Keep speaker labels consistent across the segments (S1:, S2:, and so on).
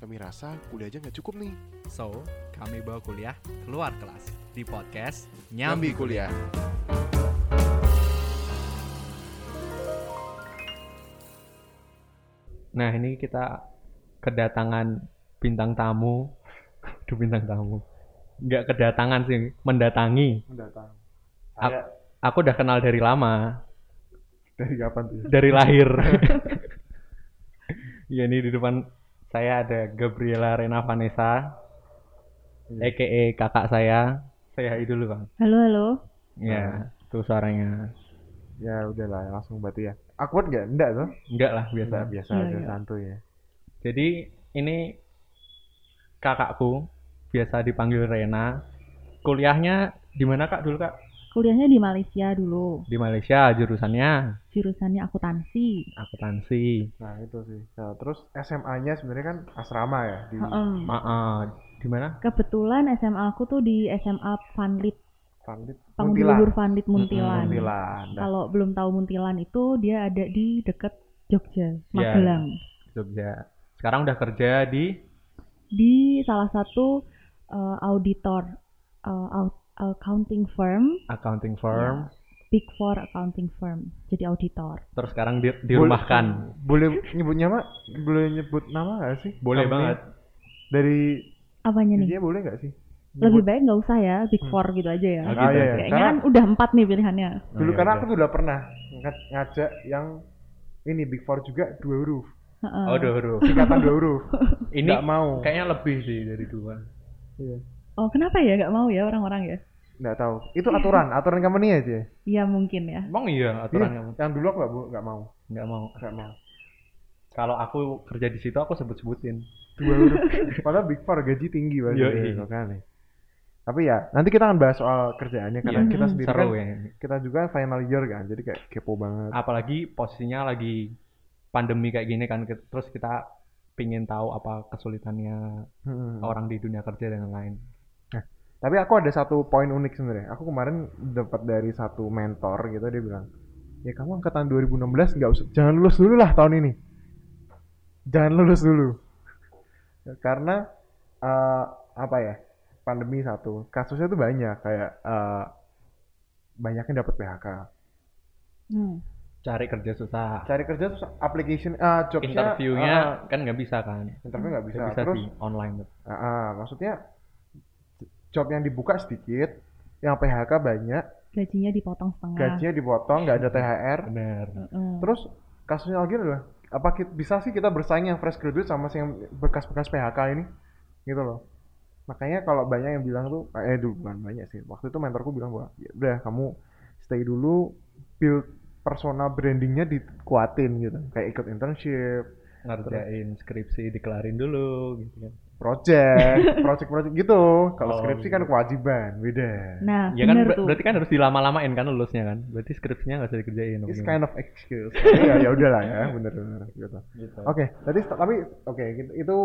S1: Kami rasa kuliah aja nggak cukup nih.
S2: So, kami bawa kuliah keluar kelas di podcast
S1: Nyambi
S2: Nyambi.
S1: kuliah.
S3: Nah ini kita kedatangan bintang tamu, aduh bintang tamu, nggak kedatangan sih, mendatangi.
S4: mendatang.
S3: Ap-
S4: Saya
S3: Aku udah kenal dari lama,
S4: dari kapan tuh?
S3: dari lahir. ya ini di depan saya ada Gabriela Rena Vanessa,
S4: Iya.
S3: EKE kakak saya. Saya hai dulu bang.
S5: Halo, halo.
S3: Ya, tuh suaranya.
S4: Ya udahlah langsung berarti ya. Awkward nggak? Enggak tuh.
S3: Enggak lah biasa.
S4: Biasa biasa
S5: Iya,
S4: aja
S5: iya.
S4: santuy ya.
S3: Jadi ini kakakku biasa dipanggil Rena. Kuliahnya di mana kak dulu kak?
S5: Kuliahnya di Malaysia dulu.
S3: Di Malaysia jurusannya
S5: Jurusannya akuntansi.
S3: akuntansi.
S4: Nah itu sih. Nah, terus SMA-nya sebenarnya kan asrama ya
S3: Hmm.
S4: di
S5: Heem.
S3: Maaf, eh, di mana?
S5: Kebetulan SMA aku tuh di SMA Vanlit,
S4: Pandit
S5: Pangunduhur Vanlit
S3: Mm-mm,
S5: Muntilan.
S4: Muntilan. Nah,
S5: Kalau belum tahu Muntilan itu dia ada di deket Jogja, Magelang.
S3: Jogja. Sekarang udah kerja di
S5: Di salah satu eh, auditor eh, au- accounting firm,
S3: accounting firm,
S5: Big Four accounting firm. Jadi auditor.
S3: terus sekarang di- dirumahkan.
S4: Boleh nyebutnya mak? Boleh nyebut nama nggak sih?
S3: Boleh
S4: Company?
S3: banget.
S4: Dari
S5: Apanya nih?
S4: dia boleh nggak sih? Nyebut.
S5: Lebih baik nggak usah ya, Big Four gitu aja ya.
S3: Oh,
S4: Ah, iya,
S3: gitu.
S4: iya.
S5: Kayaknya
S4: Karena
S5: kan udah empat nih pilihannya.
S4: dulu
S3: Oh, iya,
S4: karena
S3: udah.
S4: aku udah pernah ngaj- ngajak yang ini Big Four juga dua huruf,
S5: Heeh.
S3: Oh, dua huruf.
S4: ikatan dua huruf.
S3: Ini
S4: Nggak mau.
S3: kayaknya lebih sih dari dua.
S4: Iya.
S5: Oh, kenapa ya nggak mau ya orang-orang ya?
S4: Nggak tahu. Itu aturan, aturan company aja.
S5: Iya mungkin ya.
S3: Emang iya aturan
S4: Iya,
S3: kamu
S4: yang dulu aku nggak bu- nggak mau,
S3: nggak mau.
S4: nggak mau.
S3: Kalau aku kerja di situ aku sebut-sebutin.
S4: Dua huruf. Padahal Big Four gaji tinggi banget.
S3: Yoi.
S4: Iya, makanya. Tapi ya, nanti kita akan bahas soal kerjaannya karena
S5: Iya.
S4: kita sendiri kan,
S3: Seru ya. Ah.
S4: kita juga final year kan, jadi kayak kepo banget.
S3: Apalagi posisinya lagi pandemi kayak gini kan, ke- terus kita pingin tahu apa kesulitannya
S4: Hmm.
S3: orang di dunia kerja dan lain-lain.
S4: Tapi aku ada satu poin unik sebenarnya. Aku kemarin dapat dari satu mentor gitu dia bilang, ya kamu angkatan 2016 nggak usah, jangan lulus dulu lah tahun ini. Jangan lulus dulu, karena eh, apa ya? Pandemi satu, kasusnya tuh banyak kayak eh, banyaknya dapat PHK.
S5: Hmm.
S3: Cari kerja susah.
S4: Cari kerja terus application, eh jobnya,
S3: interviewnya
S4: eh,
S3: kan nggak bisa kan
S4: eh, interview nggak bisa.
S3: nggak bisa
S4: Terus
S3: di online tuh.
S4: Ah, ah, maksudnya job yang dibuka sedikit, yang PHK banyak,
S5: Gajinya dipotong setengah.
S4: gajinya dipotong, nggak ada THR.
S3: bener
S5: Heeh.
S4: Terus kasusnya lagi adalah apa ki- bisa sih kita bersaing yang fresh graduate sama si yang bekas-bekas PHK ini gitu loh. Makanya kalau banyak yang bilang tuh eh dulu bukan banyak sih. Waktu itu mentorku bilang bahwa ya udah kamu stay dulu build persona brandingnya dikuatin gitu. Kayak ikut internship,
S3: ngerjain skripsi dikelarin dulu gitu kan
S4: project, project-project gitu. Kalau
S3: Oh,
S4: skripsi
S3: gitu.
S4: kan kewajiban, beda.
S5: Nah,
S3: ya kan
S5: bener
S3: ber-
S5: tuh.
S3: berarti kan harus dilama-lamain kan lulusnya kan berarti skripsinya nggak usah dikerjain gitu.
S4: It's
S3: mungkin.
S4: kind of excuse. Tapi ya ya udahlah ya, bener-bener gitu.
S3: Gitu.
S4: Oke, tadi tapi oke gitu- itu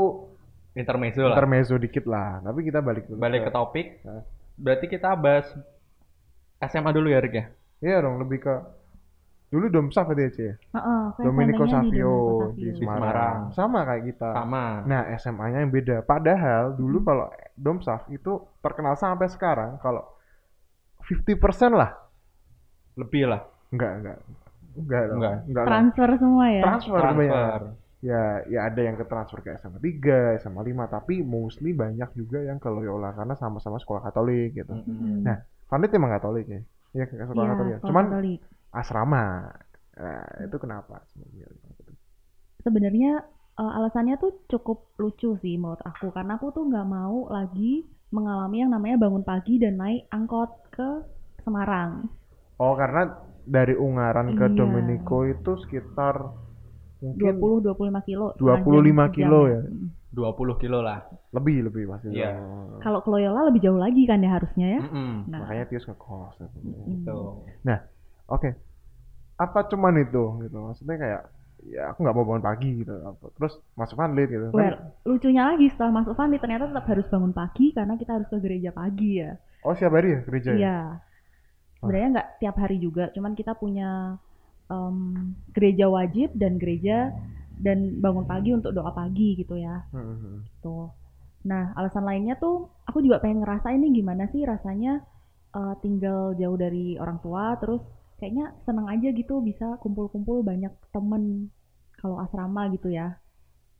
S3: intermezzo lah
S4: intermezzo dikit lah. Tapi kita balik dulu
S3: balik ke topik
S4: Hah?
S3: berarti kita bahas SMA dulu ya Rick ya
S4: Iya dong, lebih ke dulu Domsaf tadi aja ya.
S5: Heeh, kayak
S4: Domenico
S5: seandainya di
S4: Savio
S5: Domenico
S4: di
S5: Savio.
S4: Semarang.
S3: Semarang.
S4: Sama kayak kita.
S3: sama
S4: Nah, SMA-nya yang beda. Padahal dulu kalau Domsaf itu terkenal sampai sekarang kalau 50% lah.
S3: lebih lah
S4: Enggak, enggak. Enggak, dong.
S3: Enggak.
S4: enggak. lah.
S5: Transfer semua ya.
S4: transfer, kebanyakan.
S3: transfer
S4: ya ya ada yang ke transfer ke SMA 3, SMA 5, tapi mostly banyak juga yang ke Loyola karena sama-sama sekolah Katolik gitu.
S3: Mm-mm.
S4: Nah, Vanit emang Katolik ya. Iya, ke sekolah
S5: Iya,
S4: Katolik. ya?
S5: sekolah
S4: Cuman
S5: Katolik.
S4: asrama. Nah, itu kenapa?
S5: sebenarnya eh, alasannya tuh cukup lucu sih menurut aku karena aku tuh nggak mau lagi mengalami yang namanya bangun pagi dan naik angkot ke Semarang.
S4: Oh, karena dari Ungaran ke
S5: Iya.
S4: Domenico itu sekitar mungkin
S5: 20-25 kilo.
S4: 25
S5: setengah jam,
S4: kilo
S5: sejam.
S4: ya?
S5: Mm.
S3: 20 kilo lah
S4: lebih lebih pasti.
S3: Iya.
S4: Oh.
S5: Kalau ke Loyola lebih jauh lagi kan ya harusnya ya.
S3: Mm-mm.
S5: Nah,
S4: Hmm. Makanya Tius ngekos. gitu.
S5: mm.
S3: Tuh.
S4: Oke. Apa cuman itu gitu. Maksudnya kayak ya aku nggak mau bangun pagi gitu apa. terus masuk vanlit gitu Kan-
S5: Well, lucunya lagi setelah masuk Fandi ternyata tetap harus bangun pagi karena kita harus ke gereja pagi ya.
S4: oh siap hari ya gereja ya?
S5: Iya. Sebenarnya nggak tiap hari juga, cuman kita punya em, gereja wajib dan gereja dan bangun pagi untuk doa pagi gitu ya
S4: Hmm.
S5: gitu. Nah, alasan lainnya tuh aku juga pengen ngerasain nih gimana sih rasanya eh, tinggal jauh dari orang tua terus kayaknya seneng aja gitu bisa kumpul-kumpul banyak temen kalau asrama gitu ya.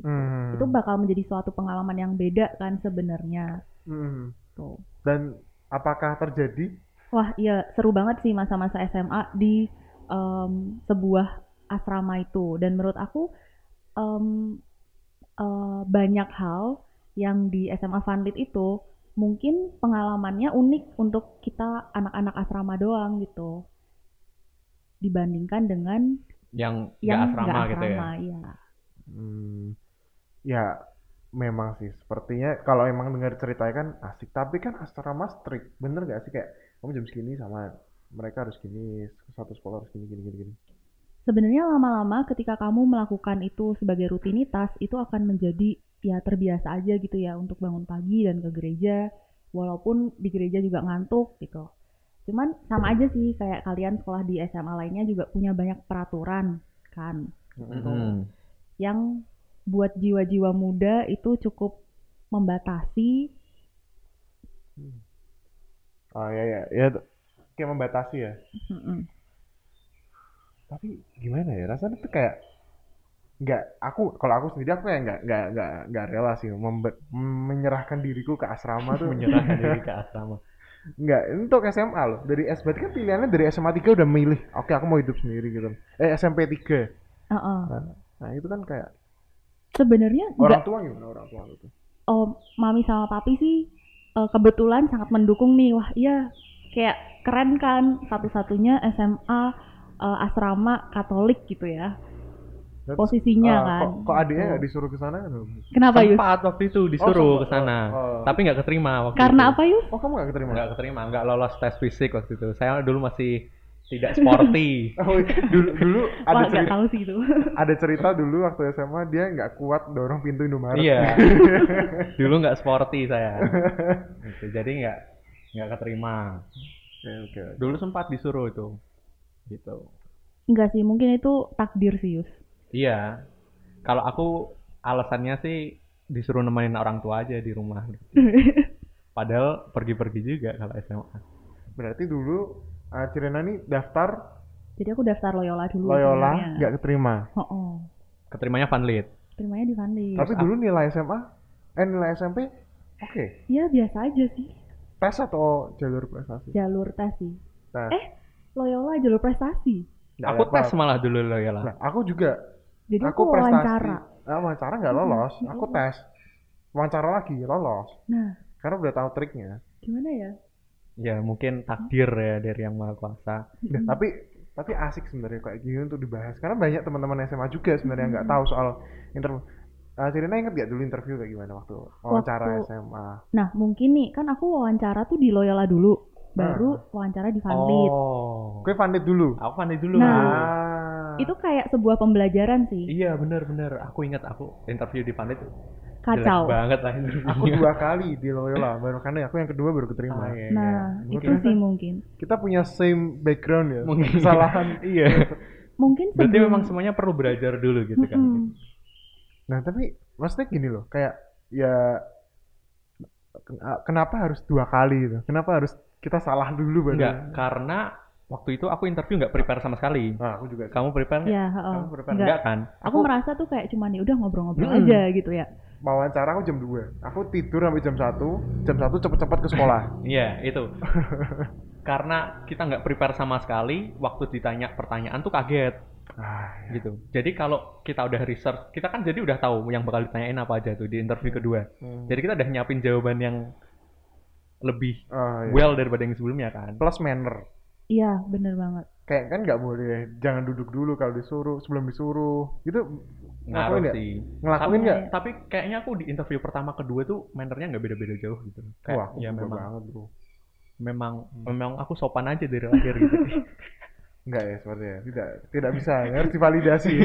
S4: Hmm.
S5: Itu bakal menjadi suatu pengalaman yang beda kan sebenarnya.
S4: Hmm.
S5: Tuh.
S4: Dan apakah terjadi?
S5: Wah, iya seru banget sih masa-masa SMA di em, sebuah asrama itu dan menurut aku em, eh, banyak hal yang di SMA Vanlit itu mungkin pengalamannya unik untuk kita anak-anak asrama doang gitu dibandingkan dengan
S3: yang nggak
S5: yang
S3: asrama,
S5: nggak
S3: gitu ya.
S5: asrama ya.
S4: Hmm, ya memang sih sepertinya kalau emang dengar ceritanya kan asik tapi kan asrama strict bener gak sih kayak kamu jam segini sama mereka harus gini satu sekolah harus gini gini gini gini
S5: Sebenarnya lama-lama ketika kamu melakukan itu sebagai rutinitas itu akan menjadi ya terbiasa aja gitu ya untuk bangun pagi dan ke gereja walaupun di gereja juga ngantuk gitu. Cuman sama aja sih kayak kalian sekolah di SMA lainnya juga punya banyak peraturan kan
S4: Hmm,
S3: Mm-mm.
S5: yang buat jiwa-jiwa muda itu cukup membatasi
S4: oh ya ya ya t- kayak membatasi ya
S5: Mm-mm.
S4: tapi gimana ya rasanya tuh kayak nggak aku kalau aku sendiri aku kayak nggak nggak nggak nggak rela sih membe- menyerahkan diriku ke asrama tuh
S3: menyerahkan diri ke asrama
S4: Enggak, ini untuk SMA loh. Dari S berarti kan pilihannya dari SMA 3 udah milih. Oke, aku mau hidup sendiri gitu. Eh, SMP 3.
S5: Uh-uh.
S4: Nah, itu kan kayak
S5: Sebenarnya nggak-
S4: orang tua gimana orang tua itu?
S5: oh mami sama papi sih eh, kebetulan sangat mendukung nih wah iya kayak keren kan satu-satunya SMA eh, asrama Katolik gitu ya
S4: Terus,
S5: posisinya
S4: Ah,
S5: kan
S4: Kok, kok adiknya nggak
S5: Gitu.
S4: disuruh ke sana? Aduh.
S5: kenapa Yus
S3: sempat waktu itu disuruh
S4: sempat.
S3: ke sana
S4: Oh.
S3: tapi nggak keterima waktu
S5: karena
S3: itu.
S5: apa Yus
S4: Oh, kamu nggak keterima?
S3: nggak keterima nggak lolos tes fisik waktu itu saya dulu masih tidak sporty
S4: Oh, iya. dulu dulu ada
S5: wah nggak
S4: cerita,
S5: tahu sih itu
S4: ada cerita dulu waktu SMA dia nggak kuat dorong pintu Indomaret.
S3: iya dulu nggak sporty saya Gitu, jadi nggak nggak keterima
S4: Oke, oke.
S3: dulu sempat disuruh itu gitu
S5: nggak sih mungkin itu takdir sih Yus
S3: iya kalau aku alasannya sih disuruh nemenin orang tua aja di rumah padahal pergi-pergi juga kalau SMA
S4: Berarti dulu uh, Cirena nih daftar
S5: jadi aku daftar Loyola dulu
S4: Loyola
S5: sebenarnya.
S4: nggak keterima.
S5: oh, oh.
S3: keterimanya vanlit
S5: terimanya di Vanlit
S4: Tapi dulu nilai SMA eh nilai SMP oke.
S5: ya biasa aja sih
S4: Tes atau jalur prestasi?
S5: jalur tes sih
S4: Tes.
S5: Ya, eh Loyola jalur prestasi
S4: Nggak
S3: aku
S4: apa-apa.
S3: tes malah dulu loh ya lah
S4: Nah, aku juga.
S5: jadi
S4: aku
S5: aku,
S4: prestasi.
S5: wawancara Iya,
S4: Nah, wawancara nggak lolos. Aku tes. Wawancara lagi lolos.
S5: nah
S4: Karena udah tahu triknya.
S5: gimana ya
S3: ya mungkin takdir ya dari yang maha kuasa
S4: Nah,
S5: Hmm.
S4: tapi tapi asik sebenarnya kayak gini untuk dibahas. Karena banyak teman-teman SMA juga sebenarnya yang
S5: Hmm.
S4: nggak tahu soal interview. Ah, Cirina inget gak dulu interview kayak gimana waktu wawancara
S5: Waktu-
S4: SMA?
S5: Nah, mungkin nih, kan aku wawancara tuh di Loyola dulu, baru wawancara di Vanlit.
S3: Ah. Oh.
S4: Gue pandit dulu.
S3: Aku pandai dulu.
S5: Nah.
S4: Ah.
S5: Itu kayak sebuah pembelajaran sih,
S3: Iya bener-bener. Aku ingat aku interview di pandai tuh.
S5: kacau.
S3: Jelek banget lah
S4: Aku
S3: interviewnya.
S4: dua kali di Loyola, baru karena aku yang kedua baru
S3: Ah,
S4: keterima.
S3: iya, iya.
S5: Nah, itu
S4: Mungkin-
S5: sih mungkin.
S4: Kita punya same background ya,
S3: Mungkin.
S4: kesalahan.
S3: iya.
S5: Mungkin
S3: Berarti
S5: sebelum-
S3: memang semuanya perlu belajar dulu gitu kan.
S5: Mm-mm.
S4: Nah tapi maksudnya gini loh, kayak ya ken- ah, kenapa harus dua kali gitu? Kenapa harus kita salah dulu baru?
S3: Enggak, karena waktu itu aku interview nggak prepare sama sekali.
S4: Nah, aku juga.
S3: Kamu prepare nggak?
S5: Ya, heeh.
S3: Kamu prepare
S5: Enggak.
S3: enggak kan?
S5: Aku, merasa tuh kayak cuman ya udah ngobrol-ngobrol
S3: Mm-mm.
S5: aja gitu ya.
S4: Wawancara aku jam 2. Aku tidur sampai jam 1. Jam 1 cepet-cepet ke sekolah.
S3: Iya, itu. karena kita nggak prepare sama sekali, waktu ditanya pertanyaan tuh kaget
S4: ah, ya.
S3: gitu. Jadi kalau kita udah research, kita kan jadi udah tahu yang bakal ditanyain apa aja tuh di interview kedua.
S4: Hmm.
S3: Jadi kita udah nyiapin jawaban yang lebih
S4: Ah, ya.
S3: well daripada yang sebelumnya kan.
S4: plus manner.
S5: Iya, bener banget.
S4: Kayak kan nggak boleh jangan duduk dulu kalau disuruh sebelum disuruh. Gitu
S3: Ngaruh
S4: nggak?
S3: sih.
S4: ngelakuin
S3: Tapi-
S4: nggak?
S3: Tapi kayaknya aku di interview pertama kedua tuh mannernya nggak beda-beda jauh gitu. Kayak,
S4: Wah, aku
S3: ya
S4: berubah
S3: memang
S4: banget bro.
S3: memang memang aku sopan aja dari lahir gitu.
S4: Enggak ya sepertinya. Tidak tidak bisa. Harus divalidasi.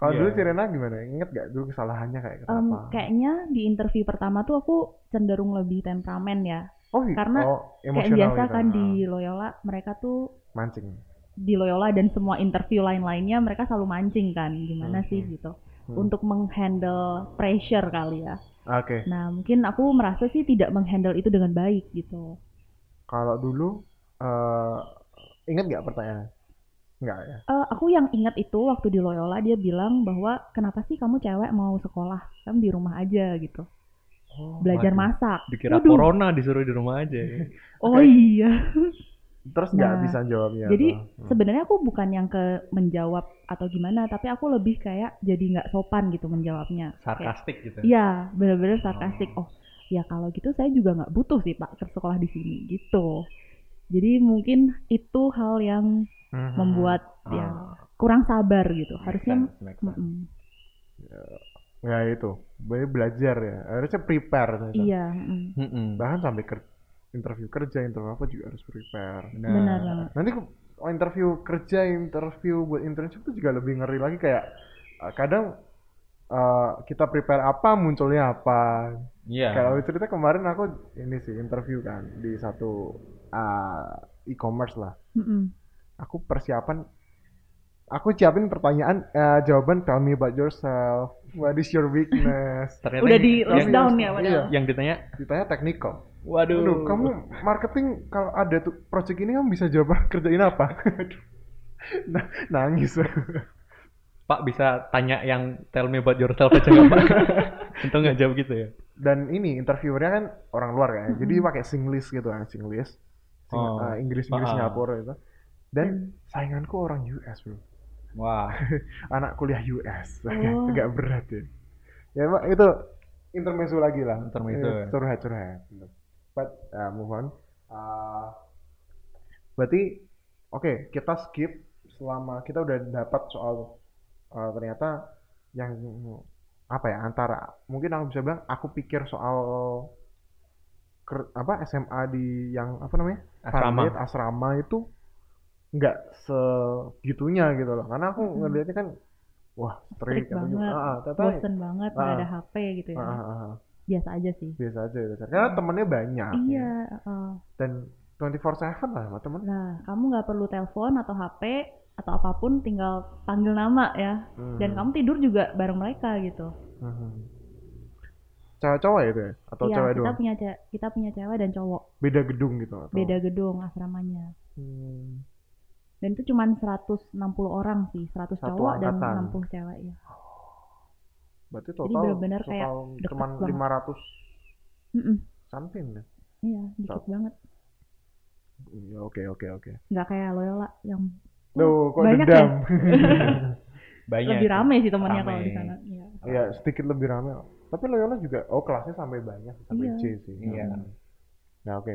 S4: Kalau dulu
S3: Iya.
S4: Cirena gimana? Ingat nggak dulu kesalahannya kayak
S5: Em,
S4: kenapa?
S5: kayaknya di interview pertama tuh aku cenderung lebih temperamen ya.
S4: Oh, i-
S5: Karena
S4: oh,
S5: Kayak
S4: emosional
S5: biasa
S4: gitu.
S5: kan
S4: Ah,
S5: di Loyola mereka tuh
S4: mancing.
S5: di Loyola dan semua interview lain-lainnya mereka selalu mancing kan gimana sih
S4: Mhm.
S5: gitu
S4: Hmm.
S5: untuk menghandle pressure kali ya.
S4: Oke.
S5: Nah, mungkin aku merasa sih tidak menghandle itu dengan baik gitu.
S4: Kalau dulu eh ingat nggak pertanyaannya? Nggak ya.
S5: Eh, aku yang ingat itu waktu di Loyola dia bilang bahwa kenapa sih kamu cewek mau sekolah? Kamu di rumah aja gitu.
S4: Oh,
S5: Belajar
S3: waduh.
S5: masak.
S3: Dikira
S5: Waduh.
S3: corona disuruh di rumah aja.
S5: Oh iya.
S4: Terus nggak
S5: Nah,
S4: bisa
S3: Iya
S4: jawabnya.
S5: Jadi
S4: apa? Hmm.
S5: sebenarnya aku bukan yang ke menjawab atau gimana, tapi aku lebih kayak jadi nggak sopan gitu menjawabnya. Kayak,
S3: Sarkastik gitu.
S5: Iya, benar-benar sarkastik. Oh, ya kalau gitu saya juga nggak butuh sih Pak ke sekolah di sini gitu. Jadi mungkin itu hal yang
S4: Mhm.
S5: membuat
S3: Ah,
S5: ya kurang sabar gitu. Harusnya
S3: Make sense, make sense.
S5: mm-mm.
S4: ya itu. Be- Belajar ya. Harusnya prepare. ternyata.
S5: Iya, mm.
S3: Mm-mm.
S4: Bahkan sampai ker- interview kerja, interview apa juga harus prepare. Nah,
S3: Benar.
S5: benar banget.
S4: Nanti ke- oh, interview kerja, interview buat internship itu juga lebih ngeri lagi kayak eh, kadang eh, kita prepare apa munculnya apa
S3: Iya.
S4: Kalau cerita kemarin aku ini sih interview kan di satu ah, e-commerce lah.
S5: Mm-mm.
S4: Aku persiapan, aku siapin pertanyaan eh, jawaban tell me about yourself, what is your weakness.
S3: Ternyata
S5: Udah
S3: yang-
S5: di
S4: Tapi-
S5: list down ya
S4: iya.
S5: padahal.
S3: yang ditanya,
S4: Ditanya teknikal.
S3: waduh,
S4: Aduh, kamu marketing kalau ada tuh project ini kamu bisa jawab kerjain apa? Aduh. nah, nangis.
S3: Pak bisa tanya yang tell me about yourself aja nggak Pak? Untung nggak jawab gitu ya.
S4: Dan ini interviewernya kan orang luar kan, jadi
S5: Mm-mm.
S4: pakai Singlish gitu kan, Singlish. Sing-
S3: Oh.
S4: eh, Inggris-Inggris
S3: Ah.
S4: Singapura gitu. Dan sainganku orang US, Bro.
S3: Wah,
S4: anak kuliah US
S5: Oh.
S4: agak, agak berat ya ya Pak, itu intermezzo lagi lah
S3: Intermezzo,
S4: Eh,
S3: ya.
S4: curhat curhat but uh, move on Uh, berarti oke kita skip selama kita udah dapat soal uh, ternyata yang apa ya antara mungkin aku bisa bilang aku pikir soal ker- apa SMA di yang apa namanya Target
S3: asrama.
S4: asrama itu nggak segitunya gitu loh karena aku
S5: Mm-mm.
S4: ngelihatnya kan wah
S5: Strict
S4: strict atau gimana.
S5: banget.
S4: Ah, ah, ternyata-
S5: Bosen banget nggak
S4: Ah.
S5: ada HP gitu ya.
S4: ah, ah, ah, ah.
S5: Biasa aja sih.
S4: biasa aja gitu. karena temennya banyak
S5: Iya, uh,
S4: dan 24/7 lah sama temen
S5: nah kamu nggak perlu telepon atau HP atau apapun, tinggal panggil nama ya. Dan
S4: Hmm.
S5: kamu tidur juga bareng mereka gitu.
S4: Mhm. cowok-cowok ya itu ya atau
S5: Iya,
S4: cewek
S5: kita
S4: doang
S5: punya ce- kita punya cewek dan cowok,
S4: beda gedung gitu atau
S5: beda gedung asramanya.
S4: Hmm.
S5: Dan itu cuma 160 orang sih, 100
S4: Satu
S5: cowok
S4: angkatan.
S5: dan 60 cewek ya.
S4: berarti total
S5: Jadi bener-bener kayak
S4: total
S5: deket
S4: cuman
S5: banget.
S4: 500
S5: Mm-mm,
S4: something ya
S5: Iya, dikit banget.
S4: Iya, oke oke oke
S5: Nggak kayak Loyola yang uh,
S4: Duh, kok
S5: Banyak ya?
S4: dendam
S3: Banyak.
S5: lebih rame sih temannya
S3: Iya, Rame.
S5: kalau di sana. Iya.
S4: Iya, sedikit lebih rame. Tapi Loyola juga, oh kelasnya sampai banyak, sampai
S5: Iya.
S4: C sih.
S3: Iya.
S4: Nah oke.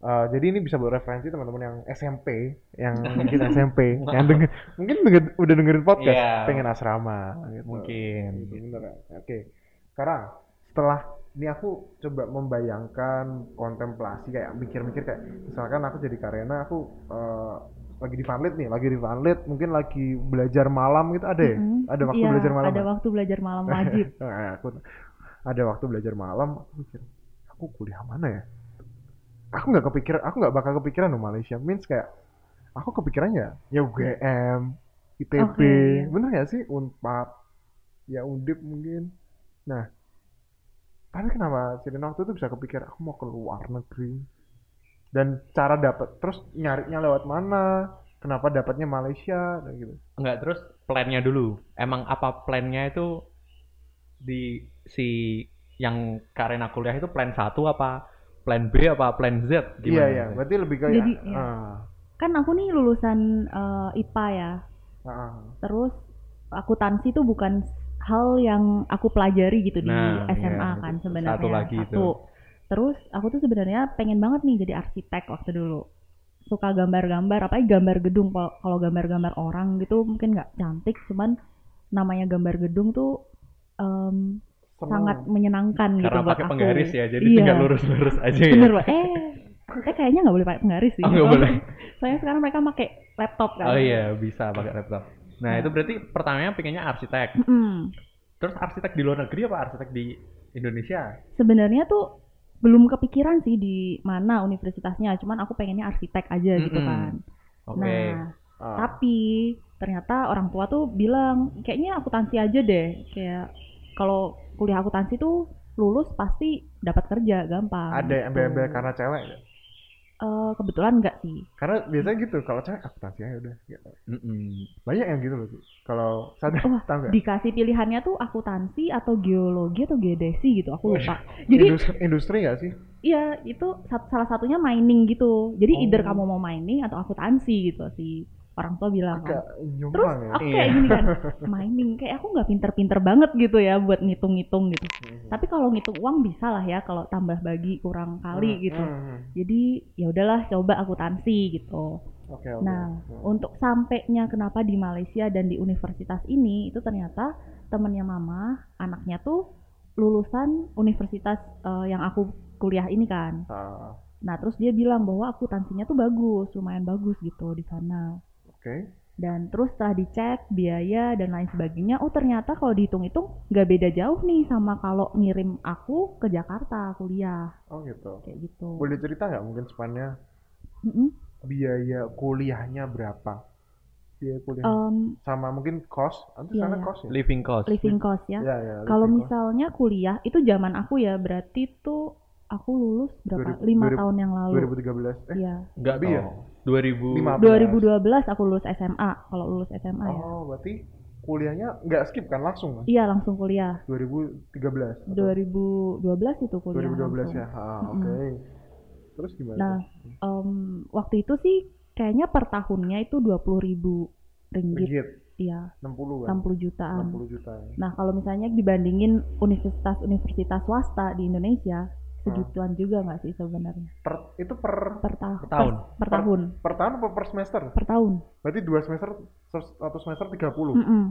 S4: Eh, jadi ini bisa buat referensi teman-teman yang SMP, yang mungkin SMP, yang denger, mungkin denger- udah dengerin podcast,
S3: Iya.
S4: pengen asrama. gitu.
S3: Mungkin.
S4: Gitu, bener ya? Oke. Sekarang setelah ini aku coba membayangkan kontemplasi kayak mikir-mikir kayak misalkan aku jadi Karena aku eh, lagi di Vanlit nih, lagi di Vanlit, mungkin lagi belajar malam gitu ada ya?
S5: Mm-mm.
S4: Ada waktu
S5: Iya,
S4: belajar malam.
S5: Ada
S4: ya?
S5: waktu belajar malam wajib.
S4: Nah, aku ada waktu belajar malam aku mikir aku kuliah mana ya aku nggak kepikiran aku nggak bakal kepikiran loh Malaysia means kayak aku kepikirannya ya UGM ITB
S5: Oke, iya.
S4: bener nggak sih unpad ya undip mungkin nah tapi kenapa Cirin waktu itu bisa kepikir aku mau ke luar negeri dan cara dapat terus nyarinya lewat mana kenapa dapatnya Malaysia dan gitu
S3: Enggak, terus plannya dulu. Emang apa plannya itu di si yang karena kuliah itu plan satu apa plan B apa plan
S4: iya
S3: Z gimana?
S4: iya
S3: itu?
S4: berarti lebih kayak
S5: Jadi, iya.
S4: ah,
S5: Kan aku nih lulusan eh, IPA ya.
S4: ah, ah.
S5: Terus akuntansi itu bukan hal yang aku pelajari gitu
S3: Nah,
S5: di SMA
S3: iya,
S5: kan
S3: itu
S5: sebenarnya.
S3: satu lagi itu.
S5: Terus aku tuh sebenarnya pengen banget nih jadi arsitek waktu dulu. Suka gambar-gambar, apalagi gambar gedung. Kalau kalau gambar-gambar orang gitu mungkin nggak cantik, cuman namanya gambar gedung tuh em,
S4: Seneng.
S5: sangat menyenangkan gitu
S3: Karena
S5: buat
S3: pakai
S5: aku.
S3: penggaris ya, jadi
S5: Iya.
S3: tinggal lurus-lurus aja ya.
S5: Bener Pak. Eh, saya kayaknya nggak boleh pakai penggaris sih.
S3: Oh, nggak boleh.
S5: Soalnya sekarang mereka pakai laptop kan.
S3: Oh iya, bisa pakai laptop. Nah,
S5: Nah.
S3: itu berarti pertamanya pengennya arsitek.
S5: Mm-mm.
S3: Terus arsitek di luar negeri apa arsitek di Indonesia?
S5: sebenarnya tuh belum kepikiran sih di mana universitasnya cuman aku pengennya arsitek aja gitu
S3: Mm-mm.
S5: kan
S3: Oke.
S5: nah
S4: Ah,
S5: Tapi ternyata orang tua tuh bilang kayaknya akuntansi aja deh. Kayak kalau kuliah akuntansi tuh lulus pasti dapat kerja gampang.
S4: ada yang
S5: gitu.
S4: embel-embel karena cewek nggak?
S5: Eh, kebetulan enggak sih.
S4: karena biasanya gitu kalau cewek akuntansi aja udah Ya, banyak yang gitu loh Ci. kalau sadar
S5: Wah,
S4: tau nggak
S5: Dikasih pilihannya tuh akuntansi atau geologi atau geodesi gitu, aku lupa. Jadi
S4: industri, industri nggak sih
S5: iya itu sa- salah satunya mining gitu. Jadi
S4: Oh.
S5: either kamu mau mining atau akuntansi gitu sih. Orang tua bilang.
S4: agak
S5: Ah, Terus
S4: nyumbang ya
S5: aku kayak gini kan, mining kayak aku nggak pinter-pinter banget gitu ya buat ngitung-ngitung gitu.
S4: Hmm.
S5: Tapi kalau ngitung uang bisa lah ya kalau tambah bagi kurang kali
S4: Hmm,
S5: gitu.
S4: hmm, hmm.
S5: Jadi ya udahlah coba akuntansi gitu.
S4: oke oke
S5: Nah,
S4: Hmm.
S5: Untuk sampainya kenapa di Malaysia dan di universitas ini itu ternyata temennya mama anaknya tuh lulusan universitas eh, yang aku kuliah ini kan.
S4: Ah,
S5: Nah terus dia bilang bahwa akuntansinya tuh bagus, lumayan bagus gitu di sana.
S4: oke
S5: Dan terus setelah dicek biaya dan lain sebagainya, oh ternyata kalau dihitung-hitung nggak beda jauh nih sama kalau ngirim aku ke Jakarta kuliah
S4: oh gitu
S5: kayak gitu.
S4: boleh cerita nggak mungkin sepannya
S5: Mm-mm.
S4: biaya kuliahnya berapa biaya kuliah
S5: Em,
S4: sama mungkin cost atau
S5: Oh. Iya,
S4: sana
S5: iya.
S4: cost ya
S3: Living cost.
S5: living cost ya.
S4: ya, ya
S5: kalau
S4: living cost.
S5: misalnya kuliah itu zaman aku ya berarti tuh aku lulus berapa?
S4: 2000,
S5: Lima
S4: 2000,
S5: tahun yang lalu.
S4: 2013 eh
S5: Iya.
S3: Enggak
S4: Tapi ya,
S3: 2000
S4: lima-
S5: 2012 aku lulus SMA. Kalau lulus SMA ya.
S4: oh berarti kuliahnya nggak skip kan langsung kan
S5: Iya langsung kuliah.
S4: 2013 atau
S5: 2012 itu kuliah.
S4: 2012
S5: langsung.
S4: ya Ah, oke
S5: Mm-mm.
S4: terus gimana
S5: Nah, Em, waktu itu sih kayaknya per tahunnya itu 20.000 ribu ringgit.
S4: Ringgit,
S5: Iya.
S4: 60 kan
S5: 60 jutaan.
S4: 60 juta ya.
S5: Nah, kalau misalnya dibandingin universitas-universitas swasta di Indonesia, segituan juga nggak sih sebenarnya?
S4: per, itu per
S5: Per, ta-
S3: Per tahun.
S5: Per, per tahun.
S4: per tahun apa per semester
S5: Per tahun.
S4: berarti dua semester satu semester 30
S5: Mm-mm.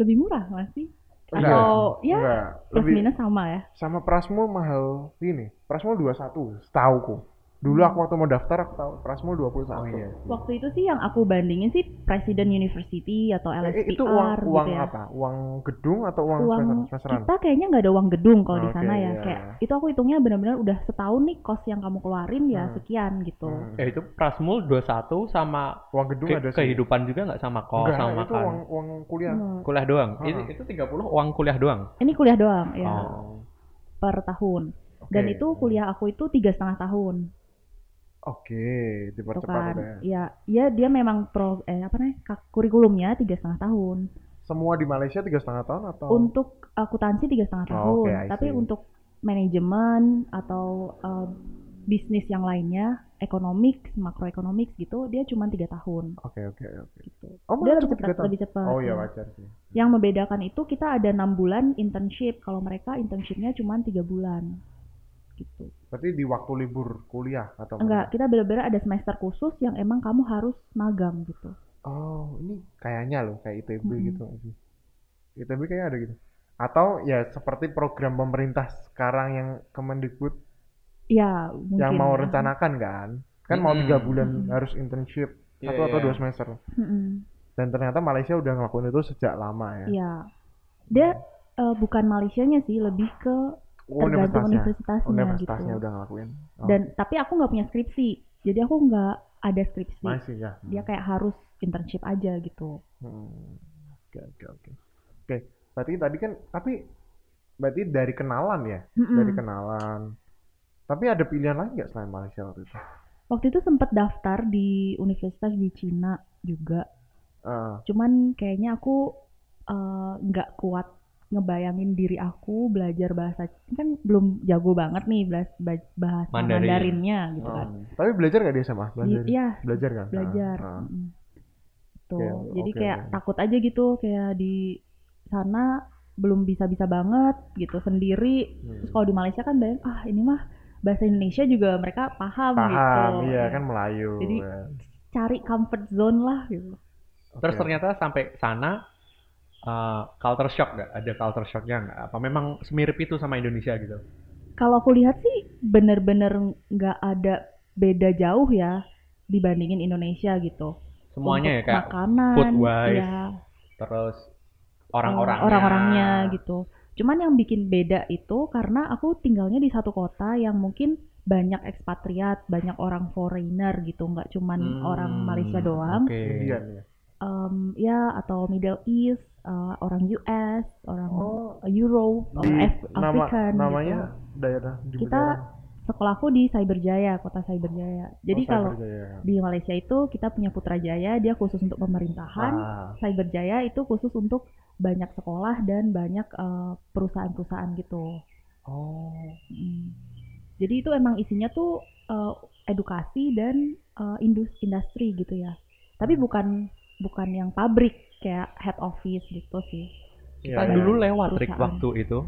S5: Lebih murah nggak sih?
S4: Enggak.
S5: Mm, Atau ya
S4: Enggak,
S5: plus
S4: lebih
S5: minus sama ya?
S4: sama Prasmo mahal ini. Prasmo 21, setauku. Dulu aku
S5: Hmm.
S4: waktu mau daftar aku tahu Prasmo 21. Oh iya.
S5: Waktu itu sih yang aku bandingin sih Presiden University atau LSPR
S4: Eh, itu uang
S5: gitu
S4: uang
S5: ya.
S4: apa? Uang gedung atau uang,
S5: uang
S4: semester- semesteran?
S5: kita kayaknya nggak ada uang gedung kalau di
S4: Oke,
S5: sana ya
S4: iya.
S5: kayak itu aku hitungnya benar-benar udah setahun nih kos yang kamu keluarin ya
S4: Hmm.
S5: sekian gitu
S4: Hmm.
S3: Eh itu Prasmul 21 sama
S4: Uang gedung
S3: ke-
S4: ada sih.
S3: kehidupan juga nggak sama kos
S4: Enggak,
S3: sama kan?
S4: itu
S3: makan.
S4: uang uang kuliah.
S5: Hmm.
S3: Kuliah doang.
S4: Ah.
S3: Ini itu 30 uang kuliah doang.
S5: ini kuliah doang ya
S3: Oh.
S5: per tahun
S4: Oke.
S5: dan itu kuliah aku itu tiga setengah tahun
S4: Oke,
S5: gitu
S4: dipercepat
S5: kan
S4: udah ya.
S5: ya ya dia memang pro eh apa nih kak- kurikulumnya tiga setengah tahun
S4: Semua di Malaysia tiga setengah tahun atau
S5: untuk akuntansi tiga setengah
S4: Oh,
S5: tahun
S4: oke, I see.
S5: tapi untuk manajemen atau eh, bisnis yang lainnya ekonomik makroekonomik gitu dia cuma tiga tahun
S4: Oke, oke, oke.
S5: gitu
S4: Oh, malah
S5: dia lebih
S4: cukup tiga
S5: cepat
S4: tahun.
S5: lebih cepat
S4: Oh iya
S5: ya.
S4: wajar sih.
S5: yang membedakan itu kita ada enam bulan internship kalau mereka internshipnya cuma tiga bulan gitu
S4: Berarti di waktu libur kuliah atau
S5: enggak kita benar-benar ada semester khusus yang emang kamu harus magang gitu
S4: Oh, ini kayaknya loh kayak ITB
S5: Mm-mm.
S4: gitu nggak sih. ITB kayaknya ada gitu. Atau ya seperti program pemerintah sekarang yang Kemendikbud
S5: ya mungkin
S4: yang mau
S5: ya.
S4: rencanakan kan. Kan mau tiga
S3: Mm-mm.
S4: bulan
S5: Mm-mm.
S4: harus internship
S3: Iya,
S4: satu atau
S3: iya.
S4: dua semester.
S5: Mm-mm.
S4: Dan ternyata Malaysia udah ngelakuin itu sejak lama ya.
S5: Iya. Dia eh, bukan Malaysianya sih, lebih ke tergantung
S4: Oh, universitasnya.
S5: universitasnya,
S4: Universitasnya
S5: gitu.
S4: udah ngelakuin. Oh,
S5: Dan tapi aku nggak punya skripsi, jadi aku nggak ada skripsi.
S4: masih ya.
S5: Dia kan kayak harus internship aja gitu.
S4: Hmm. Oke, oke, oke. Oke, berarti tadi kan tapi berarti dari kenalan ya,
S5: Mm-mm.
S4: dari kenalan. Tapi ada pilihan lain nggak selain Malaysia waktu itu?
S5: Waktu itu sempet daftar di universitas di Cina juga,
S4: Ah,
S5: cuman kayaknya aku eh, nggak kuat ngebayangin diri aku belajar bahasa kan belum jago banget nih bahas- bah- bahasa
S3: Mandarin.
S5: Mandarinnya gitu kan.
S4: ah. Tapi belajar nggak di SMA? Belajar,
S5: Iya,
S4: belajar kan?
S5: belajar.
S4: Ah, ah.
S5: Mm. Gitu.
S4: Oke,
S5: Jadi
S4: oke,
S5: kayak
S4: oke.
S5: takut aja gitu kayak di sana belum bisa-bisa banget gitu sendiri.
S4: Hmm.
S5: Terus kalau di Malaysia kan banyak ah ini mah bahasa Indonesia juga mereka paham,
S4: Paham,
S5: gitu.
S4: iya kan Melayu.
S5: Jadi,
S4: ya.
S5: Cari comfort zone lah gitu.
S4: Oke.
S3: Terus ternyata sampai sana eh, culture shock nggak? Ada culture shocknya nggak? Apa memang semirip itu sama Indonesia gitu?
S5: Kalau aku lihat sih bener-bener nggak ada beda jauh ya dibandingin Indonesia gitu.
S3: Semuanya ya
S5: Untuk
S3: kayak
S5: makanan,
S3: food wise,
S5: ya,
S3: terus orang-orangnya.
S5: Oh, orang-orangnya gitu. Cuman yang bikin beda itu karena aku tinggalnya di satu kota yang mungkin banyak ekspatriat, banyak orang foreigner gitu, nggak cuman
S3: Hmm,
S5: orang Malaysia doang. Iya.
S3: Oke.
S4: Indian ya.
S5: Em, ya atau Middle East, eh, orang US, orang
S4: Oh.
S5: Europe,
S4: Di
S5: orang Af-
S4: nama
S5: African gitu.
S4: namanya daerah di
S5: Kita Sekolahku di Cyberjaya, kota Cyberjaya.
S3: Oh,
S5: Jadi kalau di Malaysia itu kita punya Putrajaya, dia khusus untuk pemerintahan.
S4: Ah.
S5: Cyberjaya itu khusus untuk banyak sekolah dan banyak eh, perusahaan-perusahaan gitu.
S4: oh
S5: Mm. Jadi itu emang isinya tuh eh, edukasi dan eh, indus- industri gitu ya. Tapi bukan bukan yang pabrik kayak head office gitu sih.
S4: iya,
S3: Kan
S4: iya.
S3: dulu lewat trik
S5: Perusahaan.
S3: waktu itu.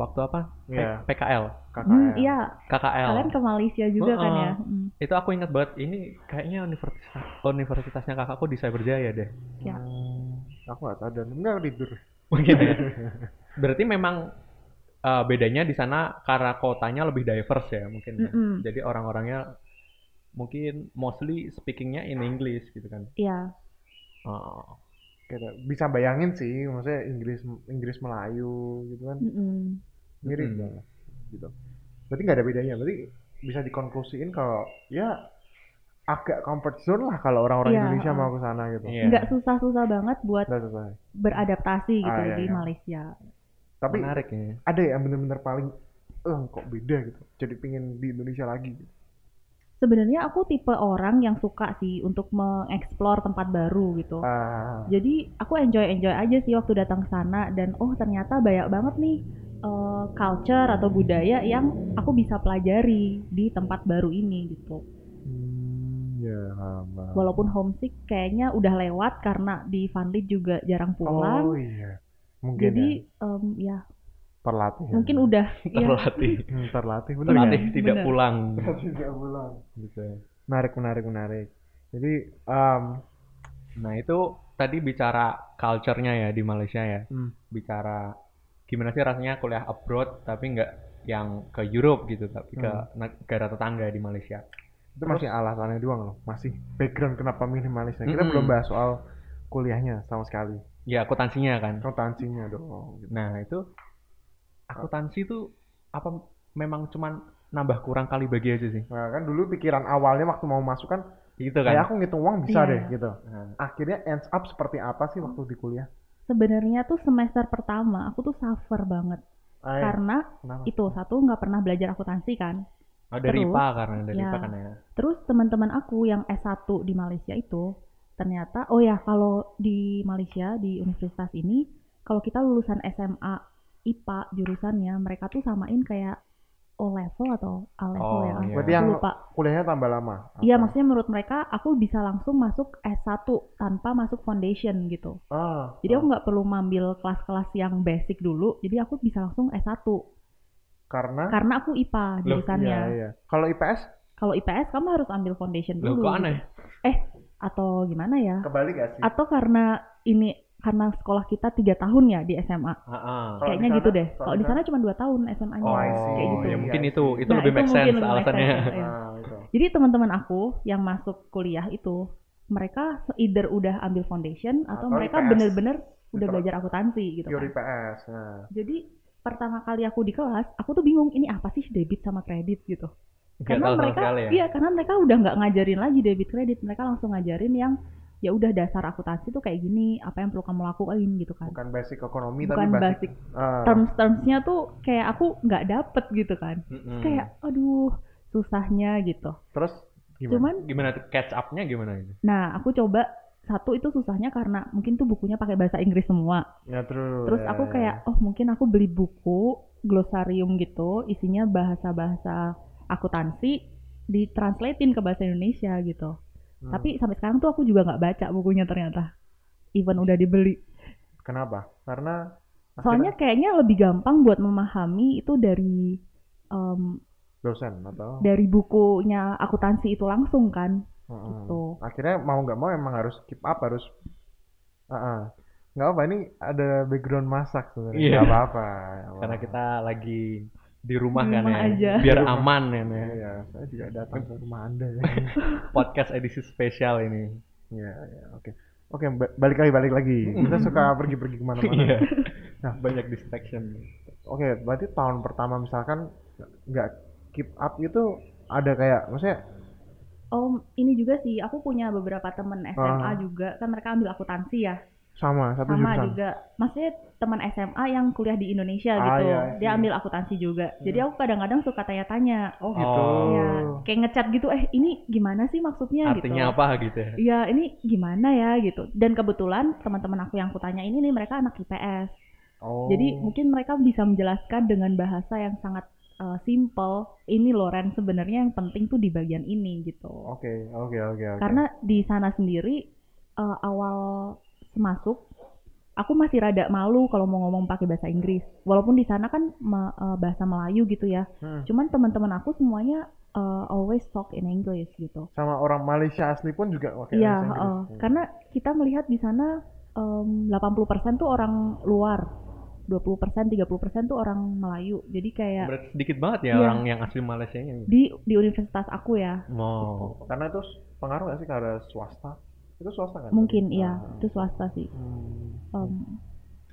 S3: Waktu apa? P-
S4: Iya,
S3: PKL.
S4: KKN.
S5: Hmm, kan? iya,
S3: KKL.
S5: kalian ke Malaysia juga kan
S3: Heeh.
S5: ya. Mm.
S3: Itu aku ingat banget. Ini kayaknya universitas universitasnya kakakku di Cyberjaya deh.
S5: Ya.
S4: Hmm, aku nggak tahu dan enggak tidur
S3: Mungkin ya. Berarti memang eh, bedanya di sana karena kotanya lebih diverse ya mungkin. ya.
S5: Mm-mm.
S3: Jadi orang-orangnya mungkin mostly speakingnya in English gitu kan.
S5: Iya,
S3: Oh.
S4: Kayak bisa bayangin sih maksudnya Inggris Inggris Melayu gitu kan
S5: mm-mm. Hmm.
S4: mirip
S3: Mm-mm.
S4: lah, gitu berarti nggak ada bedanya berarti bisa dikonklusiin kalau ya agak comfort zone lah kalau orang-orang
S5: Iya,
S4: Indonesia
S5: ah.
S4: mau ke sana gitu
S3: Iya.
S5: nggak susah-susah banget buat
S4: Nggak susah.
S5: beradaptasi gitu
S4: Nah. Ah, iya,
S5: di
S4: iya.
S5: Malaysia.
S4: tapi iya.
S3: menarik ya.
S4: ada yang bener-bener paling eh kok beda gitu jadi pingin di Indonesia lagi gitu.
S5: Sebenarnya aku tipe orang yang suka sih untuk mengeksplor tempat baru gitu.
S4: ah
S5: Jadi aku enjoy enjoy aja sih waktu datang ke sana dan oh ternyata banyak banget nih eh, culture atau budaya yang aku bisa pelajari di tempat baru ini gitu.
S4: hmm, ya Mbak.
S5: Walaupun homesick kayaknya udah lewat karena di Funlit juga jarang
S4: oh
S5: pulang.
S4: iya mungkin ya
S5: Jadi em, ya
S4: terlatih ya.
S5: mungkin udah ya.
S3: Terlatih.
S4: Hmm, terlatih bener nggak?
S3: Terlatih
S5: Bener.
S3: tidak
S5: Bener.
S3: pulang.
S4: terlatih nggak pulang
S3: gitu.
S4: menarik menarik menarik jadi um,
S3: Nah itu tadi bicara culture-nya ya di Malaysia ya.
S4: Hmm.
S3: Bicara gimana sih rasanya kuliah abroad tapi nggak yang ke Europe gitu tapi ke
S4: Hmm.
S3: negara tetangga di Malaysia.
S4: itu masih alasannya doang loh masih background kenapa milih Malaysia kita
S3: Mm-mm.
S4: belum bahas soal kuliahnya sama sekali
S3: Ya akuntansinya kan.
S4: akuntansinya dong gitu.
S3: Nah itu akuntansi itu apa memang cuman nambah kurang kali bagi aja sih.
S4: nah kan dulu pikiran awalnya waktu mau masuk kan
S3: Gitu
S4: kayak
S3: kan.
S4: aku ngitung uang bisa
S5: Iya.
S4: deh gitu
S3: Nah,
S4: akhirnya ends up seperti apa sih waktu di kuliah
S5: sebenarnya tuh semester pertama aku tuh suffer banget
S4: Ay,
S5: karena
S4: kenapa?
S5: itu satu nggak pernah belajar akuntansi kan.
S3: oh, dari
S5: terus,
S3: IPA karena dari
S5: ya.
S3: IPA kan ya.
S5: Terus teman-teman aku yang S1 di Malaysia itu ternyata oh ya kalau di Malaysia di universitas ini kalau kita lulusan SMA IPA jurusannya mereka tuh samain kayak O level atau A level
S3: Oh,
S5: ya.
S3: iya.
S4: berarti
S5: Aku
S4: yang
S5: lupa.
S4: kuliahnya tambah lama
S5: Iya
S4: Apa?
S5: maksudnya menurut mereka aku bisa langsung masuk S1 tanpa masuk foundation gitu.
S4: ah,
S5: Jadi
S4: ah.
S5: aku nggak perlu ngambil kelas-kelas yang basic dulu. Jadi aku bisa langsung S1
S4: karena
S5: karena aku IPA jurusannya.
S4: iya, iya. kalau IPS
S5: Kalau IPS kamu harus ambil foundation
S3: Loh
S5: dulu
S3: kok aneh?
S5: atau gimana ya?
S4: kebalik gak sih
S5: atau karena ini karena sekolah kita tiga tahun ya di SMA
S3: Heeh.
S4: Kalau
S5: kayaknya
S4: di sana-
S5: gitu deh
S4: kalau
S5: kalau
S4: di
S5: di sana cuma dua tahun SMA-nya
S3: Oh,
S4: I see.
S5: kayak gitu
S3: ya
S4: Iya,
S3: mungkin
S4: I
S3: itu
S4: see.
S3: itu lebih make
S5: mungkin
S3: sense
S5: lebih make
S3: alasannya.
S5: sense, iya.
S4: Ah, gitu.
S5: jadi teman-teman aku yang masuk kuliah itu mereka either udah ambil foundation atau,
S4: Atau
S5: mereka
S4: IPS.
S5: bener-bener udah
S4: Atau-
S5: belajar akuntansi gitu
S4: pure
S5: kan.
S4: IPS nah.
S5: jadi pertama kali aku di kelas aku tuh bingung ini apa sih debit sama kredit gitu
S3: Nggak
S5: karena
S3: tahu sama
S5: mereka
S3: sekali ya.
S5: iya karena mereka udah nggak ngajarin lagi debit kredit mereka langsung ngajarin yang ya udah dasar akuntansi tuh kayak gini apa yang perlu kamu lakuin gitu kan
S4: bukan basic ekonomi
S5: bukan
S4: tapi basic,
S5: basic
S4: ah,
S5: terms termsnya tuh kayak aku nggak dapet gitu kan
S3: Mm-mm.
S5: kayak aduh susahnya gitu
S4: terus gimana
S5: cuman
S3: gimana tuh catch up-nya gimana itu?
S5: nah aku coba satu itu susahnya karena mungkin tuh bukunya pakai bahasa Inggris semua
S4: ya terus
S5: terus
S4: ya,
S5: aku
S4: ya.
S5: kayak oh mungkin aku beli buku glosarium gitu isinya bahasa-bahasa akuntansi ditranslatein ke bahasa Indonesia gitu
S4: Hmm.
S5: tapi sampai sekarang tuh aku juga nggak baca bukunya ternyata even udah dibeli
S4: Kenapa? Karena akhirnya
S5: soalnya kayaknya lebih gampang buat memahami itu dari em,
S4: dosen atau
S5: dari bukunya akuntansi itu langsung kan
S4: Mm-mm. Hmm,
S5: gitu.
S4: akhirnya mau nggak mau emang harus keep up harus Ah, ah. nggak apa ini ada background masak sebenarnya
S3: Iya.
S4: nggak apa-apa nggak
S3: Karena
S4: apa-apa.
S3: kita lagi di rumah,
S5: Di
S3: kan
S5: rumah
S3: ya.
S5: aja.
S3: Biar aman ya.
S4: Iya,
S3: Nek.
S4: iya. saya juga datang ke rumah anda ya
S3: Iya. Podcast edisi spesial ini.
S4: Iya, iya, oke oke ba- balik lagi balik lagi kita suka pergi-pergi kemana-mana
S3: Hmm. Iya.
S4: Nah.
S5: Iya,
S3: banyak distraction.
S4: oke berarti tahun pertama misalkan nggak keep up itu ada kayak maksudnya
S5: Oh, ini juga sih. Aku punya beberapa temen SMA
S4: Ah.
S5: juga. Kan mereka ambil akuntansi ya.
S4: sama satu
S5: sama
S4: jurusan.
S5: juga maksudnya teman SMA yang kuliah di Indonesia
S4: Ah,
S5: gitu
S4: iya,
S5: dia
S4: iya.
S5: ambil akuntansi juga jadi aku kadang-kadang suka tanya-tanya
S4: Oh gitu.
S3: Oh.
S5: ya kayak ngechat gitu eh ini gimana sih maksudnya
S3: Artinya
S5: gitu
S3: apa gitu ya?
S5: Iya ini gimana ya gitu dan kebetulan teman-teman aku yang aku tanya ini nih mereka anak IPS
S4: Oh.
S5: jadi mungkin mereka bisa menjelaskan dengan bahasa yang sangat eh, simple ini Loren sebenarnya yang penting tuh di bagian ini gitu
S4: Oh, Oke, oke, oke, oke.
S5: karena di sana sendiri eh, awal masuk aku masih rada malu kalau mau ngomong pakai bahasa Inggris walaupun di sana kan ma- eh, bahasa Melayu gitu ya
S4: Hmm.
S5: cuman teman-teman aku semuanya eh, always talk in English gitu
S4: sama orang Malaysia asli pun juga oke. Hmm.
S5: Iya, heeh.
S4: gitu.
S5: karena kita melihat di sana em, 80% tuh orang luar 20% 30% tuh orang Melayu jadi kayak
S3: Berarti sedikit banget ya
S5: Iya.
S3: orang yang asli gitu. Malaysia ini.
S5: di di universitas aku ya
S3: Wow.
S4: Oh. karena itu pengaruh nggak sih ke arah swasta? Itu swasta kan?
S5: mungkin
S4: tadi?
S5: iya
S4: Ah.
S5: itu swasta sih
S4: Hmm.
S5: Em,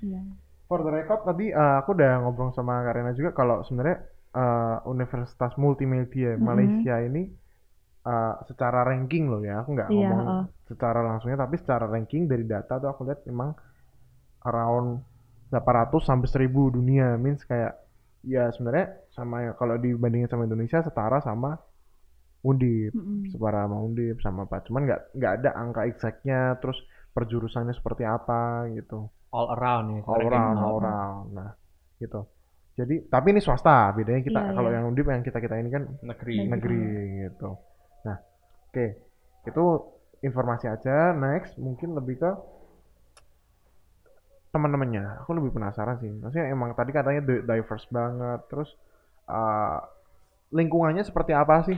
S5: iya.
S4: For the record tadi eh, aku udah ngobrol sama Karina juga kalau sebenarnya eh, Universitas Multimedia
S5: Mhm.
S4: Malaysia ini eh, secara ranking loh ya, aku nggak
S5: Iya,
S4: ngomong
S5: heeh.
S4: secara langsungnya tapi secara ranking dari data tuh aku lihat memang around 800 sampai 1000 dunia means kayak ya sebenarnya sama kalau dibandingin sama Indonesia setara sama Undip
S5: Mm-mm.
S4: setara sama Undip sama apa cuman nggak nggak ada angka exactnya terus perjurusannya seperti apa gitu
S3: All around ya.
S4: all
S3: Ranking
S4: around, all around. Nah, gitu. Jadi, tapi ini swasta. Bedanya kita
S5: Iya,
S4: kalau
S5: iya.
S4: yang undip yang kita kita ini kan
S3: Negeri.
S5: Iya.
S4: negeri gitu. Nah, oke, itu informasi aja. Next, mungkin lebih ke teman-temannya. Aku lebih penasaran sih. Maksudnya emang tadi katanya di- diverse banget. Terus eh, lingkungannya seperti apa sih?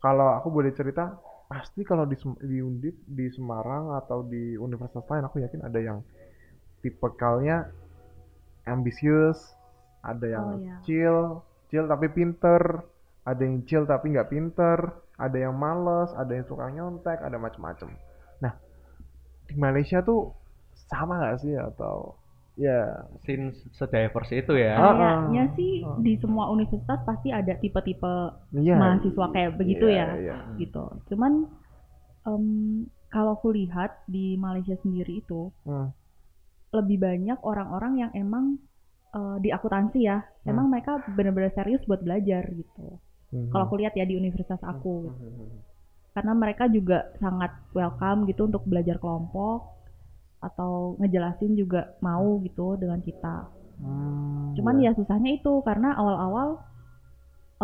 S4: Kalau aku boleh cerita, pasti kalau di Sem- di Undip, di Semarang atau di universitas lain, aku yakin ada yang tipikalnya ambisius, ada yang
S5: Oh, iya.
S4: chill, chill tapi pinter, ada yang chill tapi nggak pinter, ada yang males, ada yang suka nyontek, ada macem-macem. Nah, di Malaysia tuh sama nggak sih atau ya
S3: Since sediverse itu ya.
S4: Ah.
S5: Kayaknya sih
S4: ah.
S5: di semua universitas pasti ada tipe-tipe
S4: iya
S5: mahasiswa kayak begitu
S4: iya,
S5: ya,
S4: iya.
S5: gitu. Cuman em, kalau aku lihat di Malaysia sendiri itu
S4: Hmm.
S5: lebih banyak orang-orang yang emang eh, di akuntansi ya,
S4: Hmm.
S5: emang mereka benar-benar serius buat belajar gitu. Kalau
S4: Hmm.
S5: aku lihat ya di universitas aku, karena mereka juga sangat welcome gitu untuk belajar kelompok atau ngejelasin juga mau gitu dengan kita.
S4: Hmm,
S5: Cuman ya susahnya itu karena awal-awal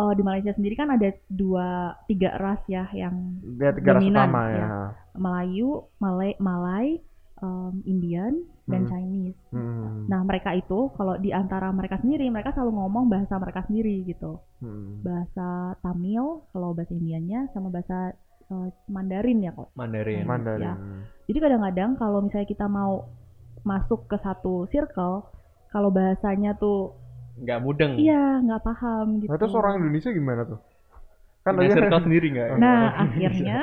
S5: eh, di Malaysia sendiri kan ada dua tiga ras ya yang
S4: dia tiga ras
S5: dominan,
S4: utama ya.
S5: ya. Melayu, Malay, Malay, em, Indian
S4: Hmm.
S5: dan Chinese.
S4: Hmm.
S5: Nah mereka itu kalau di antara mereka sendiri mereka selalu ngomong bahasa mereka sendiri gitu,
S4: Hmm.
S5: bahasa Tamil kalau bahasa Indiannya sama bahasa eh, Mandarin ya kok.
S3: Mandarin.
S5: Man-
S4: Mandarin.
S5: ya. Jadi kadang-kadang kalau misalnya kita mau masuk ke satu circle kalau bahasanya tuh
S3: Nggak mudeng.
S5: iya nggak paham gitu.
S4: Hmm. Nah, terus orang Indonesia gimana tuh? Kan
S3: Punya
S4: tadi-
S3: circle sendiri nggak? ya?
S5: Iya. Nah, akhirnya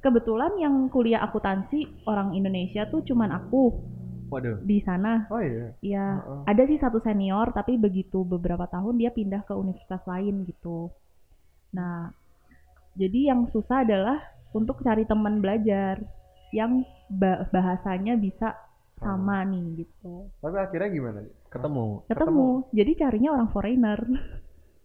S5: kebetulan yang kuliah akuntansi orang Indonesia tuh cuman aku
S3: Waduh.
S5: di sana.
S4: Oh iya.
S5: Ya,
S4: Heeh.
S5: ada sih satu senior tapi begitu beberapa tahun dia pindah ke universitas lain gitu. Nah, jadi yang susah adalah untuk cari teman belajar yang ba- bahasanya bisa sama nih gitu.
S4: Tapi akhirnya gimana?
S3: Ketemu.
S5: Ketemu. Jadi carinya orang foreigner.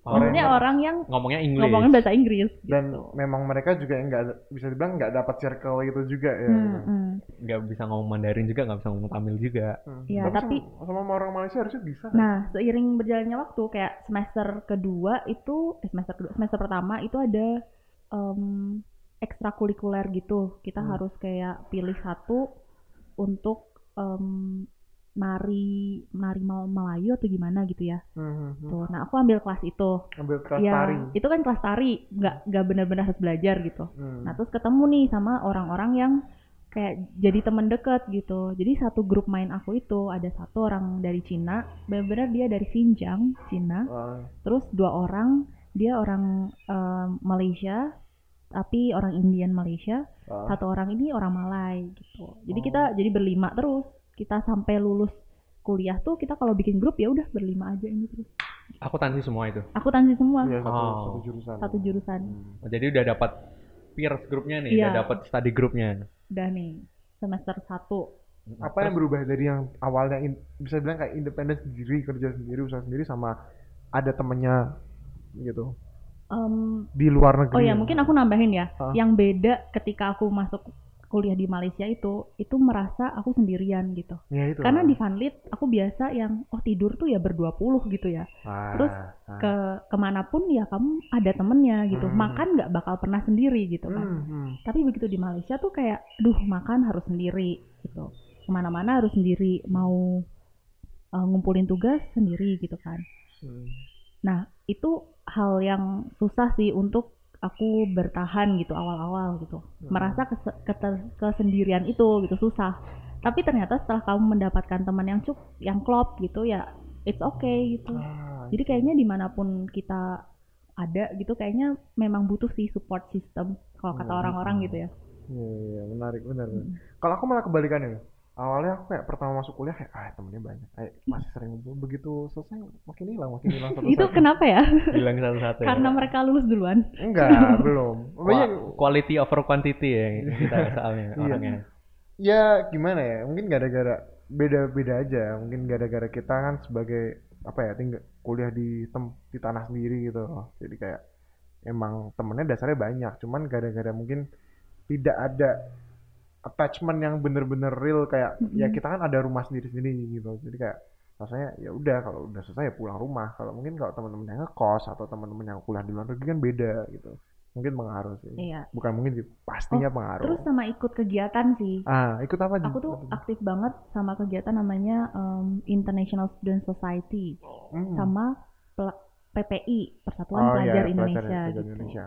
S4: Foreigner.
S5: Maksudnya orang yang
S3: Ngomongnya Inggris.
S5: ngomongin bahasa Inggris
S4: Dan ya,
S5: gitu.
S4: memang mereka juga nggak bisa dibilang nggak dapat circle gitu juga ya.
S5: Hmm, hmm.
S3: Nggak bisa ngomong Mandarin juga, nggak bisa ngomong Tamil juga.
S4: Hmm.
S5: Iya, tapi-
S4: sama, sama orang Malaysia harusnya bisa. kan?
S5: Nah, seiring berjalannya waktu kayak semester kedua itu eh, semester kedua semester pertama itu ada em ekstrakurikuler gitu. Kita
S4: Hmm.
S5: harus kayak pilih satu untuk em, nari nari Mal- Melayu atau gimana gitu ya.
S4: Hmm, hmm, hmm.
S5: Tuh. Nah, aku ambil kelas itu.
S4: Ambil kelas
S5: ya,
S4: tari.
S5: itu kan kelas tari, nggak nggak benar-benar harus belajar gitu.
S4: Hmm.
S5: Nah, terus ketemu nih sama orang-orang yang kayak jadi temen deket gitu. Jadi satu grup main aku itu ada satu orang dari Cina, benar-benar dia dari Xinjiang, Cina.
S4: Wah.
S5: Terus dua orang, dia orang em, Malaysia, tapi orang Indian Malaysia.
S4: Wah.
S5: Satu orang ini orang Malay gitu. Jadi
S4: Oh.
S5: kita jadi berlima terus. Kita sampai lulus kuliah tuh kita kalau bikin grup ya udah berlima aja ini terus.
S3: Akuntansi semua itu.
S5: Aku tansi semua
S4: Iya, satu,
S3: Oh.
S4: satu jurusan.
S5: satu jurusan.
S4: Hmm.
S3: Oh, Jadi udah dapat peers grupnya nih,
S5: Iya.
S3: udah dapat study grupnya.
S5: Udah nih semester 1
S4: Apa yang berubah dari yang awalnya in- bisa bilang kayak independen sendiri, kerja sendiri, usaha sendiri sama ada temennya gitu di luar negeri.
S5: oh ya mungkin aku nambahin ya.
S4: Hah?
S5: Yang beda ketika aku masuk kuliah di Malaysia itu itu merasa aku sendirian gitu.
S4: Ya, itu.
S5: Karena di Vanlit aku biasa yang oh tidur tuh ya berdua puluh gitu ya.
S4: Ah,
S5: terus
S4: ah.
S5: Ke kemanapun ya kamu ada temennya gitu.
S4: Hmm.
S5: Makan nggak bakal pernah sendiri gitu kan.
S4: Hmm, hmm.
S5: Tapi begitu di Malaysia tuh kayak, duh makan harus sendiri gitu. Kemana-mana harus sendiri, mau uh, ngumpulin tugas sendiri gitu kan.
S4: Hmm.
S5: Nah itu hal yang susah sih untuk aku bertahan gitu awal-awal gitu. Merasa kese- keter- kesendirian itu gitu susah. Tapi ternyata setelah kamu mendapatkan teman yang cuk, yang klop gitu ya, it's okay gitu.
S4: Ah,
S5: Jadi kayaknya dimanapun kita ada gitu, kayaknya memang butuh sih support system kalau kata
S4: Hmm.
S5: orang-orang gitu ya.
S4: Iya, iya, iya, menarik, benar. benar.
S5: Hmm.
S4: Kalau aku malah kebalikannya. Awalnya aku kayak pertama masuk kuliah kayak, ah temennya banyak, eh, masih sering ngumpul. Begitu selesai, makin hilang, makin hilang satu
S5: itu kenapa ya?
S3: Bilang satu-satu. ya.
S5: Karena mereka lulus duluan.
S4: Enggak, belum. Banyak,
S3: Qua- quality over quantity ya yang kita soalnya
S4: Iya.
S3: orangnya.
S4: ya gimana ya, mungkin gara-gara beda-beda aja. Mungkin gara-gara kita kan sebagai, apa ya, tinggal kuliah di, tem- di tanah sendiri gitu. loh. Jadi kayak, emang temennya dasarnya banyak. Cuman gara-gara mungkin tidak ada attachment yang bener-bener real kayak
S5: Mm-mm.
S4: ya kita kan ada rumah sendiri-sendiri gitu jadi kayak rasanya ya udah kalau udah selesai ya pulang rumah kalau mungkin kalau teman-teman yang ngekos atau teman-teman yang kuliah di luar negeri kan beda gitu mungkin pengaruh sih
S5: Iya. Oh,
S4: bukan mungkin sih pastinya pengaruh
S5: Terus sama ikut kegiatan sih.
S4: ah ikut apa Ji?
S5: Aku tuh
S3: Hmm.
S4: Apa tuh?
S5: aktif banget sama kegiatan namanya em, International Student Society
S3: Oh.
S4: Hmm.
S5: sama pel- PPI Persatuan
S4: Oh, iya,
S5: Pelajar
S4: pelajar
S5: Indonesia.
S4: pelajar
S5: gitu.
S4: Indonesia.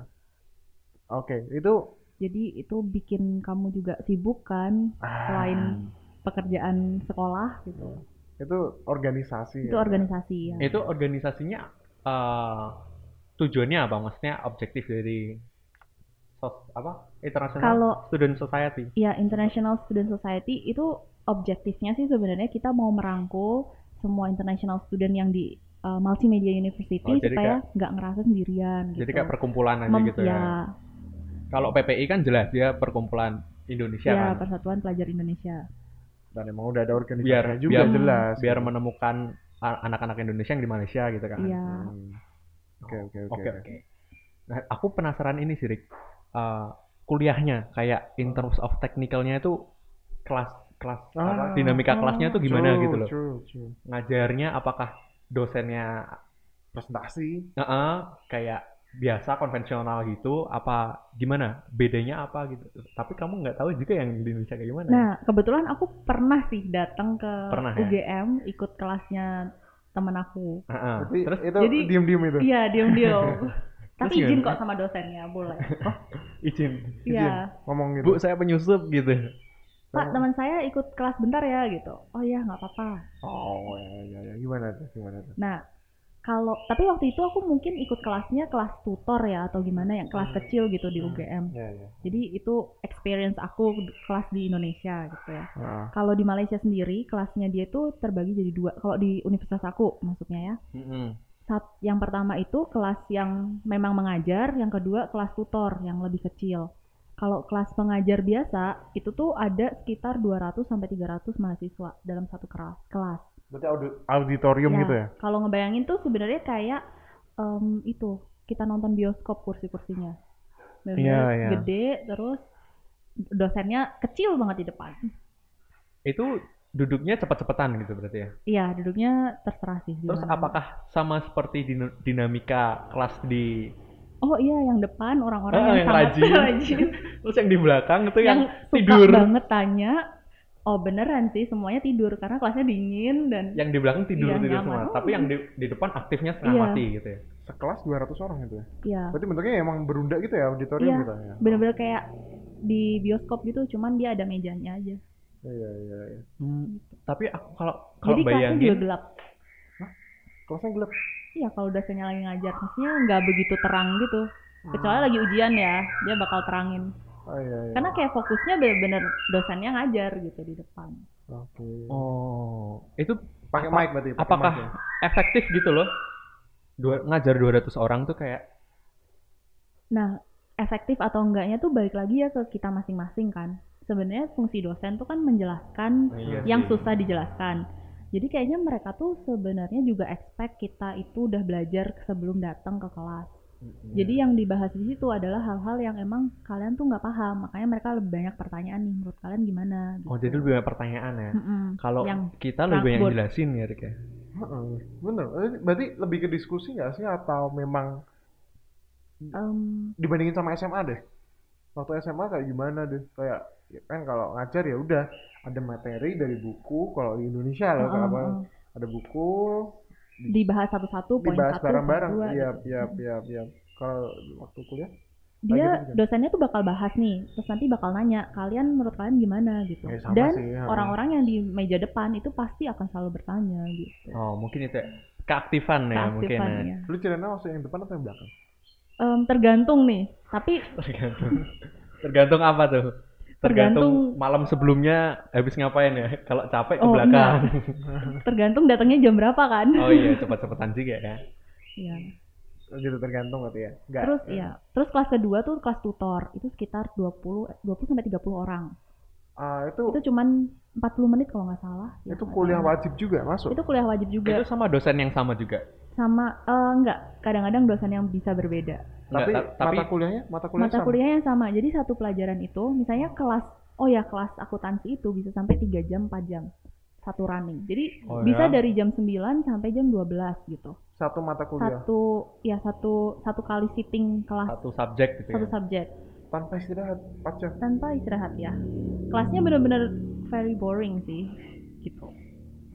S4: oke itu
S5: Jadi itu bikin kamu juga sibuk kan
S4: ah,
S3: Hmm.
S5: selain pekerjaan sekolah gitu.
S4: itu organisasi
S3: Iya.
S5: Itu
S4: ya.
S5: organisasi ya.
S3: Itu organisasinya eh, tujuannya apa? Maksudnya objektif dari sos- apa? International
S5: Kalau
S3: Student Society.
S5: ya International Student Society itu objektifnya sih sebenarnya kita mau merangkul semua international student yang di uh, multimedia university
S3: Oh, jadi
S5: supaya nggak ngerasa sendirian gitu.
S3: Jadi kayak perkumpulan aja
S5: Mem-
S3: gitu ya. Kalau PPI kan jelas dia perkumpulan Indonesia
S5: ya,
S3: kan.
S5: Persatuan Pelajar Indonesia.
S4: dan emang udah ada organisasi
S3: Biar-
S4: juga
S5: biar-
S4: jelas
S3: Biar
S5: Ya.
S3: menemukan a- anak-anak Indonesia yang di Malaysia gitu kan.
S5: Iya.
S4: Hmm. oke oke
S3: Oke oke. Nah, aku penasaran ini sih, Rik. Eh, kuliahnya kayak in terms of technicalnya itu kelas kelas apa,
S4: Ah,
S5: Oh.
S3: dinamika kelasnya tuh
S4: True,
S3: gimana gitu loh.
S4: true, true.
S3: Ngajarnya apakah dosennya
S4: presentasi
S3: eh, kayak biasa konvensional gitu apa gimana bedanya apa gitu tapi kamu nggak tahu juga yang di Indonesia kayak gimana ya?
S5: Nah, kebetulan aku pernah sih datang ke
S3: Pernah ya?
S5: UGM ikut kelasnya temen aku.
S3: Eh, eh.
S4: Tapi
S3: terus
S4: itu
S5: jadi-
S4: diem-diem itu.
S5: Iya, diem-diem.
S3: Terus
S5: Tapi
S3: gimana?
S5: izin kok sama dosennya, boleh.
S3: izin
S5: Iya.
S4: Ngomong gitu.
S3: bu saya penyusup gitu
S5: Pak, teman saya ikut kelas bentar ya gitu. Oh ya, nggak apa-apa.
S4: Oh, ya, ya, ya. Gimana tuh? Gimana tuh?
S5: Nah, kalau tapi waktu itu aku mungkin ikut kelasnya kelas tutor ya atau gimana yang
S3: Hmm.
S5: kelas kecil gitu di UGM.
S4: Ya, ya.
S5: Jadi itu experience aku d- kelas di Indonesia gitu
S3: Iya.
S5: ya.
S4: Heeh.
S5: Kalau di Malaysia sendiri kelasnya dia itu terbagi jadi dua. Kalau di universitas aku maksudnya ya.
S3: Mm-mm.
S5: Sat- yang pertama itu kelas yang memang mengajar, yang kedua kelas tutor yang lebih kecil. Kalau kelas pengajar biasa itu tuh ada sekitar 200 sampai 300 mahasiswa dalam satu kelas. kelas.
S4: Berarti audi- auditorium
S5: Ya,
S4: gitu ya?
S5: Kalau ngebayangin tuh sebenarnya kayak em, itu kita nonton bioskop kursi-kursinya. Bener-bener
S4: Iya, iya.
S5: Gede terus dosennya kecil banget di depan.
S3: itu duduknya cepat-cepatan gitu berarti ya
S5: Iya, duduknya terserah sih. di
S3: terus
S5: mana.
S3: apakah sama seperti din- dinamika kelas di
S5: Oh iya, yang depan orang-orang
S3: Ah,
S5: yang,
S3: yang
S5: sangat
S3: rajin. terus yang di belakang itu
S5: yang
S3: yang,
S5: suka
S3: tidur.
S5: banget tanya. Oh beneran sih, semuanya tidur karena kelasnya dingin dan
S3: yang di belakang tidur
S5: Iya,
S3: tidur
S5: nyaman.
S3: semua tapi yang di, di depan aktifnya setengah
S5: Iya.
S3: mati gitu ya
S4: Sekelas 200 orang gitu ya?
S5: ya
S4: Berarti bentuknya emang berundak gitu ya auditorium
S5: Iya.
S4: gitu ya?
S5: bener-bener kayak di bioskop gitu, cuman dia ada mejanya aja.
S4: Iya, iya, iya.
S3: Hmm, tapi aku kalau kalau
S5: Jadi kelasnya juga
S3: bayangin
S5: gelap.
S4: Kelasnya gelap.
S5: Iya kalau dosennya lagi ngajar, maksudnya nggak begitu terang gitu. Kecuali lagi ujian ya, dia bakal terangin.
S4: Oh iya. iya.
S5: Karena kayak fokusnya bener-bener dosennya ngajar gitu di depan.
S4: Oke.
S3: Oh, itu
S4: Pakai
S3: apa-
S4: mic berarti. pakai
S3: apakah
S4: mic ya?
S3: efektif gitu loh? Dua, ngajar 200 orang tuh kayak
S5: Nah, efektif atau enggaknya tuh balik lagi ya ke kita masing-masing kan. Sebenarnya fungsi dosen tuh kan
S4: Iya
S5: menjelaskan
S3: iya
S4: Hmm.
S5: yang susah dijelaskan. Jadi kayaknya mereka tuh sebenarnya juga expect kita itu udah belajar sebelum datang ke kelas.
S4: Iya.
S5: Jadi yang dibahas di situ adalah hal-hal yang emang kalian tuh nggak paham, makanya mereka lebih banyak pertanyaan nih menurut kalian gimana? Gitu.
S3: Oh, jadi lebih banyak pertanyaan ya.
S5: Mm-mm.
S3: Kalau
S5: Yang
S3: kita lebih banyak
S5: blackboard.
S3: jelasin ya, Rik ya.
S4: Heeh, Bener. Eh, Berarti lebih ke diskusi nggak sih atau memang
S5: em,
S4: dibandingin sama SMA deh? Waktu SMA kayak gimana deh? Kayak ya kan kalau ngajar ya udah ada materi dari buku kalau di Indonesia loh kalau
S5: Heeh,
S4: apa-
S5: heeh.
S4: ada buku
S5: eh, dibahas satu-satu poin
S4: dibahas
S5: satu,
S4: bareng-bareng
S5: poin dua, gitu.
S4: iya iya iya iya kalau waktu kuliah
S5: dia
S4: Lagi juga.
S5: dosennya tuh bakal bahas nih terus nanti bakal nanya kalian menurut kalian gimana gitu
S4: ya sama
S5: dan
S4: sih ya.
S5: orang-orang yang di meja depan itu pasti akan selalu bertanya gitu
S3: Oh, mungkin itu ya. Keaktifan
S4: Iya,
S3: ya mungkin. ya.
S5: Keaktifannya.
S4: lu celana masuk yang depan atau yang belakang
S5: Em, tergantung nih tapi
S3: Tergantung. Tergantung apa tuh? Tergantung
S5: Tergantung-
S3: malam sebelumnya habis ngapain ya. Kalau capek ke
S5: Oh,
S3: belakang.
S5: tergantung datangnya jam berapa kan
S3: Oh iya, cepat-cepetan juga ya.
S5: Iya.
S4: gitu tergantung berarti ya Nggak-
S5: terus ya terus kelas kedua tuh kelas tutor itu sekitar 20 20 sampai 30 orang
S4: ah, itu
S5: itu cuman 40 menit kalau nggak salah ya,
S4: itu
S5: nggak
S4: kuliah
S5: salah.
S4: wajib juga masuk
S5: itu kuliah wajib juga
S3: Itu sama dosen yang sama juga.
S5: sama eh, enggak kadang-kadang dosen yang bisa berbeda
S4: tapi,
S3: Nggak, ta- tapi
S4: mata kuliahnya mata kuliah
S5: mata
S4: sama
S5: kuliahnya sama. Jadi satu pelajaran itu misalnya kelas oh ya kelas akuntansi itu bisa sampai 3 jam 4 jam satu running. Jadi
S3: Oh,
S5: bisa
S3: ya?
S5: dari jam 9 sampai jam 12 gitu.
S4: satu mata kuliah
S5: Satu ya satu satu kali sitting kelas
S3: satu subjek gitu
S5: satu
S3: ya.
S5: subjek
S4: tanpa istirahat 4 jam
S5: tanpa istirahat ya. Kelasnya benar-benar very boring sih gitu.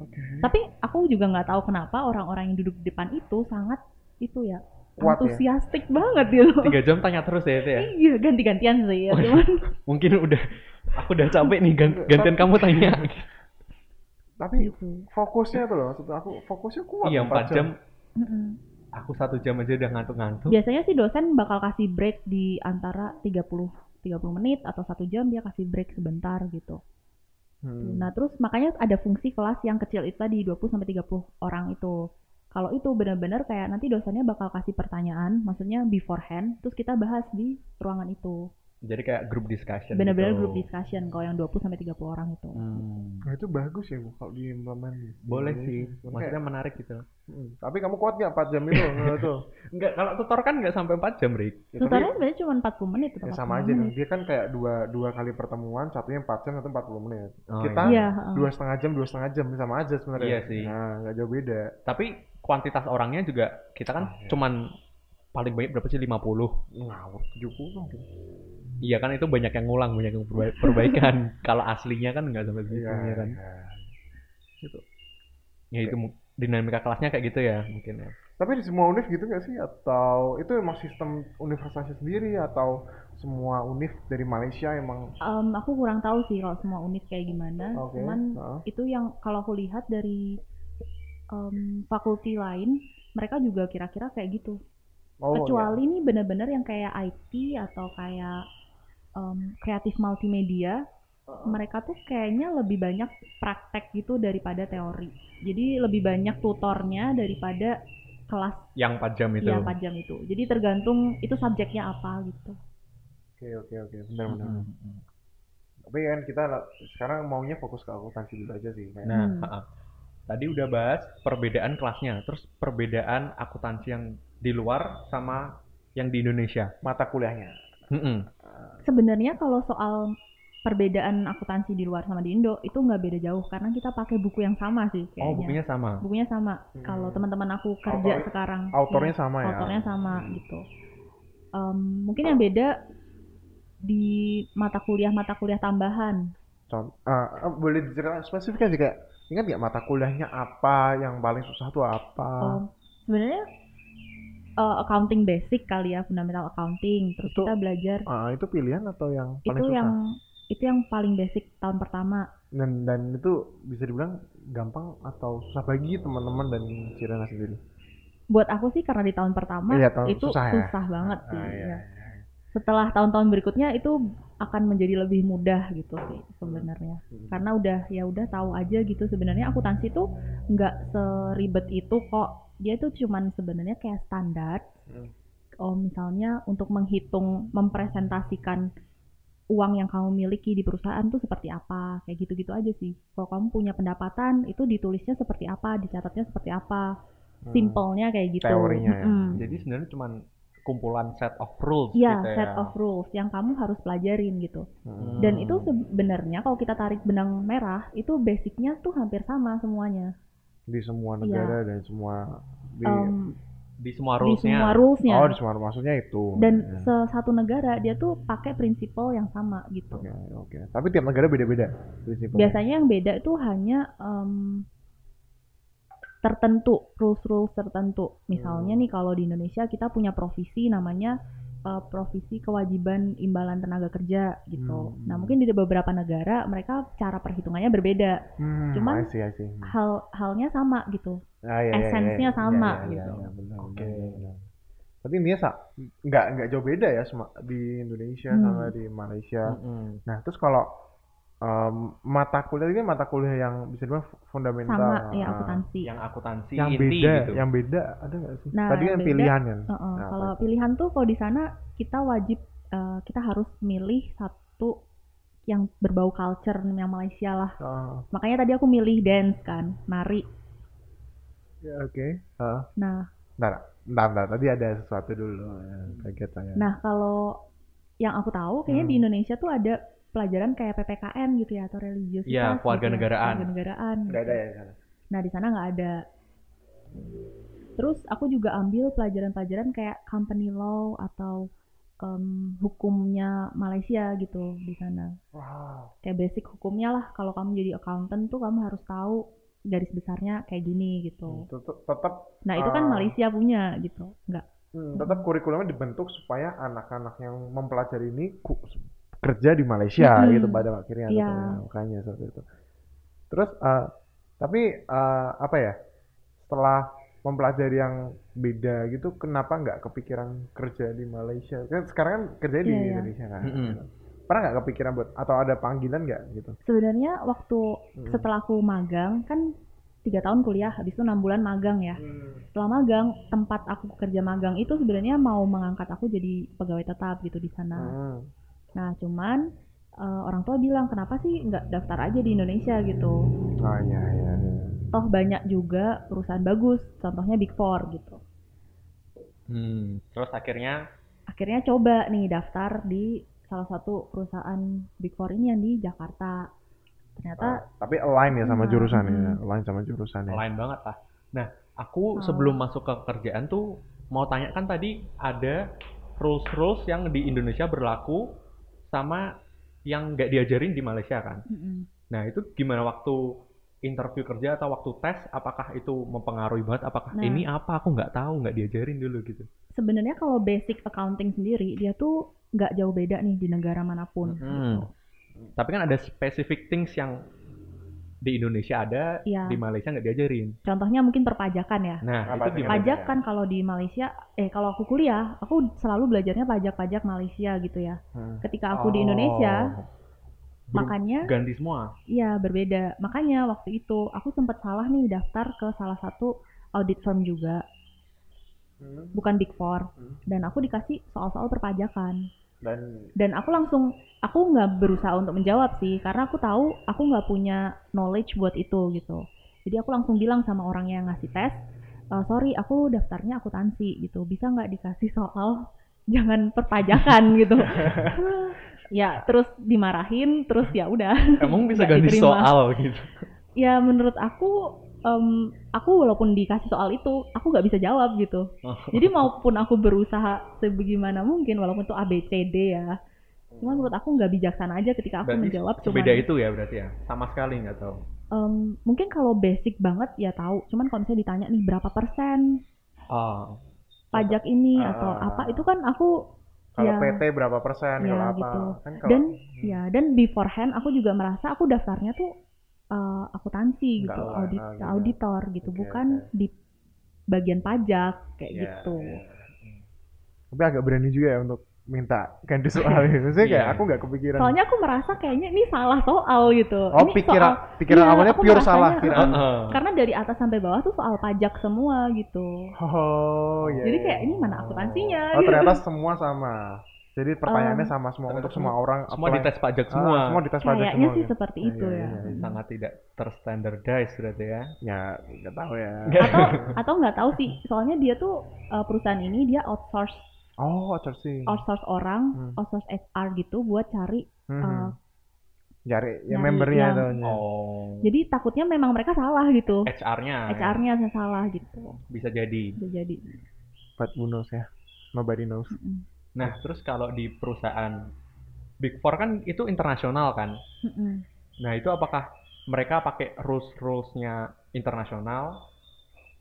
S4: Oke.
S5: Tapi aku juga nggak tahu kenapa orang-orang yang duduk di depan itu sangat itu ya
S4: Kuat ya?
S5: antusiastik banget gitu.
S3: Tiga jam tanya terus ya itu ya.
S5: Iya ganti-gantian sih ya. Cuman
S3: Mungkin udah aku udah capek nih gan- gantian kamu tanya.
S4: tapi
S5: gitu.
S4: fokusnya tuh loh maksud aku fokusnya kuat
S3: iya,
S4: empat
S3: empat jam.
S5: Mm-mm.
S3: Aku satu jam aja udah ngantuk-ngantuk.
S5: biasanya sih dosen bakal kasih break di antara 30 30 menit atau satu jam dia kasih break sebentar gitu.
S4: Hmm.
S5: Nah, terus makanya ada fungsi kelas yang kecil itu tadi 20 sampai 30 orang itu. Kalau itu benar-benar kayak nanti dosennya bakal kasih pertanyaan, maksudnya beforehand, terus kita bahas di ruangan itu.
S3: Jadi kayak group discussion. gitu.
S5: Benar-benar group discussion kalau yang 20 sampai 30 orang itu.
S3: Hmm,
S4: Nah, itu bagus ya Bu, kalau diimplementasi.
S3: boleh sih.
S4: Oke.
S3: Maksudnya menarik gitu.
S4: Iya, Hmm. Tapi kamu kuat nggak 4 jam itu? Nah, tuh.
S3: Enggak, kalau tutor kan nggak sampai 4 jam, Rik.
S4: Ya, tapi-
S5: Tutornya sebenarnya cuma 40 menit atau
S4: Ya sama
S5: 45
S4: aja dong.
S5: menit.
S4: Dia kan kayak dua dua kali pertemuan, satunya 4 jam, satu 40 menit.
S3: Oh,
S4: Kita
S5: Iya,
S4: dua setengah jam, dua setengah jam sama aja sebenarnya.
S3: Iya sih.
S4: Nah, nggak jauh beda.
S3: Tapi kuantitas orangnya juga kita kan
S4: Ah, iya.
S3: cuman paling banyak berapa sih 50.
S4: Ngawur 70 mungkin.
S3: Iya kan itu banyak yang ngulang, banyak yang perba- perbaikan. kalau aslinya kan nggak sampai segitu
S4: Iya
S3: ya kan.
S4: iya.
S3: Ya itu mu- dinamika kelasnya kayak gitu ya mungkin ya.
S4: Tapi di semua univ gitu nggak sih? Atau itu emang sistem universitasnya sendiri atau semua univ dari Malaysia emang
S5: Em, aku kurang tahu sih kalau semua unit kayak gimana.
S4: oke.
S5: Eh, Cuman
S4: Nah,
S5: itu yang kalau aku lihat dari em, fakulti lain mereka juga kira-kira kayak gitu
S4: oh, iya.
S5: kecuali nih bener-bener yang kayak IT atau kayak em, kreatif multimedia mereka tuh kayaknya lebih banyak praktek gitu daripada teori jadi lebih banyak tutornya daripada kelas
S3: Yang 4 jam itu.
S5: yang 4 jam itu jadi tergantung itu subjeknya apa gitu
S4: Oke oke oke, benar benar.
S3: Mm-mm.
S4: Tapi kan kita la- sekarang maunya fokus ke akuntansi dulu aja sih. kayak.
S3: Nah,
S5: Hmm.
S3: ha-ha. tadi udah bahas perbedaan kelasnya, terus perbedaan akuntansi yang di luar sama yang di Indonesia.
S4: mata kuliahnya.
S3: Mm-mm.
S5: sebenarnya kalau soal perbedaan akuntansi di luar sama di Indo itu nggak beda jauh karena kita pakai buku yang sama sih kayaknya
S3: Oh, bukunya sama.
S5: bukunya sama.
S4: Hmm.
S5: Kalau teman-teman aku kerja
S4: Autor-
S5: sekarang,
S4: Autornya sama
S5: iya,
S4: ya.
S5: autornya sama gitu. Em, mungkin yang beda di mata kuliah mata kuliah tambahan.
S4: Con- eh, eh, boleh diceritakan spesifiknya juga. Ingat nggak mata kuliahnya apa yang paling susah tuh apa?
S5: Em, Sebenarnya eh, accounting basic kali ya, fundamental accounting. Terus
S4: Itu
S5: kita belajar
S4: Ah, itu pilihan atau yang paling
S5: itu
S4: susah?
S5: yang itu yang paling basic tahun pertama.
S4: Dan dan itu bisa dibilang gampang atau susah bagi teman-teman dan Cirena sendiri.
S5: Buat aku sih karena di tahun pertama
S4: Iya, tahun
S5: itu
S4: susah ya.
S5: banget sih.
S4: Ah, iya,
S5: ya.
S4: iya.
S5: setelah tahun-tahun berikutnya itu akan menjadi lebih mudah gitu sih sebenarnya karena udah ya udah tahu aja gitu sebenarnya akuntansi tuh nggak seribet itu kok dia tuh cuman sebenarnya kayak standar
S4: Hmm.
S5: oh misalnya untuk menghitung mempresentasikan uang yang kamu miliki di perusahaan tuh seperti apa kayak gitu-gitu aja sih kalau kamu punya pendapatan itu ditulisnya seperti apa dicatatnya seperti apa
S4: Hmm.
S5: simpelnya kayak gitu
S4: Teorinya ya.
S5: Mm-mm.
S3: Jadi sebenarnya cuman kumpulan set of rules
S5: Iya,
S3: gitu ya.
S5: set of rules yang kamu harus pelajarin gitu.
S4: Hmm.
S5: Dan itu sebenarnya kalau kita tarik benang merah, itu basicnya tuh hampir sama semuanya.
S4: di semua negara dan semua di,
S5: Iya. Em,
S3: di semua
S5: di
S3: rulesnya.
S5: semua rulesnya.
S4: oh di semua maksudnya itu
S5: Dan
S4: Ya.
S5: se- satu negara dia tuh pakai prinsipal yang sama gitu.
S4: Oke, Ya. oke. Tapi tiap negara beda-beda prinsipnya.
S5: Biasanya yang beda itu hanya em, tertentu, rules-rules tertentu. Misalnya
S4: Oh.
S5: nih kalau di Indonesia kita punya provisi namanya eh, provisi kewajiban imbalan tenaga kerja gitu.
S4: Hmm.
S5: Nah mungkin di beberapa negara mereka cara perhitungannya berbeda.
S4: Hmm,
S5: cuman-
S4: I see, I see.
S5: hal halnya sama gitu.
S4: Ah, iya, iya, iya.
S5: esensinya
S4: Iya,
S5: sama,
S4: iya, iya,
S5: gitu.
S4: iya, benar,
S1: Oke.
S4: benar, benar.
S5: Iya.
S4: Berarti intinya sa nggak nggak jauh beda ya sama di Indonesia
S5: Hmm.
S4: sama di Malaysia.
S3: Mm-mm.
S4: Nah, terus kalau em, mata kuliah ini mata kuliah yang bisa dibilang fu- fundamental.
S5: Sama ya
S4: Ah.
S5: akuntansi.
S3: Yang akuntansi
S4: Yang
S3: inti
S4: beda,
S3: gitu.
S4: yang beda ada nggak sih?
S5: Nah,
S4: Tadi
S5: yang
S4: kan
S5: beda-
S4: pilihan kan.
S5: Heeh,
S4: Nah,
S5: kalau
S4: apa
S5: pilihan tuh kalau di sana kita wajib eh, kita harus milih satu yang berbau culture yang Malaysia lah.
S4: Ah,
S5: Makanya tadi aku milih dance kan, nari.
S4: ya, oke. Ah,
S5: Nah,
S4: Bentar, bentar, bentar. Tadi ada sesuatu dulu. Ya, kaget saya.
S5: nah kalau yang aku tahu kayaknya di
S4: Hmm.
S5: Indonesia tuh ada pelajaran kayak PPKN gitu ya atau religiositas.
S3: Iya,
S5: gitu ya,
S3: kewarganegaraan.
S5: kewarganegaraan
S4: Nggak ada
S5: gitu.
S4: ya di sana?
S5: Nah, di sana nggak ada. Terus aku juga ambil pelajaran-pelajaran kayak company law atau em, hukumnya Malaysia gitu di sana.
S4: Wow.
S5: Kayak basic hukumnya lah. Kalau kamu jadi accountant tuh kamu harus tahu garis besarnya kayak gini gitu.
S4: Tetap, tetap
S5: Nah, itu kan
S4: Hmm. Ah.
S5: Malaysia punya gitu. Nggak.
S4: Hmm, tetap kurikulumnya dibentuk supaya anak-anak yang mempelajari ini ku- kerja di Malaysia
S5: Mm-mm.
S4: gitu pada akhirnya
S5: Hmm. Iya.
S4: tetap, makanya seperti itu. Terus eh, tapi eh, apa ya setelah mempelajari yang beda gitu kenapa nggak kepikiran kerja di Malaysia kan sekarang kan kerja di
S5: Iya, iya.
S4: Indonesia kan
S3: Mm-mm.
S4: pernah nggak kepikiran buat atau ada panggilan nggak gitu
S5: Sebenarnya waktu
S4: Mm.
S5: setelah aku magang kan tiga tahun kuliah, habis itu enam bulan magang ya. setelah magang tempat aku kerja magang itu sebenarnya mau mengangkat aku jadi pegawai tetap gitu di sana.
S4: Hmm.
S5: Nah cuman eh, orang tua bilang kenapa sih nggak daftar aja di Indonesia gitu.
S4: oh iya iya iya.
S5: Toh banyak juga perusahaan bagus, contohnya Big Four gitu.
S3: Hmm. Terus akhirnya
S5: Akhirnya coba nih daftar di salah satu perusahaan Big Four ini yang di Jakarta.
S4: Ah,
S5: Ternyata
S4: tapi align ya sama
S5: Hmm,
S4: jurusan ya
S5: mm-mm.
S4: align sama jurusan ya
S3: lain banget lah. Nah, aku
S5: Oh.
S3: sebelum masuk ke kerjaan tuh mau tanya kan tadi ada rules-rules yang di Indonesia berlaku sama yang nggak diajarin di Malaysia kan.
S5: mm-mm.
S3: Nah, itu gimana waktu interview kerja atau waktu tes apakah itu mempengaruhi banget apakah
S5: Nah.
S3: ini apa aku nggak tahu nggak diajarin dulu gitu.
S5: sebenarnya kalau basic accounting sendiri dia tuh nggak jauh beda nih di negara manapun.
S4: Hmm.
S3: Mm-mm. Tapi kan ada specific things yang di Indonesia ada,
S5: Iya.
S3: di Malaysia nggak diajarin.
S5: Contohnya mungkin perpajakan ya.
S3: Nah,
S4: Apa
S3: itu
S4: tuh?
S3: gimana?
S5: pajak kan kalau di Malaysia eh kalau aku kuliah aku selalu belajarnya pajak-pajak Malaysia gitu ya
S4: Hmm.
S5: ketika
S3: Oh.
S5: aku di Indonesia makanya
S3: ganti semua.
S5: iya berbeda makanya waktu itu aku sempat salah nih daftar ke salah satu audit firm juga
S4: Hmm.
S5: bukan Big Four
S4: Hmm.
S5: dan aku dikasih soal-soal perpajakan
S4: dan
S5: dan aku langsung aku nggak berusaha untuk menjawab sih karena aku tahu aku nggak punya knowledge buat itu gitu jadi aku langsung bilang sama orang yang ngasih tes "Eh, sorry aku daftarnya akuntansi gitu bisa nggak dikasih soal jangan perpajakan gitu ya terus dimarahin terus ya udah
S3: Emang bisa
S5: Nggak
S3: ganti
S5: diterima.
S3: soal gitu.
S5: ya menurut aku em, aku walaupun dikasih soal itu aku nggak bisa jawab gitu
S4: Oh.
S5: jadi maupun aku berusaha sebagaimana mungkin walaupun itu ABCD ya cuman menurut aku nggak bijaksana aja ketika aku
S3: Berarti
S5: menjawab cuman
S3: Beda itu ya berarti ya. Sama sekali nggak tahu.
S5: em, mungkin kalau basic banget ya tahu cuman kalau misalnya ditanya nih berapa persen
S3: Oh.
S5: pajak ini
S4: Ah.
S5: atau apa itu kan aku
S4: Kalau
S5: Ya.
S4: PT berapa persen,
S5: Ya,
S4: kalau apa.
S5: gitu.
S4: Kan kalau
S5: dan ya dan beforehand aku juga merasa aku daftarnya tuh eh, akuntansi
S4: Nggak
S5: gitu
S4: lah,
S5: audit
S4: ah, gitu.
S5: auditor gitu
S4: Oke,
S5: bukan di bagian pajak kayak
S4: Ya,
S5: gitu
S4: ya. Tapi agak berani juga ya untuk minta ganti soal gitu. Maksudnya kayak
S3: Iya.
S4: aku nggak kepikiran.
S5: Soalnya aku merasa kayaknya ini salah soal gitu.
S4: oh,
S5: Ini
S4: pikiran
S5: soal-
S4: pikiran
S5: Iya,
S4: awalnya
S5: aku
S4: pure
S5: merasanya,
S4: salah. Pikiran.
S3: Heeh.
S5: karena dari atas sampai bawah tuh soal pajak semua gitu.
S4: Oh, iya.
S5: Jadi
S4: iya.
S5: kayak ini mana akuntansinya
S4: Oh,
S5: gitu.
S4: ternyata semua sama. Jadi pertanyaannya sama semua untuk semua orang
S3: Semua
S4: apply.
S3: dites pajak
S4: Ah,
S3: semua.
S4: semua dites pajak semua.
S5: Kayaknya sih
S4: gitu.
S5: seperti
S4: Iya,
S5: itu
S4: iya,
S5: ya.
S4: iya,
S3: Sangat tidak terstandardized berarti ya.
S4: Ya, nggak tahu ya.
S5: Atau atau nggak tahu sih, soalnya dia tuh eh, perusahaan ini dia outsource
S4: Oh, outsourcing.
S5: outsource orang,
S4: Hmm.
S5: outsource HR gitu buat cari.
S4: Hmm,
S5: eh,
S4: Cari yang
S5: nyari
S4: membernya
S5: yang-
S4: atau
S3: Oh.
S5: Jadi takutnya memang mereka salah gitu.
S3: HR-nya. ya.
S5: HR-nya yang salah gitu.
S3: Bisa jadi.
S5: Bisa jadi. Hmm.
S4: But who knows ya. Nobody knows.
S5: Mm-mm.
S3: Nah, terus kalau di perusahaan Big Four kan itu internasional kan?
S5: Mm-mm.
S3: Nah, itu apakah mereka pakai rules-rules-nya internasional?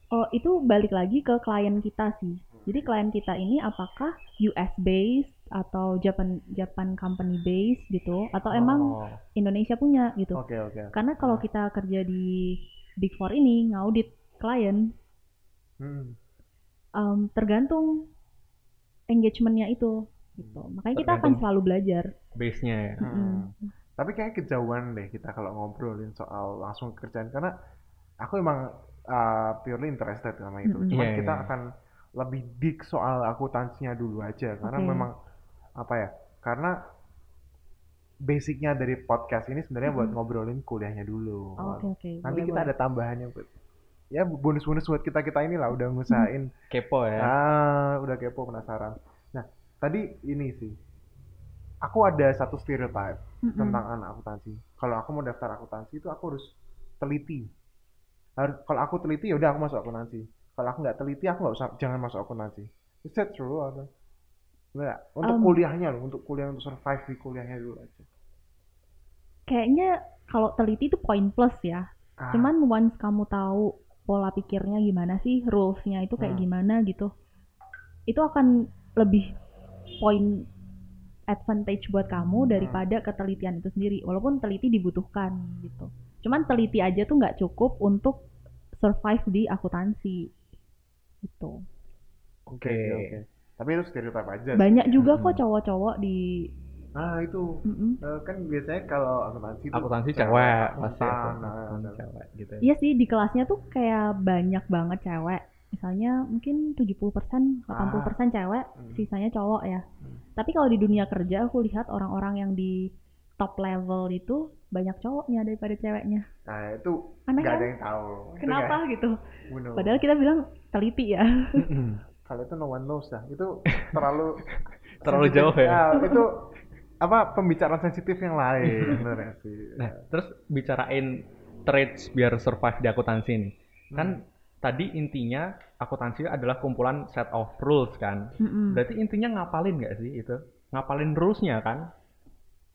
S5: Oh, itu balik lagi ke klien kita sih. Jadi klien kita ini apakah US based atau Japan Japan company based gitu atau emang
S3: Oh.
S5: Indonesia punya gitu.
S4: Oke, oke.
S5: Karena kalau kita kerja di Big Four ini ngaudit klien
S4: Hmm.
S5: em, tergantung engagementnya itu gitu. Makanya kita akan
S3: Tergantung.
S5: selalu belajar.
S3: base-nya
S4: hmm.
S3: ya?
S5: Mm-mm.
S4: Tapi kayak kejauhan deh kita kalau ngobrolin soal langsung kerjaan karena aku emang uh, purely interested sama itu.
S5: Mm-mm.
S4: Cuman
S3: Iya,
S4: kita
S3: iya.
S4: akan lebih dig soal akuntansinya dulu aja karena
S5: Oke.
S4: memang apa ya? Karena basicnya dari podcast ini sebenarnya buat
S5: Mm-mm.
S4: ngobrolin kuliahnya dulu.
S5: Oh, Oke oke.
S4: Nanti
S5: boleh,
S4: kita
S5: boleh.
S4: ada tambahannya buat ya bonus-bonus buat kita kita inilah udah ngusahain
S3: Kepo
S5: Iya.
S3: ya?
S4: Ah, udah kepo penasaran. Nah, tadi ini sih. Aku ada satu stereotype
S5: Mm-mm.
S4: tentang anak akuntansi. Kalau aku mau daftar akuntansi itu aku harus teliti. Harus kalau aku teliti ya udah aku masuk akuntansi. Kalau aku nggak teliti aku nggak usah jangan masuk akuntansi. Is that true atau? Nggak. Untuk
S5: Um,
S4: kuliahnya loh, untuk kuliah untuk survive di kuliahnya dulu aja.
S5: Kayaknya kalau teliti itu poin plus ya.
S4: Ah,
S5: Cuman once kamu tahu pola pikirnya gimana sih, rules-nya itu kayak
S4: Hmm.
S5: gimana gitu, itu akan lebih poin advantage buat kamu daripada ketelitian itu sendiri. Walaupun teliti dibutuhkan gitu. Cuman teliti aja tuh nggak cukup untuk survive di akuntansi gitu.
S4: oke oke, oke. Tapi itu stereotype aja. sih.
S5: Banyak juga
S3: Hmm.
S5: kok cowok-cowok di
S4: Nah, itu
S5: Mm-mm.
S4: Eh, kan biasanya kalau akuntansi itu
S3: Akuntansi cewek
S4: cewek,
S3: pasti
S4: akuntan,
S3: akuntan
S4: nah,
S3: cewek gitu. ya.
S5: Iya sih di kelasnya tuh kayak banyak banget cewek. Misalnya mungkin 70%, 80% cewek,
S4: Hmm.
S5: sisanya cowok ya.
S4: Hmm.
S5: Tapi kalau di dunia kerja aku lihat orang-orang yang di top level itu banyak cowoknya daripada ceweknya.
S4: Nah itu
S5: Aneh
S4: nggak
S5: kan?
S4: ada yang tahu. Itu
S5: Kenapa gitu?
S4: kayak, who knows?
S5: Padahal kita bilang teliti ya.
S4: kalau itu no one knows lah. Itu terlalu
S3: Terlalu
S4: sensitif.
S3: jauh ya?
S4: Nah, itu apa pembicaraan sensitif yang lain bener ya sih.
S3: Nah, terus bicarain trades biar survive di akuntansi nih.
S4: Hmm.
S3: Kan tadi intinya akuntansi adalah kumpulan set of rules kan.
S4: Hmm.
S5: Mm-mm.
S3: Berarti intinya ngapalin nggak sih itu? Ngapalin rules-nya kan?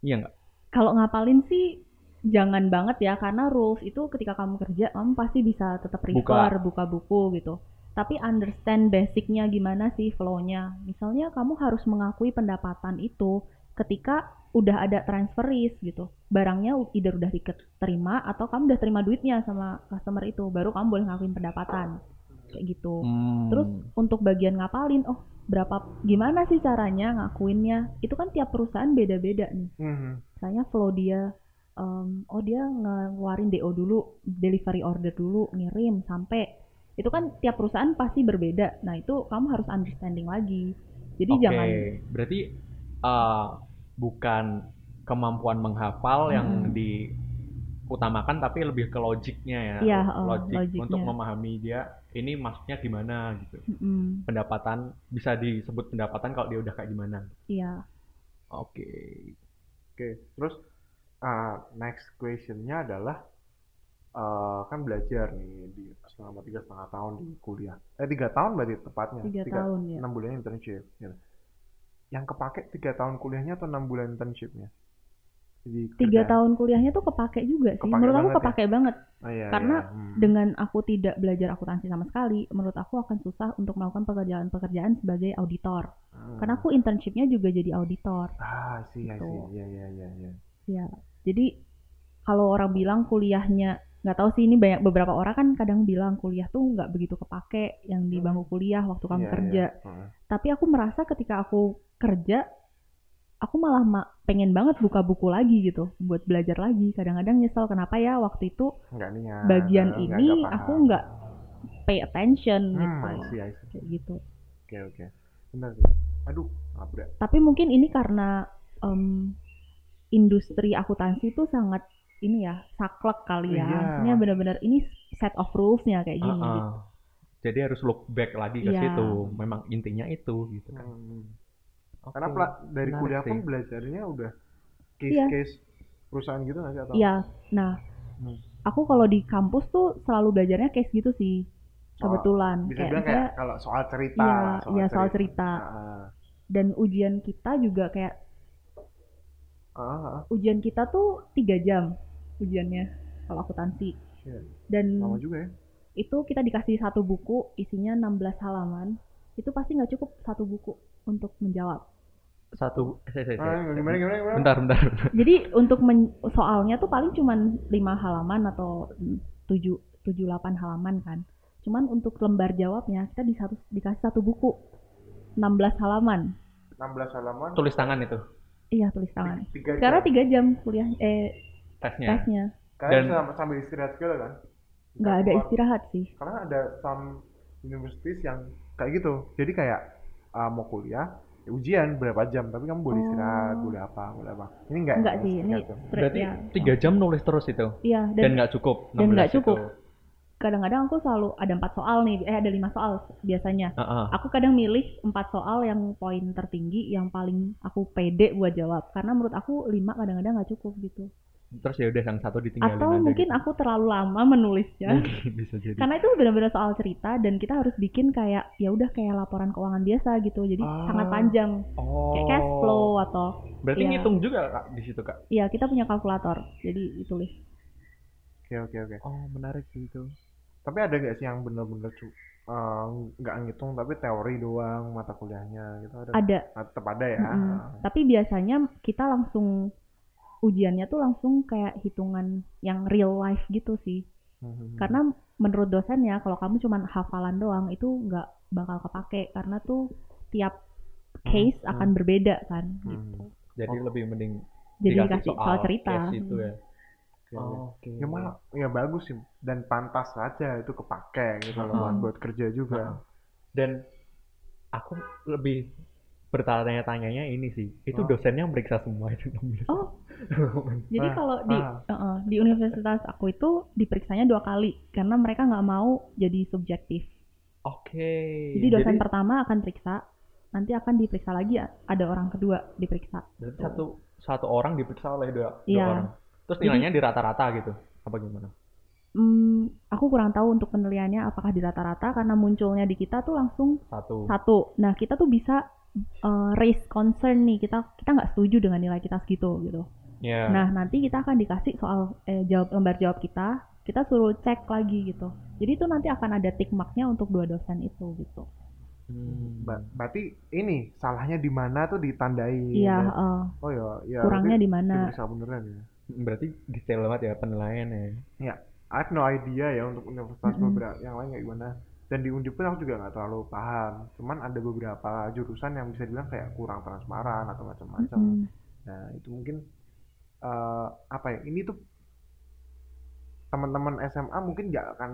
S3: Iya nggak?
S5: Kalau ngapalin sih jangan banget ya karena rules itu ketika kamu kerja kamu pasti bisa tetap refer, buka buku gitu. Tapi understand basicnya gimana sih flow-nya. Misalnya kamu harus mengakui pendapatan itu ketika udah ada transferis gitu. Barangnya u- either udah diterima atau kamu udah terima duitnya sama customer itu baru kamu boleh ngakuin pendapatan. Kayak gitu Terus untuk bagian ngapalin, oh berapa gimana sih caranya ngakuinnya? Itu kan tiap perusahaan beda-beda nih
S4: Mhm.
S5: misalnya flow dia em, oh dia ngeluarin DO dulu delivery order dulu ngirim sampai itu kan tiap perusahaan pasti berbeda nah itu kamu harus understanding lagi jadi
S3: Oke,
S5: jangan
S3: berarti uh, bukan kemampuan menghafal yang
S5: Mm-mm.
S3: diutamakan tapi lebih ke logiknya ya.
S5: Iya, uh,
S3: Logik
S5: logiknya.
S3: untuk memahami dia ini maksudnya gimana gitu.
S5: Mm-mm,
S3: Pendapatan bisa disebut pendapatan kalau dia udah kayak gimana.
S5: iya
S3: Oke.
S4: Oke, terus ah, next questionnya adalah eh, kan belajar nih di selama tiga setengah tahun di kuliah. Eh tiga tahun berarti tepatnya.
S5: tiga tahun ya
S4: enam bulan internship gitu. yang kepake tiga tahun kuliahnya atau enam bulan internshipnya jadi
S5: tiga
S4: kerjaan.
S5: tahun kuliahnya tuh kepake juga
S4: ya.
S5: sih
S4: Kepake
S5: menurut aku
S4: banget ya.
S5: kepake banget
S4: Oh, iya,
S5: karena
S4: iya. Hmm.
S5: dengan aku tidak belajar akuntansi sama sekali menurut aku akan susah untuk melakukan pekerjaan-pekerjaan sebagai auditor
S4: Hmm.
S5: karena aku internshipnya juga jadi auditor
S4: ah sih ya
S5: Gitu.
S4: ya ya ya ya
S5: Jadi kalau orang bilang kuliahnya nggak tahu sih ini banyak beberapa orang kan kadang bilang kuliah tuh nggak begitu
S4: Hmm. Iya,
S5: kepake yang di bangku kuliah waktu kamu kerja. Tapi aku merasa ketika aku kerja aku malah ma- pengen banget buka buku lagi gitu buat belajar lagi. Kadang-kadang nyesel kenapa ya waktu itu
S4: Enggak niat.
S5: bagian
S4: Ah, nggak-
S5: ini
S4: nggak paham.
S5: aku nggak pay attention
S4: Hmm, I
S5: gitu.
S4: see, I see.
S5: Kayak gitu.
S4: Oke, oke. Benar sih. Aduh, nabrak.
S5: Tapi mungkin ini karena em, industri akuntansi itu sangat ini ya saklek kali ya.
S4: Iya.
S5: Maksudnya benar-benar ini set of rules-nya kayak gini.
S3: Ah, ah.
S5: gitu.
S3: Jadi harus look back lagi ke
S5: Iya.
S3: situ. Memang intinya itu gitu kan.
S4: Hmm.
S3: Oke.
S4: Karena pla- dari
S3: menarik
S4: kuliah pun
S3: sih.
S4: belajarnya udah case-case perusahaan gitu nggak sih atau?
S5: Iya. Nah,
S4: Hmm.
S5: aku kalau di kampus tuh selalu belajarnya case gitu sih.
S4: Soal-
S5: Kebetulan
S4: Oh, Bisa bilang
S5: misalnya-
S4: kayak kalau soal cerita.
S5: Iya,
S4: lah,
S5: iya, soal cerita.
S4: Ah,
S5: dan ujian kita juga kayak
S4: ah, ah, ah.
S5: ujian kita tuh tiga jam ujiannya kalau akuntansi
S4: Iya.
S5: dan
S4: lama juga ya.
S5: itu kita dikasih satu buku isinya 16 halaman itu pasti nggak cukup satu buku untuk menjawab
S3: Satu eh, eh, eh,
S4: Ah,
S3: eh.
S4: gimana gimana gimana?
S3: Bentar, bentar.
S5: jadi untuk men- soalnya tuh paling cuman lima halaman atau mm, tujuh tujuh delapan halaman kan cuman untuk lembar jawabnya kita di satu, dikasih satu buku 16 halaman
S4: 16 halaman.
S3: Tulis tangan itu
S5: iya tulis tangan
S4: Tiga
S5: karena
S4: jam.
S5: tiga jam kuliah eh
S3: tesnya.
S5: tesnya
S4: Kalian
S3: dan-
S4: sambil, sambil istirahat segala kan?
S5: nggak ada
S4: keluar.
S5: istirahat sih
S4: karena ada some universities yang kayak gitu jadi kayak uh, mau kuliah ya ujian berapa jam tapi kamu boleh
S5: Oh.
S4: istirahat boleh apa boleh apa ini enggak
S5: Enggak
S4: ya,
S5: sih, ini
S4: tiga jam.
S5: Stre-
S3: Berarti
S5: ya.
S3: tiga jam nulis terus itu
S5: Iya, dan,
S3: dan nggak cukup.
S5: dan
S3: 16
S5: nggak
S3: itu.
S5: cukup. kadang-kadang aku selalu ada empat soal nih, eh ada lima soal biasanya.
S3: Ah, ah.
S5: Aku kadang milih empat soal yang poin tertinggi, yang paling aku pede buat jawab. Karena menurut aku lima kadang-kadang nggak cukup gitu.
S3: Terus ya udah yang satu ditinggalin
S5: Atau
S3: aja
S5: mungkin
S3: gitu.
S5: aku ya. Kan terlalu lama
S4: Hmm.
S5: menulisnya.
S3: Mungkin bisa jadi.
S5: Karena itu benar-benar soal cerita dan kita harus bikin kayak ya udah kayak laporan keuangan biasa gitu. Jadi
S4: Ah.
S5: sangat panjang,
S3: oh.
S5: kayak cash flow atau
S3: Berarti
S5: Iya.
S3: ngitung juga Kak, di situ kak.
S5: ya kita punya kalkulator. Jadi ditulis.
S4: oke oke oke
S3: Oh menarik sih itu.
S4: tapi ada nggak sih yang bener-bener cu uh, nggak ngitung tapi teori doang mata kuliahnya gitu ada,
S5: Ada
S4: Ah, tetap ada ya
S5: Mm-mm.
S4: Ah.
S5: Tapi biasanya kita langsung ujiannya tuh langsung kayak hitungan yang real life gitu sih.
S4: Mhm.
S5: Karena menurut dosennya kalau kamu cuman hafalan doang itu nggak bakal kepake karena tuh tiap case
S4: Hmm,
S5: akan berbeda kan
S4: Hmm.
S5: gitu.
S3: Jadi
S4: Oh.
S3: lebih mending
S5: Jadi
S3: dikasih
S5: dikasih soal, cerita.
S3: case itu ya.
S4: Oke, oke.
S3: Oke.
S4: ya malah ya bagus sih dan pantas aja itu kepake gitu loh buat
S5: Mm-mm.
S4: buat kerja juga
S3: Dan aku lebih bertanya-tanyanya ini sih. Itu
S4: Ah.
S3: dosennya meriksa semua itu.
S5: Oh. Jadi
S4: Ah,
S5: kalau di
S4: ah.
S5: eh, di universitas aku itu diperiksanya dua kali karena mereka nggak mau jadi subjektif.
S3: Oke.
S5: Oh. Jadi dosen pertama akan periksa, nanti akan diperiksa lagi ada orang kedua diperiksa.
S3: berarti satu satu orang diperiksa oleh dua, dua
S5: Iya.
S3: orang. Terus
S5: Jadi-
S3: nilainya di rata-rata gitu. Apa gimana?
S5: Hmm, aku kurang tahu untuk penilaiannya apakah di rata-rata karena munculnya di kita tuh langsung
S3: Satu.
S5: satu. Nah kita tuh bisa eh, raise concern nih kita kita nggak setuju dengan nilai kita segitu gitu.
S3: Iya.
S5: Nah nanti kita akan dikasih soal eh, jawab lembar jawab kita, kita suruh cek lagi gitu. Jadi itu nanti akan ada tick marknya untuk dua dosen itu gitu.
S3: Hmm.
S4: Ba- berarti ini salahnya di mana tuh ditandai ya?
S5: Iya eh,
S4: oh ya, ya
S5: kurangnya
S4: berarti
S5: di mana?
S4: diperiksa beneran ya
S3: Berarti detail banget ya penilaiannya.
S4: I have no idea ya untuk universitas
S5: Mm-mm.
S4: beberapa yang lain kayak gimana. Dan di Undip pun aku juga nggak terlalu paham. Cuman ada beberapa jurusan yang bisa dibilang kayak kurang transparan atau macam-macam.
S5: Mm-mm.
S4: Nah itu mungkin eh, apa ya? Ini tuh teman-teman SMA mungkin nggak akan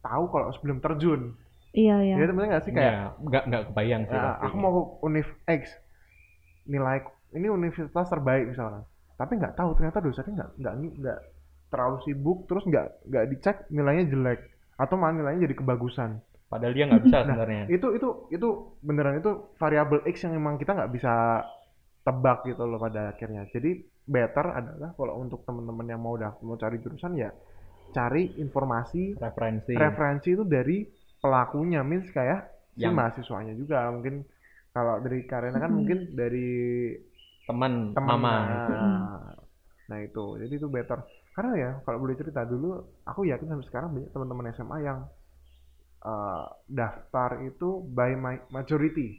S4: tahu kalau sebelum terjun.
S5: Iya iya.
S4: Ya temen nggak sih kayak
S3: Iya, nggak nggak kebayang sih.
S4: "Ah,
S3: pasti.
S4: aku mau ke Univ X nilai ini universitas terbaik misalnya. Tapi nggak tahu ternyata dosennya nggak nggak nggak terlalu sibuk terus nggak nggak dicek nilainya jelek atau malah nilainya jadi kebagusan.
S3: Padahal dia nggak bisa
S4: Nah,
S3: sebenarnya.
S4: itu itu itu beneran itu variabel x yang memang kita nggak bisa tebak gitu loh pada akhirnya jadi better adalah kalau untuk teman-teman yang mau dah mau cari jurusan ya cari informasi
S3: Referensi.
S4: Iya. referensi itu dari pelakunya means kayak si
S3: Yang-
S4: mahasiswanya juga mungkin kalau dari Karena kan
S5: Mhm.
S4: mungkin dari
S3: teman,
S4: teman
S3: mama.
S4: nah,
S3: itu.
S4: nah itu jadi itu better karena ya kalau boleh cerita dulu aku yakin sampai sekarang banyak teman-teman SMA yang eh, daftar itu by ma- majority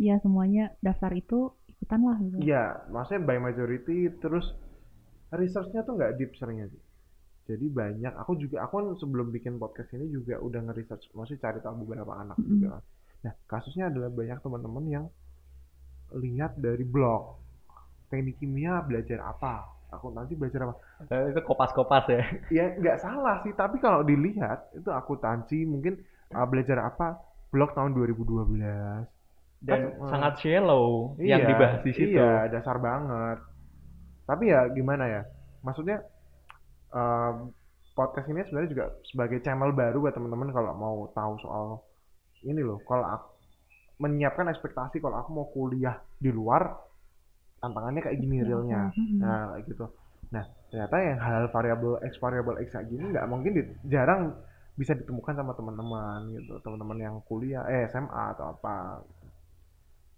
S5: Iya semuanya daftar itu ikutan lah gitu.
S4: Iya, maksudnya by majority terus researchnya tuh nggak deep seringnya sih. Jadi banyak, aku juga, aku kan sebelum bikin podcast ini juga udah nge-research, maksudnya cari tahu beberapa anak
S5: Mm-mm.
S4: juga kan. Nah, kasusnya adalah banyak teman-teman yang lihat dari blog. teknik kimia belajar apa akuntansi belajar apa
S3: Eh, itu kopas-kopas ya.
S4: ya nggak salah sih tapi kalau dilihat itu akuntansi mungkin uh, belajar apa blog tahun 2012
S3: Dan
S4: Kan,
S3: sangat shallow
S4: Iya,
S3: yang dibahas di situ.
S4: iya dasar banget tapi ya gimana ya maksudnya um, podcast ini sebenarnya juga sebagai channel baru buat teman-teman kalau mau tahu soal ini loh kalau aku menyiapkan ekspektasi kalau aku mau kuliah di luar tantangannya kayak gini realnya
S3: Hmm.
S5: Mhm.
S4: Nah, kayak gitu. Nah, ternyata yang hal variabel x variabel x kayak gini nggak mungkin di- jarang bisa ditemukan sama teman-teman gitu, teman-teman yang kuliah eh SMA atau apa.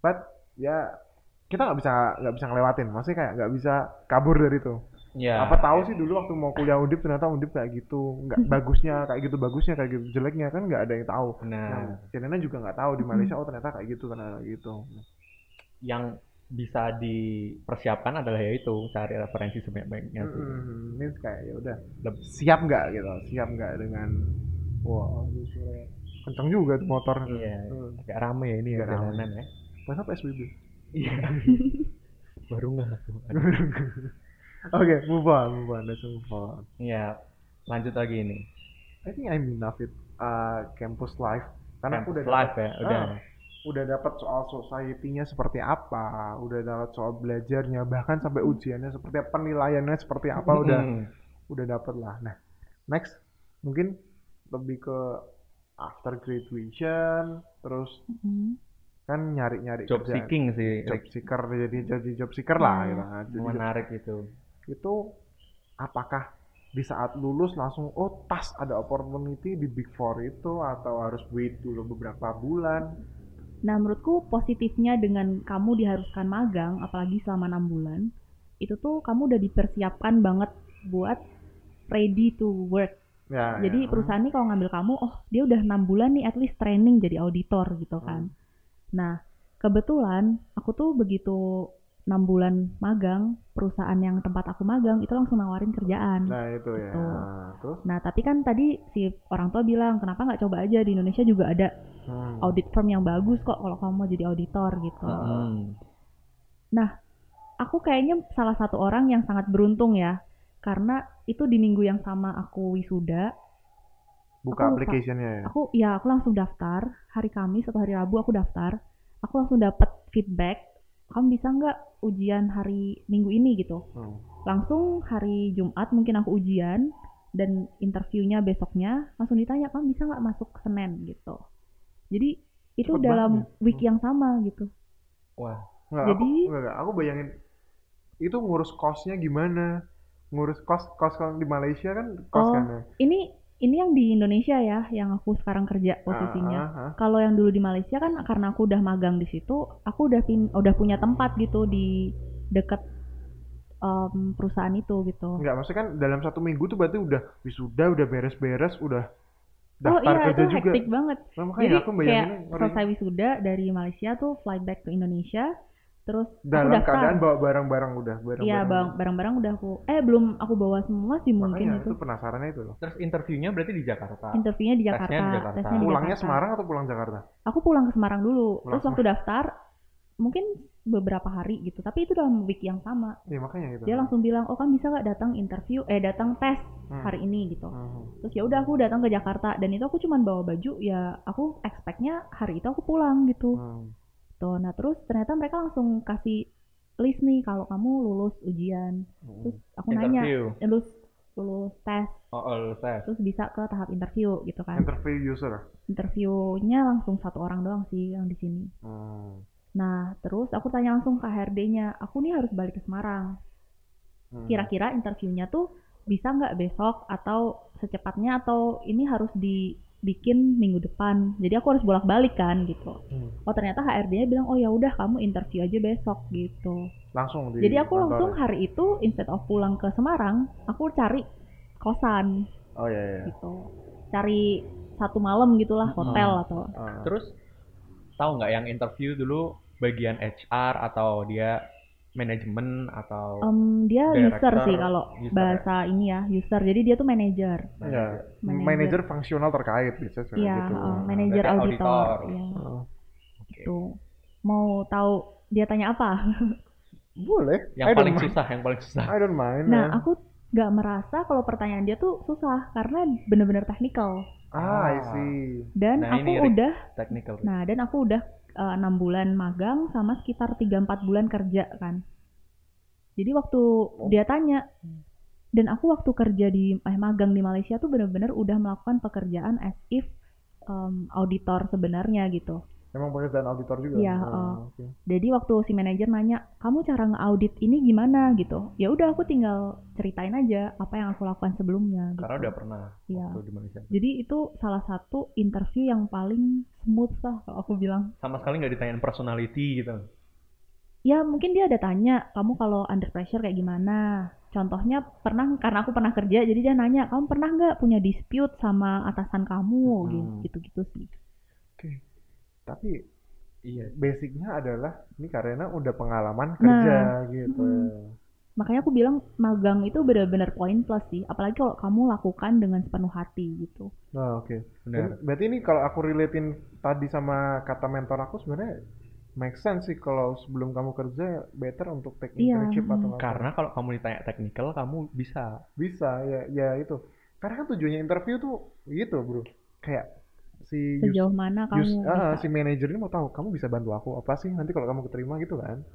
S4: But ya kita nggak bisa nggak bisa ngelewatin, maksudnya kayak nggak bisa kabur dari itu.
S3: Ya.
S4: Apa tahu sih dulu waktu mau kuliah undip ternyata undip kayak gitu, nggak bagusnya kayak gitu bagusnya kayak gitu jeleknya kan nggak ada yang tahu.
S3: Nah, Hmm.
S4: Nah, Cendana juga nggak tahu di Malaysia oh ternyata kayak gitu ternyata kayak gitu.
S3: yang bisa dipersiapkan adalah ya itu cari referensi sebanyak-banyaknya. tuh.
S4: Mm, means kayak ya udah
S3: Leb-
S4: siap nggak gitu siap nggak dengan wah aduh, suaranya kenceng juga tuh motor
S3: Iya.
S4: Hmm.
S3: Agak rame ya ini ya
S4: Agak rame.
S3: jalanan ya.
S4: masa PSBB
S3: Iya. Baru nggak.
S4: oke move on move on let's move on
S3: Iya. Lanjut lagi ini.
S4: I think I'm enough with uh, campus life karena aku udah
S3: Campus
S4: dapat
S3: life ya. Udah.
S4: Ah. udah dapat soal society-nya seperti apa udah dapat soal belajarnya bahkan sampai
S3: Hmm.
S4: ujiannya seperti apa penilaiannya seperti apa udah
S3: Mm.
S4: udah dapet lah. Nah, next mungkin lebih ke after graduation, terus
S5: Mhm.
S4: kan nyari-nyari
S3: Job
S4: kerjaan.
S3: seeking sih.
S4: job seeker jadi jadi job seeker lah
S5: Hmm.
S4: gitu. Nah, jadi job-
S3: Menarik itu.
S4: itu apakah di saat lulus langsung oh pas ada opportunity di big four itu atau harus wait dulu beberapa bulan
S5: Nah, menurutku positifnya dengan kamu diharuskan magang, apalagi selama enam bulan, itu tuh kamu udah dipersiapkan banget buat ready to work.
S4: ya ya.
S5: jadi perusahaan ini kalau ngambil kamu, oh dia udah enam bulan nih, at least training jadi auditor gitu kan. Nah, kebetulan aku tuh begitu enam bulan magang, perusahaan yang tempat aku magang itu langsung nawarin kerjaan.
S4: nah itu ya
S5: Betul.
S4: Nah, terus
S5: Nah, tapi kan tadi si orang tua bilang, kenapa nggak coba aja di Indonesia juga ada
S4: hmm.
S5: audit firm yang bagus kok kalau kamu mau jadi auditor gitu.
S4: Ah.
S3: Mm.
S5: Aku kayaknya salah satu orang yang sangat beruntung ya, karena itu di minggu yang sama aku wisuda,
S4: buka
S5: aku lupa.
S4: application-nya ya
S5: aku ya aku langsung daftar hari Kamis atau hari Rabu aku daftar, aku langsung dapat feedback, kamu bisa nggak ujian hari Minggu ini gitu.
S4: Hmm.
S5: Langsung hari Jumat mungkin aku ujian dan interviewnya besoknya langsung ditanya kamu bisa nggak masuk Senin gitu. Jadi itu
S4: Cepet
S5: dalam
S4: banget ya.
S5: week yang sama gitu.
S3: Wah.
S4: Nggak,
S5: Jadi-
S4: aku, nggak, nggak. aku bayangin itu ngurus kosnya gimana? Ngurus kos kos kalau di Malaysia kan kos
S5: Oh,
S4: kan ya.
S5: ini ini yang di Indonesia ya yang aku sekarang kerja posisinya
S4: Ah, ah, ah.
S5: kalau yang dulu di Malaysia kan karena aku udah magang di situ aku udah pin udah punya tempat gitu di deket em, perusahaan itu gitu
S4: Nggak, maksudnya kan dalam satu minggu tuh berarti udah wisuda, udah beres-beres, udah
S5: oh
S4: daftar
S5: iya
S4: kerja
S5: itu
S4: juga.
S5: hektik banget
S4: Nah, makanya
S5: jadi
S4: aku
S5: kayak
S4: bayanginnya ngeri.
S5: selesai wisuda dari Malaysia tuh fly back ke Indonesia terus aku
S4: dalam
S5: daftar
S4: keadaan bawa barang-barang udah barang-barang.
S5: iya bang barang-barang udah aku eh belum aku bawa semua sih
S4: Makanya
S5: mungkin
S4: itu
S5: itu
S4: penasarannya itu loh.
S3: Terus interviewnya berarti di Jakarta.
S5: interviewnya di Jakarta
S3: Tesnya di Jakarta.
S5: tesnya di
S4: Pulangnya
S5: Jakarta.
S4: Semarang atau pulang Jakarta?
S5: aku pulang ke Semarang dulu.
S4: Pulang
S5: Terus waktu daftar mungkin beberapa hari gitu, tapi itu dalam week yang sama.
S4: Iya, makanya itu.
S5: Dia langsung bilang, "Oh, kan bisa nggak datang interview eh datang tes
S4: Hmm.
S5: hari ini gitu." Terus ya udah aku datang ke Jakarta dan itu aku cuman bawa baju ya aku expectnya hari itu aku
S4: Hmm.
S5: pulang gitu. Tuh, nah terus ternyata mereka langsung kasih list nih kalau kamu lulus ujian. Terus aku nanya,
S3: Interview.
S5: "Eh, "Lulus lulus tes,
S3: Oh, oh, lulus tes.
S5: terus bisa ke tahap interview gitu kan."
S4: Interview user.
S5: Interviewnya langsung satu orang doang sih yang di sini.
S4: Hmm.
S5: Nah, terus aku tanya langsung ke HRD-nya, aku nih harus balik ke Semarang.
S4: Hmm.
S5: Kira-kira interviewnya tuh bisa nggak besok atau secepatnya atau ini harus dibikin minggu depan. Jadi aku harus bolak-balik kan gitu.
S4: Hmm.
S5: Oh ternyata HRD-nya bilang, oh ya udah kamu interview aja besok gitu.
S4: langsung di
S5: Jadi aku
S4: kantor
S5: langsung
S4: ya?
S5: hari itu instead of pulang ke Semarang, aku cari kosan
S4: Oh iya iya.
S5: gitu. Cari satu malam gitulah
S3: Mm-mm.
S5: hotel atau
S4: Ah.
S3: Terus tahu nggak yang interview dulu bagian HR atau dia manajemen atau
S5: Em, dia user
S3: Director,
S5: sih kalau
S3: user ya?
S5: bahasa ini ya user. Jadi dia tuh manajer.
S4: Ya,
S5: Manajer.
S4: manajer fungsional terkait biasanya kayak
S5: Iya,
S4: gitu.
S5: heeh, manajer
S3: Berarti
S5: auditor.
S3: auditor.
S5: Iya,
S4: Heeh.
S5: gitu. Mau tahu dia tanya apa?
S4: Boleh.
S3: Yang
S4: I don't
S3: paling
S4: mind.
S3: susah, yang paling susah.
S4: I don't mind.
S5: Nah,
S4: man.
S5: aku nggak merasa kalau pertanyaan dia tuh susah karena bener-bener technical
S4: ah, I see.
S5: dan
S3: Nah,
S5: aku
S3: ini, Rick.
S5: udah
S3: Technical.
S5: nah dan aku udah eh, enam bulan magang sama sekitar 3-4 bulan kerja kan jadi waktu
S3: Oh.
S5: dia tanya
S3: Hmm.
S5: dan aku waktu kerja di eh, magang di Malaysia tuh bener-bener udah melakukan pekerjaan as if em, auditor sebenarnya gitu
S4: Emang pekerjaan auditor juga.
S5: Iya,
S4: Ah,
S5: eh.
S4: oke.
S5: Jadi waktu si manajer nanya, kamu cara nge-audit ini gimana gitu? Ya udah aku tinggal ceritain aja apa yang aku lakukan sebelumnya. Gitu.
S3: Karena udah pernah
S5: Iya.
S3: waktu di Malaysia.
S5: Jadi itu salah satu interview yang paling smooth lah kalau aku bilang.
S3: Sama sekali nggak ditanyain personality gitu.
S5: Ya mungkin dia ada tanya, kamu kalau under pressure kayak gimana? Contohnya pernah karena aku pernah kerja, jadi dia nanya, kamu pernah nggak punya dispute sama atasan kamu Gitu,
S4: Hmm.
S5: gitu-gitu sih.
S4: Tapi
S3: Iya.
S4: basicnya adalah ini karena udah pengalaman
S5: Nah.
S4: kerja gitu.
S5: Mm. Makanya aku bilang magang itu benar-benar poin plus sih, apalagi kalau kamu lakukan dengan sepenuh hati gitu.
S4: Nah, oke.
S3: Benar.
S4: Jadi, Berarti ini kalau aku relatein tadi sama kata mentor aku sebenarnya make sense sih kalau sebelum kamu kerja better untuk take
S5: Iya,
S4: internship atau apa.
S3: Karena kalau kamu ditanya technical, kamu bisa.
S4: bisa ya ya itu. Karena kan tujuannya interview tuh gitu, Bro. Kayak si user-
S5: sejauh mana kamu
S4: Yus- ah,
S5: bisa.
S4: si manajer ini mau tahu kamu bisa bantu aku apa sih nanti kalau kamu keterima gitu kan?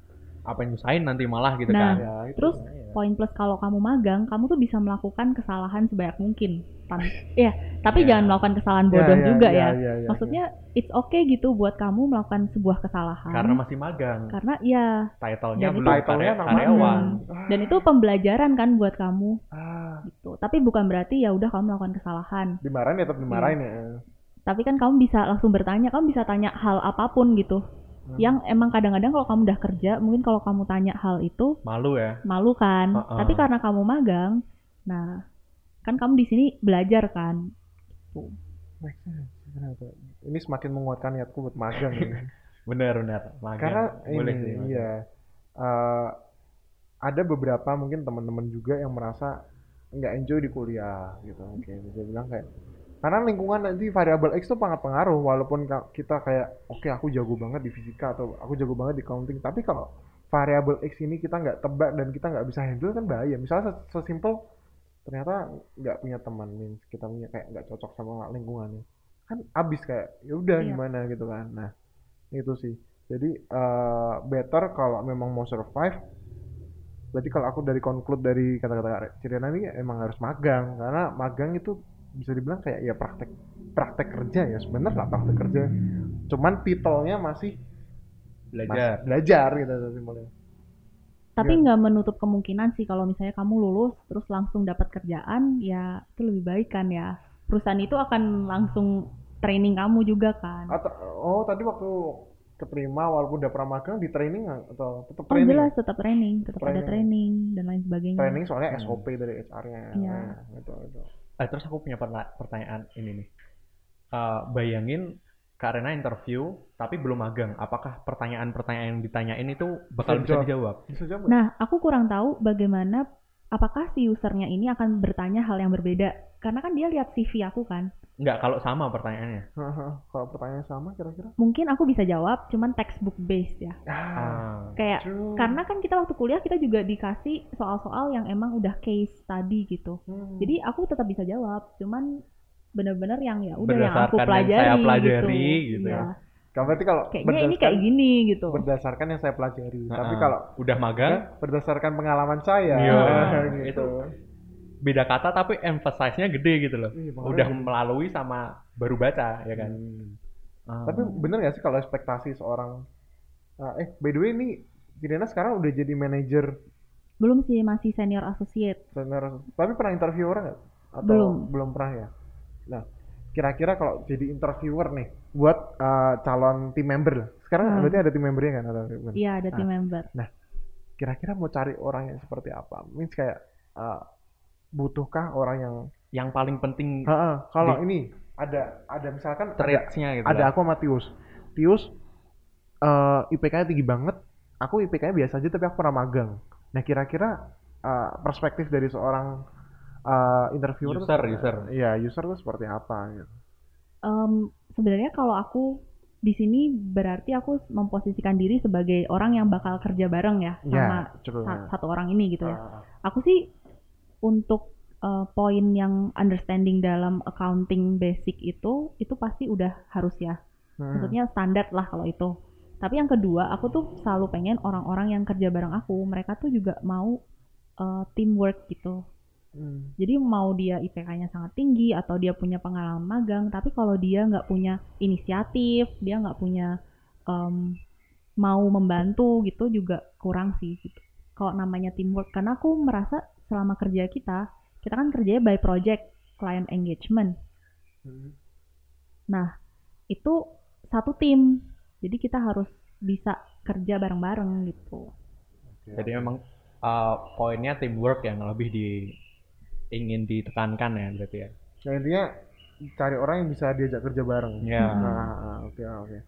S3: Apa yang nyusahin nanti malah gitu
S5: Nah,
S3: kan.
S4: Ya, itu.
S5: terus
S3: Iya.
S5: poin plus kalau kamu magang kamu tuh bisa melakukan kesalahan sebanyak mungkin Tan- Iya, tapi
S3: Iya.
S5: jangan melakukan kesalahan bodoh juga ya,
S4: iya, iya,
S5: maksudnya it's okay gitu buat kamu melakukan sebuah kesalahan
S3: Karena masih magang.
S5: Karena ya
S3: Title-nya
S5: Dan
S3: belum
S4: title-nya
S3: karya-
S4: namanya.
S3: karyawan.
S5: Hmm.
S4: Ah,
S5: dan itu pembelajaran kan buat kamu
S4: ah,
S5: gitu tapi bukan berarti ya udah kamu melakukan kesalahan
S4: dimarahin ya tetap dimarahin
S5: Iya.
S4: ya.
S5: tapi kan kamu bisa langsung bertanya kamu bisa tanya hal apapun gitu
S4: Hmm.
S5: yang emang kadang-kadang kalau kamu udah kerja mungkin kalau kamu tanya hal itu
S3: Malu ya.
S5: malu kan
S3: Heeh.
S5: tapi karena kamu magang nah kan kamu di sini belajar kan
S4: Make sense. Kenapa? Ini semakin menguatkan niatku buat magang ya. ini.
S3: Benar, benar. Magang.
S4: Karena
S3: Boleh sih,
S4: ini
S3: magang.
S4: iya. Eh, ada beberapa mungkin teman-teman juga yang merasa nggak enjoy di kuliah gitu. Oke, bisa bilang kayak karena lingkungan nanti variabel X tuh sangat pengaruh walaupun ka- kita kayak oke aku jago banget di fisika atau aku jago banget di counting tapi kalau variabel X ini kita nggak tebak dan kita nggak bisa handle kan bahaya misalnya ses- sesimpel ternyata nggak punya teman means kita punya kayak nggak cocok sama lingkungannya kan abis kayak ya udah
S5: Iya.
S4: gimana gitu kan nah itu sih jadi eh, better kalau memang mau survive berarti kalau aku dari conclude dari kata-kata Ciriana ini emang harus magang karena magang itu bisa dibilang kayak ya praktek praktek kerja ya sebenarnya lah praktek kerja cuman titelnya masih masih
S3: Belajar.
S4: belajar gitu simpelnya.
S5: tapi
S4: Iya.
S5: nggak menutup kemungkinan sih kalau misalnya kamu lulus terus langsung dapat kerjaan ya itu lebih baik kan ya perusahaan itu akan langsung training kamu juga kan
S4: atau oh tadi waktu keterima walaupun udah pernah magang di training nggak? atau tetap
S5: oh
S4: training ya?
S5: jelas tetap training tetap ada
S4: Training. ya?
S5: training dan lain sebagainya
S4: training soalnya
S3: Hmm.
S4: SOP dari HR-nya
S5: Iya.
S4: gitu, gitu.
S3: Eh, terus aku punya perna- pertanyaan ini nih. Eh, bayangin karena interview tapi belum magang, apakah pertanyaan-pertanyaan yang ditanyain itu bakal
S4: Bisa
S3: bisa dijawab?
S4: bisa jawab nggak?
S5: nah aku kurang tahu bagaimana apakah si usernya ini akan bertanya hal yang berbeda karena kan dia lihat CV aku kan
S3: Enggak, kalau sama pertanyaannya.
S4: Haha, kalau pertanyaan sama kira-kira
S5: mungkin aku bisa jawab cuman textbook based ya
S3: Ah,
S5: kayak
S4: True.
S5: karena kan kita waktu kuliah kita juga dikasih soal-soal yang emang udah case study gitu
S4: Hmm.
S5: jadi aku tetap bisa jawab cuman bener-bener yang ya udah yang
S3: Berdasarkan
S5: aku
S3: yang
S5: pelajari,
S3: saya pelajari gitu
S5: Iya.
S3: ya.
S4: Kalau berarti kalau
S5: kayaknya ini kayak
S4: berdasarkan-
S5: gini gitu
S4: berdasarkan yang saya pelajari tapi
S3: Ah,
S4: kalau Iya.
S3: udah
S4: Ya?
S3: magang,
S4: berdasarkan pengalaman saya
S3: Iya.
S4: gitu
S3: beda kata tapi emphasize-nya gede gitu loh.
S4: Iya, makanya
S3: Udah
S4: gitu.
S3: melalui sama baru baca ya kan.
S4: Hmm.
S3: Ah.
S4: Tapi bener gak sih kalau ekspektasi seorang Ah, eh by the way ini Jirena sekarang udah jadi manajer
S5: belum sih masih senior associate
S4: senior. Tapi pernah interview orang nggak? Atau
S5: Belum.
S4: Belum pernah ya. Nah, kira-kira kalau jadi interviewer nih buat eh, calon team member lah. Sekarang
S5: Hmm.
S4: berarti ada team membernya kan atau gimana?
S5: iya
S3: Ah.
S5: ada team member
S4: Kira-kira mau cari orang yang seperti apa? Means kayak eh, butuhkah orang yang
S3: yang paling penting
S4: Ha-ha, kalau ini ada ada misalkan ada-
S3: traits-nya gitu.
S4: ada
S3: lah.
S4: aku sama Tius. Tius eh IPK-nya tinggi banget. Aku IPK-nya biasa aja tapi aku pernah magang. Nah, kira-kira eh, perspektif dari seorang eh, interviewer tuh
S3: User,
S4: seperti-
S3: user.
S4: Iya, user tuh seperti apa gitu.
S5: Em, sebenarnya kalau aku di sini berarti aku memposisikan diri sebagai orang yang bakal kerja bareng ya
S3: Iya.
S5: sama
S4: Ya, betul.
S5: sa- satu orang ini gitu ya.
S4: Ah,
S5: Aku sih untuk eh, poin yang understanding dalam accounting basic itu itu pasti udah harus ya
S4: hmm.
S5: maksudnya standar lah kalau itu tapi yang kedua aku tuh selalu pengen orang-orang yang kerja bareng aku mereka tuh juga mau uh, teamwork gitu
S4: Hmm.
S5: jadi mau dia IPK-nya sangat tinggi atau dia punya pengalaman magang tapi kalau dia nggak punya inisiatif dia nggak punya um, mau membantu gitu juga kurang sih gitu kalau namanya teamwork karena aku merasa selama kerja kita kita kan kerjanya by project client engagement
S4: Hmm.
S5: itu satu tim. Jadi kita harus bisa kerja bareng-bareng gitu.
S4: Iya.
S3: Jadi memang uh, poinnya teamwork yang lebih di ingin ditekankan ya berarti ya.
S4: Nah, intinya cari orang yang bisa diajak kerja bareng.
S3: Ya.
S4: Nah, ah, ah, oke ah, oke.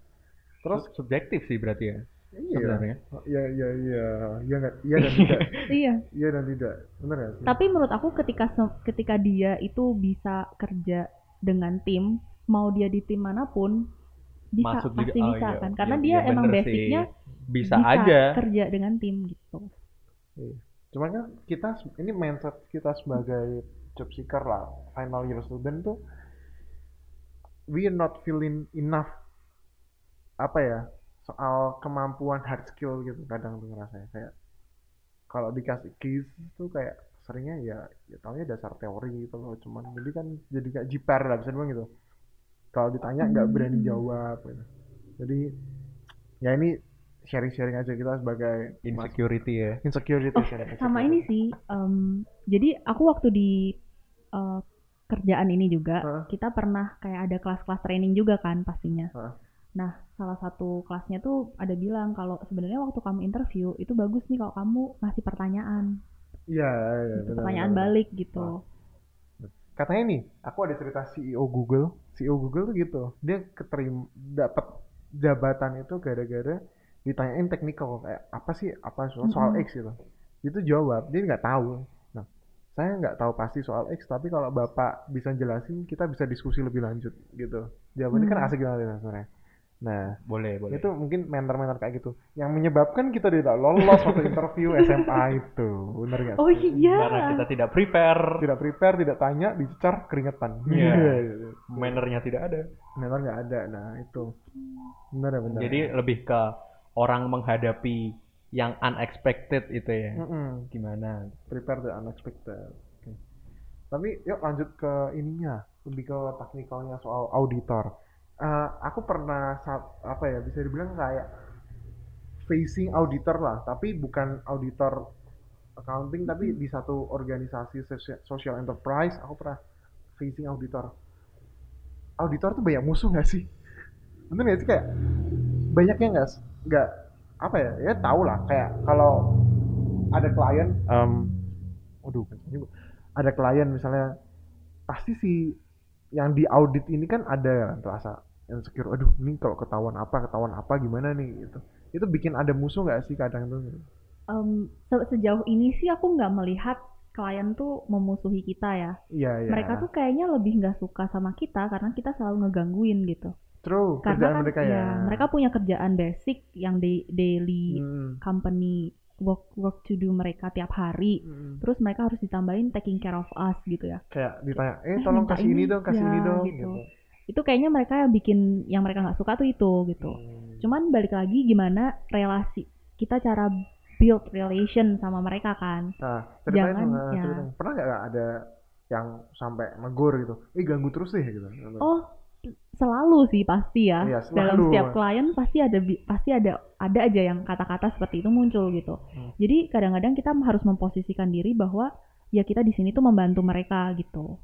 S4: Terus
S3: Sub- subjektif sih berarti ya
S4: iya.
S3: sebenarnya.
S4: Iya iya iya. Iya nggak- iya dan tidak.
S5: Iya.
S4: Iya dan tidak. Benar ya?
S5: Tapi menurut aku ketika se- ketika dia itu bisa kerja dengan tim, mau dia di tim manapun, bisa
S3: Masuk juga
S5: pasti
S3: oh,
S5: bisa
S3: iya,
S5: kan? Karena
S3: iya,
S5: dia
S3: iya,
S5: emang
S3: bener sih.
S5: basicnya
S3: bisa, aja.
S5: kerja dengan tim gitu.
S4: Cuman kan kita se- ini mindset kita sebagai job seeker lah, final year student tuh we are not feeling enough apa ya soal kemampuan hard skill gitu kadang tuh ngerasanya kayak kalau dikasih keys tuh kayak seringnya ya ya taunya dasar teori gitu loh cuman jadi kan jadi kayak jiper lah bisa dibilang gitu kalau ditanya nggak berani
S5: Hmm.
S4: jawab gitu. jadi ya ini sharing-sharing aja kita sebagai mas-
S3: Insecurity ya.
S4: insecurity
S5: Oh,
S4: sharing insecurity.
S5: Sama ini sih. em, jadi aku waktu di eh, kerjaan ini juga,
S4: Heeh.
S5: kita pernah kayak ada kelas-kelas training juga kan pastinya.
S4: Heeh.
S5: Nah, salah satu kelasnya tuh ada bilang kalau sebenarnya waktu kamu interview itu bagus nih kalau kamu ngasih pertanyaan,
S4: Iya, iya,
S5: gitu,
S4: benar,
S5: pertanyaan
S4: benar,
S5: balik gitu.
S4: Katanya nih, aku ada cerita CEO Google. CEO Google tuh gitu, dia keterim dapat jabatan itu gara-gara ditanyain technical kayak apa sih apa soal, soal
S5: Mm-mm.
S4: X gitu. Itu jawab, dia nggak tahu. Nah, saya nggak tahu pasti soal X, tapi kalau bapak bisa jelasin, kita bisa diskusi lebih lanjut gitu. Jawabannya kan
S5: Hmm.
S4: asik banget ya, sebenarnya. Nah,
S3: Boleh, boleh.
S4: itu mungkin mentor-mentor kayak gitu yang menyebabkan kita tidak lolos waktu interview SMA itu, bener nggak?
S5: Oh iya.
S3: Karena kita tidak prepare,
S4: tidak prepare, tidak tanya, dicecar keringetan.
S3: Iya.
S4: Iya.
S3: mannernya tidak ada.
S4: Memang nggak ada. Nah itu benar ya benar.
S3: Jadi lebih ke orang menghadapi yang unexpected itu ya.
S4: Mm-mm.
S3: Gimana?
S4: prepare the unexpected. Oke. Tapi yuk lanjut ke ininya, lebih ke teknikalnya soal auditor. Eh, aku pernah sa- apa ya bisa dibilang kayak facing auditor lah, tapi bukan auditor accounting tapi di satu organisasi sosia- social enterprise aku pernah facing auditor. Auditor tuh banyak musuh nggak sih? Bener nggak sih kayak banyaknya nggak s- nggak apa ya ya tau lah kayak kalau ada klien em waduh ini- ada klien misalnya pasti si yang di audit ini kan ada yang rasa insecure aduh ini kalau ketahuan apa ketahuan apa gimana nih gitu itu bikin ada musuh nggak sih kadang tuh
S5: Em, se- sejauh ini sih aku nggak melihat klien tuh memusuhi kita ya.
S4: iya iya
S5: Mereka tuh kayaknya lebih nggak suka sama kita karena kita selalu ngegangguin gitu.
S4: true kerjaan
S5: karena kan
S4: mereka ya
S5: ya, mereka punya kerjaan basic yang di- daily
S4: Hmm,
S5: company work work to do mereka tiap hari
S4: hmm.
S5: terus mereka harus ditambahin taking care of us gitu ya
S4: kayak ditanya eh
S5: Eh,
S4: tolong
S5: minta
S4: kasih ini,
S5: ini,
S4: dong kasih
S5: ya,
S4: ini dong
S5: gitu.
S4: gitu,
S5: itu kayaknya mereka yang bikin yang mereka nggak suka tuh itu gitu
S4: Hmm.
S5: cuman balik lagi gimana relasi kita cara build relation sama mereka kan
S4: Nah, ceritain
S5: Jangan,
S4: dong, nah,
S5: ya.
S4: ceritain. Pernah nggak ada yang sampai negur gitu? Eh ganggu terus sih gitu.
S5: oh selalu sih pasti ya
S4: Iya,
S5: dalam
S4: selalu.
S5: setiap klien pasti ada bi- pasti ada ada aja yang kata-kata seperti itu muncul gitu
S4: Hmm.
S5: jadi kadang-kadang kita harus memposisikan diri bahwa ya kita di sini tuh membantu mereka gitu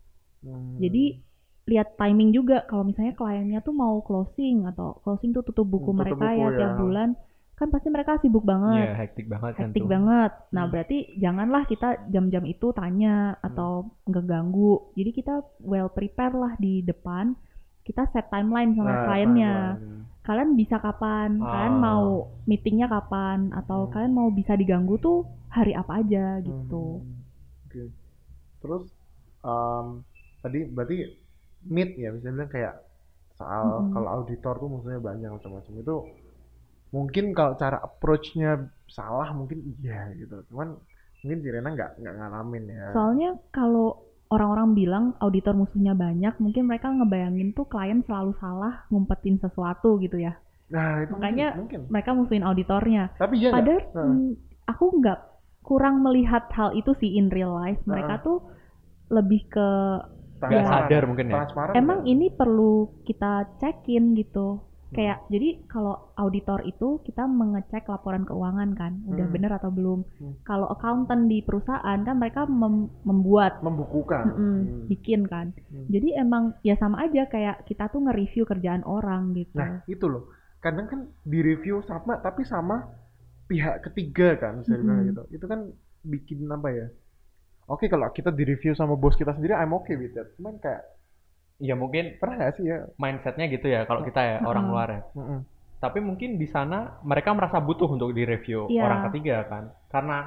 S4: Hmm.
S5: Jadi lihat timing juga kalau misalnya kliennya tuh mau closing atau closing tuh tutup buku
S4: Tutup
S5: mereka
S4: buku,
S5: ya
S4: ya.
S5: tiap bulan kan pasti mereka sibuk
S3: Iya,
S5: banget,
S3: hektik banget kan
S5: hektik
S3: tuh.
S5: banget. Nah,
S4: Hmm.
S5: berarti janganlah kita jam-jam itu tanya atau ngeganggu. Jadi kita well prepare lah di depan. Kita set timeline sama
S4: Nah,
S5: kliennya.
S4: timeline.
S5: Kalian bisa kapan? Kalian
S3: Ah.
S5: mau meetingnya kapan? Atau
S4: Hmm.
S5: kalian mau bisa diganggu tuh hari apa aja gitu.
S4: Hmm, Oke. Terus em, tadi berarti meet ya bisa bilang kayak soal
S5: Mm-mm.
S4: kalau auditor tuh maksudnya banyak macam-macam itu mungkin kalau cara approach-nya salah mungkin iya gitu cuman mungkin si Rena nggak nggak ngalamin ya
S5: Soalnya kalau orang-orang bilang auditor musuhnya banyak, mungkin mereka ngebayangin tuh klien selalu salah ngumpetin sesuatu gitu ya.
S4: nah itu
S5: Makanya-
S4: mungkin, mungkin.
S5: Mereka musuhin auditornya.
S4: tapi iya nggak?
S5: Padahal
S4: Heeh.
S5: mm, aku nggak kurang melihat hal itu sih in real life. Mereka tuh lebih ke
S3: nggak
S5: Ya.
S3: sadar mungkin ya
S4: transparan
S5: emang iya.
S4: nggak?
S5: ini perlu kita cekin gitu.
S4: Hmm.
S5: Kayak jadi kalau auditor itu kita mengecek laporan keuangan kan, udah
S4: Hmm.
S5: bener atau belum.
S4: Hmm.
S5: Kalau accountant di perusahaan kan mereka mem- membuat
S4: membukukan
S5: Mm-mm,
S4: Hmm.
S5: bikin kan.
S4: Hmm.
S5: Jadi emang ya sama aja kayak kita tuh nge-review kerjaan orang gitu.
S4: Nah, itu loh. Kadang kan di review sama tapi sama pihak ketiga kan bisa dibilang
S5: Mm-mm.
S4: gitu. Itu kan bikin apa ya? Oke, kalau kita di review sama bos kita sendiri I'm okay with that. Cuman kayak
S3: ya mungkin
S4: pernah nggak sih ya?
S3: mindsetnya gitu ya
S5: Iya.
S3: kalau kita ya orang
S5: Mm-mm.
S3: luar ya
S4: Mm-mm.
S3: tapi mungkin di sana mereka merasa butuh untuk direview
S5: Iya.
S3: orang ketiga kan karena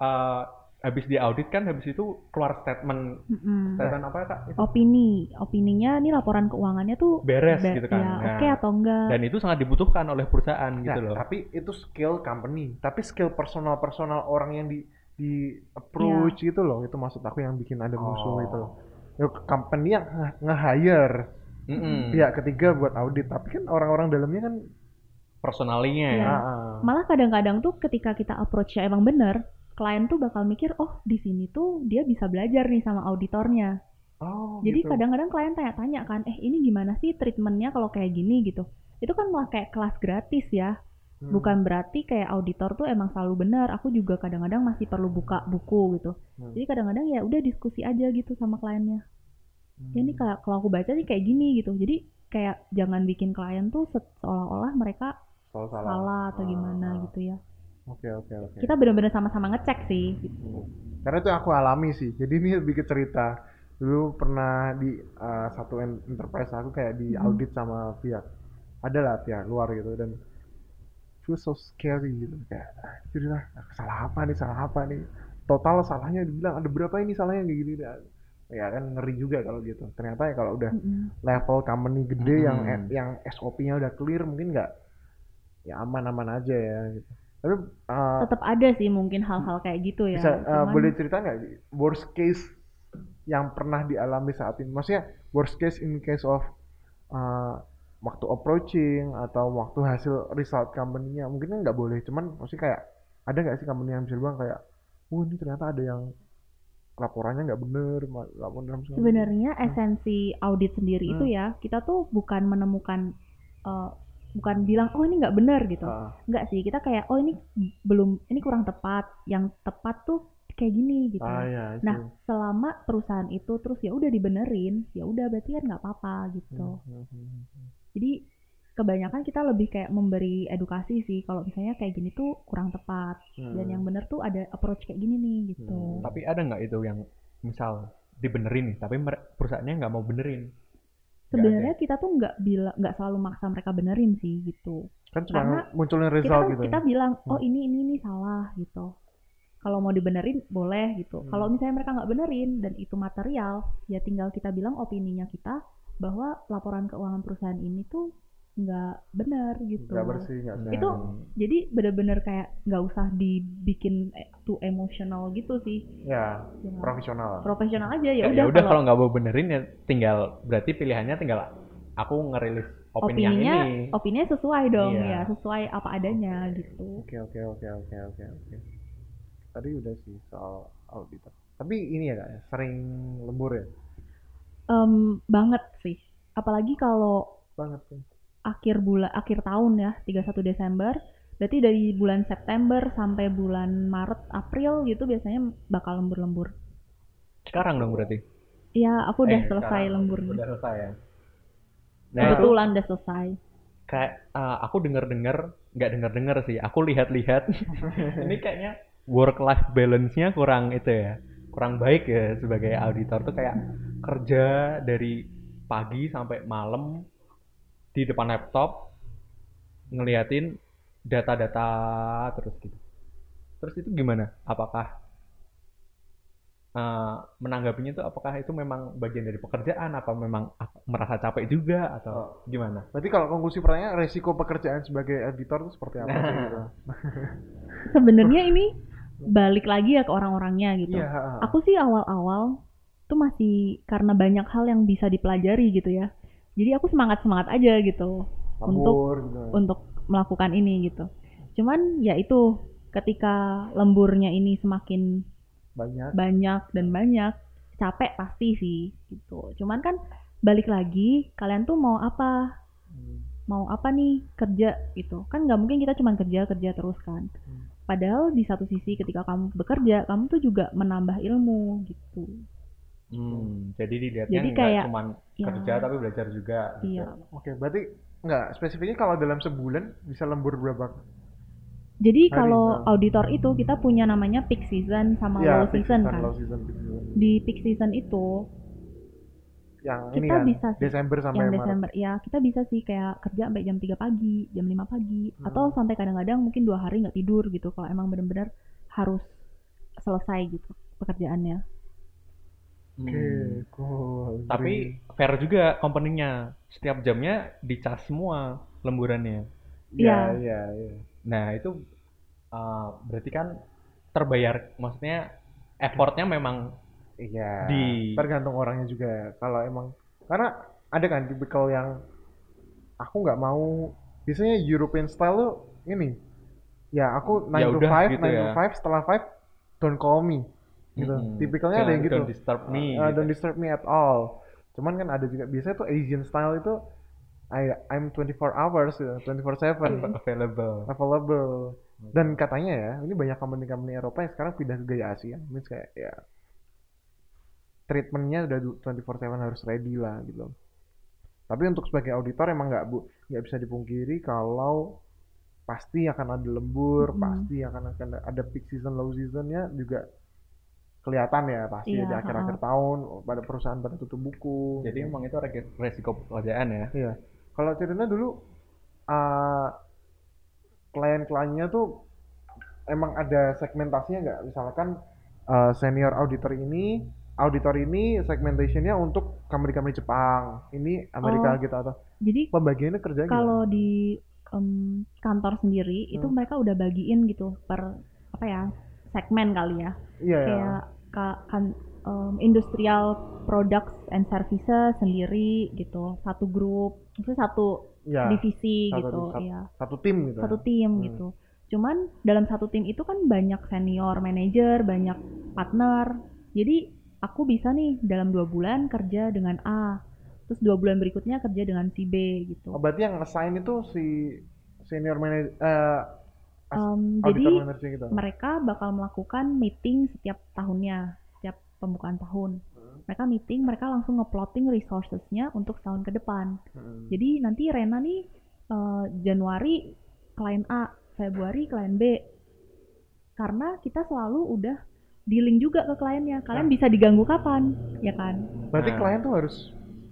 S3: eh, habis diaudit kan habis itu keluar statement
S5: Mm-mm.
S3: statement apa ya, kak itu
S5: Opini, opininya nih laporan keuangannya tuh
S3: beres
S5: be-
S3: gitu kan
S5: ya,
S3: Nah,
S5: oke atau enggak.
S3: dan itu sangat dibutuhkan oleh perusahaan
S4: Nah,
S3: gitu loh
S4: tapi itu skill company, tapi skill personal-personal orang yang di di approach gitu loh. Itu maksud aku yang bikin ada musuh
S3: Oh.
S4: itu loh. Ya, company yang nge- nge-hire
S3: Mm-mm.
S4: pihak ketiga buat audit, tapi kan orang-orang dalamnya kan
S3: personalnya
S5: Iya.
S3: ya
S4: ah, ah.
S5: Malah kadang-kadang tuh ketika kita approach-nya emang bener, klien tuh bakal mikir, oh di sini tuh dia bisa belajar nih sama auditornya.
S4: Oh,
S5: Jadi
S4: gitu.
S5: kadang-kadang klien tanya-tanya kan, eh ini gimana sih treatmentnya kalau kayak gini gitu. Itu kan malah kayak kelas gratis ya.
S4: Hmm.
S5: Bukan berarti kayak auditor tuh emang selalu benar. Aku juga kadang-kadang masih perlu buka buku gitu.
S4: Hmm.
S5: Jadi kadang-kadang ya udah diskusi aja gitu sama kliennya.
S4: Hmm.
S5: Ya ini kalau kalau aku baca nih kayak gini gitu. Jadi kayak jangan bikin klien tuh se- seolah-olah mereka
S4: Soal salah.
S5: salah atau
S4: Ah, ah.
S5: gimana gitu ya.
S4: Oke oke oke.
S5: Kita benar-benar sama-sama ngecek sih. Gitu.
S4: Karena itu aku alami sih. Jadi ini lebih ke cerita. Dulu pernah di uh, satu en- enterprise aku kayak di
S5: Hmm.
S4: audit sama pihak adalah pihak luar gitu dan itu so scary gitu kayak jadi lah salah apa nih salah apa nih total salahnya dibilang ada berapa ini salahnya kayak gini dah. ya kan ngeri juga kalau gitu ternyata ya kalau udah
S5: Mm-mm.
S4: level company gede yang eh,
S3: Hmm.
S4: yang SOP-nya udah clear mungkin nggak ya aman-aman aja ya gitu tapi uh,
S5: Tetap ada sih mungkin hal-hal kayak gitu ya.
S4: bisa eh,
S5: Cuman-
S4: boleh cerita nggak worst case yang pernah dialami saat ini maksudnya worst case in case of eh, waktu approaching atau waktu hasil result company-nya mungkin kan nggak boleh cuman maksudnya kayak ada nggak sih company yang bisa dibilang kayak wah ini ternyata ada yang laporannya nggak bener ma- laporan dalam segala macam." Ah,
S5: Sebenarnya esensi audit sendiri
S4: Hmm.
S5: itu ya kita tuh bukan menemukan eh, bukan bilang oh ini nggak benar gitu.
S4: Ah,
S5: Enggak sih, kita kayak oh ini belum ini kurang tepat. Yang tepat tuh kayak gini gitu.
S4: ah ya itu
S5: Nah, selama perusahaan itu terus ya udah dibenerin, ya udah berarti kan nggak apa-apa gitu.
S4: Hmm, hmm, hmm, hmm.
S5: Jadi kebanyakan kita lebih kayak memberi edukasi sih kalau misalnya kayak gini tuh kurang tepat
S4: hmm.
S5: dan yang bener tuh ada approach kayak gini nih gitu.
S3: tapi ada nggak itu yang misal dibenerin nih tapi mer- perusahaannya nggak mau benerin
S5: Sebenarnya kita tuh nggak bila nggak selalu maksa mereka benerin sih gitu.
S4: kan cuma
S5: karena
S4: munculin
S5: kita
S4: result
S5: kan-
S4: gitu
S5: kita
S4: ya.
S5: bilang
S4: Hmm.
S5: oh ini ini ini salah gitu kalau mau dibenerin boleh gitu
S4: Hmm.
S5: kalau misalnya mereka nggak benerin dan itu material ya tinggal kita bilang opininya kita bahwa laporan keuangan perusahaan ini tuh nggak benar gitu
S4: nggak bersih nggak sehat.
S5: Itu- jadi bener-bener kayak nggak usah dibikin eh, too emotional gitu sih
S4: ya
S5: Jangan-
S4: profesional
S5: profesional aja ya
S3: ya
S5: udah
S3: ya udah kalau nggak mau benerin ya tinggal berarti pilihannya tinggal aku ngerilis opini yang
S5: opininya
S3: ini
S5: opininya sesuai dong
S3: Iya.
S5: ya sesuai apa adanya gitu
S4: Oke oke oke oke oke oke. Tadi udah sih soal auditor. Tapi ini ya kak, ya, sering lembur ya
S5: Em, banget sih apalagi kalau
S4: banget tuh.
S5: akhir bulan akhir tahun ya 31 Desember berarti dari bulan September sampai bulan Maret April gitu biasanya bakal lembur-lembur
S3: sekarang dong berarti
S5: Iya aku udah
S3: Eh,
S5: selesai
S3: sekarang.
S5: lemburnya
S3: udah selesai ya nah itu
S5: kebetulan udah selesai
S3: kayak eh, aku denger dengar nggak denger dengar sih aku lihat-lihat ini kayaknya work life balance-nya kurang itu ya kurang baik ya sebagai auditor tuh kayak kerja dari pagi sampai malam di depan laptop ngeliatin data-data terus gitu terus itu gimana apakah eh, menanggapinya itu apakah itu memang bagian dari pekerjaan apa memang ak- merasa capek
S4: Oh.
S3: juga atau gimana?
S4: Berarti kalau konklusi pertanyaan resiko pekerjaan sebagai editor itu seperti apa sih gitu?
S5: Sebenarnya ini balik lagi ya ke orang-orangnya gitu.
S4: Iya, ha, ha.
S5: Aku sih awal-awal tuh masih karena banyak hal yang bisa dipelajari gitu ya. Jadi aku semangat-semangat aja gitu
S4: Kabur, gitu.
S5: untuk melakukan ini gitu. Cuman ya itu ketika lemburnya ini semakin
S4: banyak.
S5: banyak dan banyak capek pasti sih gitu. Cuman kan balik lagi kalian tuh mau apa?
S4: Hmm.
S5: Mau apa nih kerja gitu. Kan nggak mungkin kita cuman kerja-kerja terus kan.
S4: Hmm.
S5: Padahal di satu sisi ketika kamu bekerja, kamu tuh juga menambah ilmu gitu.
S3: Hmm, jadi dilihatnya
S5: Jadi
S3: nggak
S5: kayak-
S3: cuman
S5: Ya,
S3: kerja tapi belajar juga. gitu.
S5: Iya.
S4: Oke, berarti nggak spesifiknya kalau dalam sebulan bisa lembur berapa?
S5: Jadi
S4: Hari,
S5: kalau
S4: nah.
S5: auditor itu kita punya namanya peak season sama
S4: Iya,
S5: low
S4: peak
S5: season kan.
S4: low season, peak season.
S5: Di peak season itu
S4: Yang ini
S5: Kita
S4: kan
S5: bisa sih,
S4: Desember sampai
S5: yang
S4: Maret.
S5: Desember ya kita bisa sih kayak kerja sampai jam 3 pagi jam 5 pagi
S4: Hmm.
S5: atau sampai kadang-kadang mungkin dua hari nggak tidur gitu kalau emang benar-benar harus selesai gitu pekerjaannya
S3: Hmm.
S4: Oke, cool.
S3: Tapi fair juga company-nya. Setiap jamnya dicas semua lemburannya.
S4: iya,
S5: Iya.
S4: iya, iya.
S3: Nah, itu uh, berarti kan terbayar maksudnya effortnya memang
S4: Iya.
S3: Di-
S4: Tergantung orangnya juga. Kalau emang karena ada kan tipikal yang aku nggak mau biasanya European style tuh ini. Ya aku 9 to
S3: udah
S4: 5,
S3: gitu
S4: 9 to
S3: ya.
S4: 5, setelah 5 don't call me. Gitu.
S3: Mm-mm.
S4: Tipikalnya ada
S3: hmm, Jangan-
S4: yang gitu.
S3: Don't disturb me.
S4: Uh,
S3: gitu.
S4: Don't disturb me at all. Cuman kan ada juga biasanya tuh Asian style itu I I'm 24 hours, gitu, 24/7
S3: Available.
S4: available. Dan katanya ya, ini banyak company-company Eropa yang sekarang pindah ke gaya Asia. Means kayak ya treatmentnya udah 24/7 harus ready lah gitu. Tapi untuk sebagai auditor emang nggak bu nggak bisa dipungkiri kalau pasti akan ada lembur,
S5: Mhm.
S4: pasti akan akan ada peak season, low seasonnya juga kelihatan ya pasti
S5: Iya,
S4: di akhir-akhir tahun pada perusahaan pada tutup buku.
S3: Jadi emang itu re- resiko pekerjaan ya.
S4: Iya. Kalau ceritanya dulu eh, klien-kliennya tuh emang ada segmentasinya nggak? Misalkan eh, senior auditor ini, auditor ini segmentationnya untuk company-company Jepang, ini Amerika gitu atau
S5: jadi
S4: pembagiannya kerja
S5: Oh. kalau di em, kantor sendiri itu
S4: Hmm.
S5: mereka udah bagiin gitu per apa ya segmen kali ya
S4: Iya ya.
S5: kayak ka- kan em, industrial products and services sendiri gitu satu grup itu satu
S4: Iya,
S5: divisi
S4: satu-
S5: gitu
S4: satu-
S5: ya
S4: satu tim gitu.
S5: satu
S4: ya.
S5: tim
S4: Hmm.
S5: gitu. Cuman dalam satu tim itu kan banyak senior manager, banyak partner. Jadi aku bisa nih dalam dua bulan kerja dengan A, terus dua bulan berikutnya kerja dengan si B gitu.
S4: Oh, berarti yang assign itu si senior manager eh as-
S5: Em,
S4: auditor
S5: jadi
S4: manager gitu.
S5: mereka bakal melakukan meeting setiap tahunnya, setiap pembukaan tahun.
S4: Hmm.
S5: Mereka meeting, mereka langsung ngeplotting resourcesnya untuk tahun ke depan.
S4: Mm.
S5: Jadi nanti Rena nih eh, Januari klien A, Februari klien B. Karena kita selalu udah dealing juga ke kliennya. Kalian
S4: Ya.
S5: bisa diganggu kapan, ya kan?
S4: Berarti
S3: Nah.
S4: klien tuh harus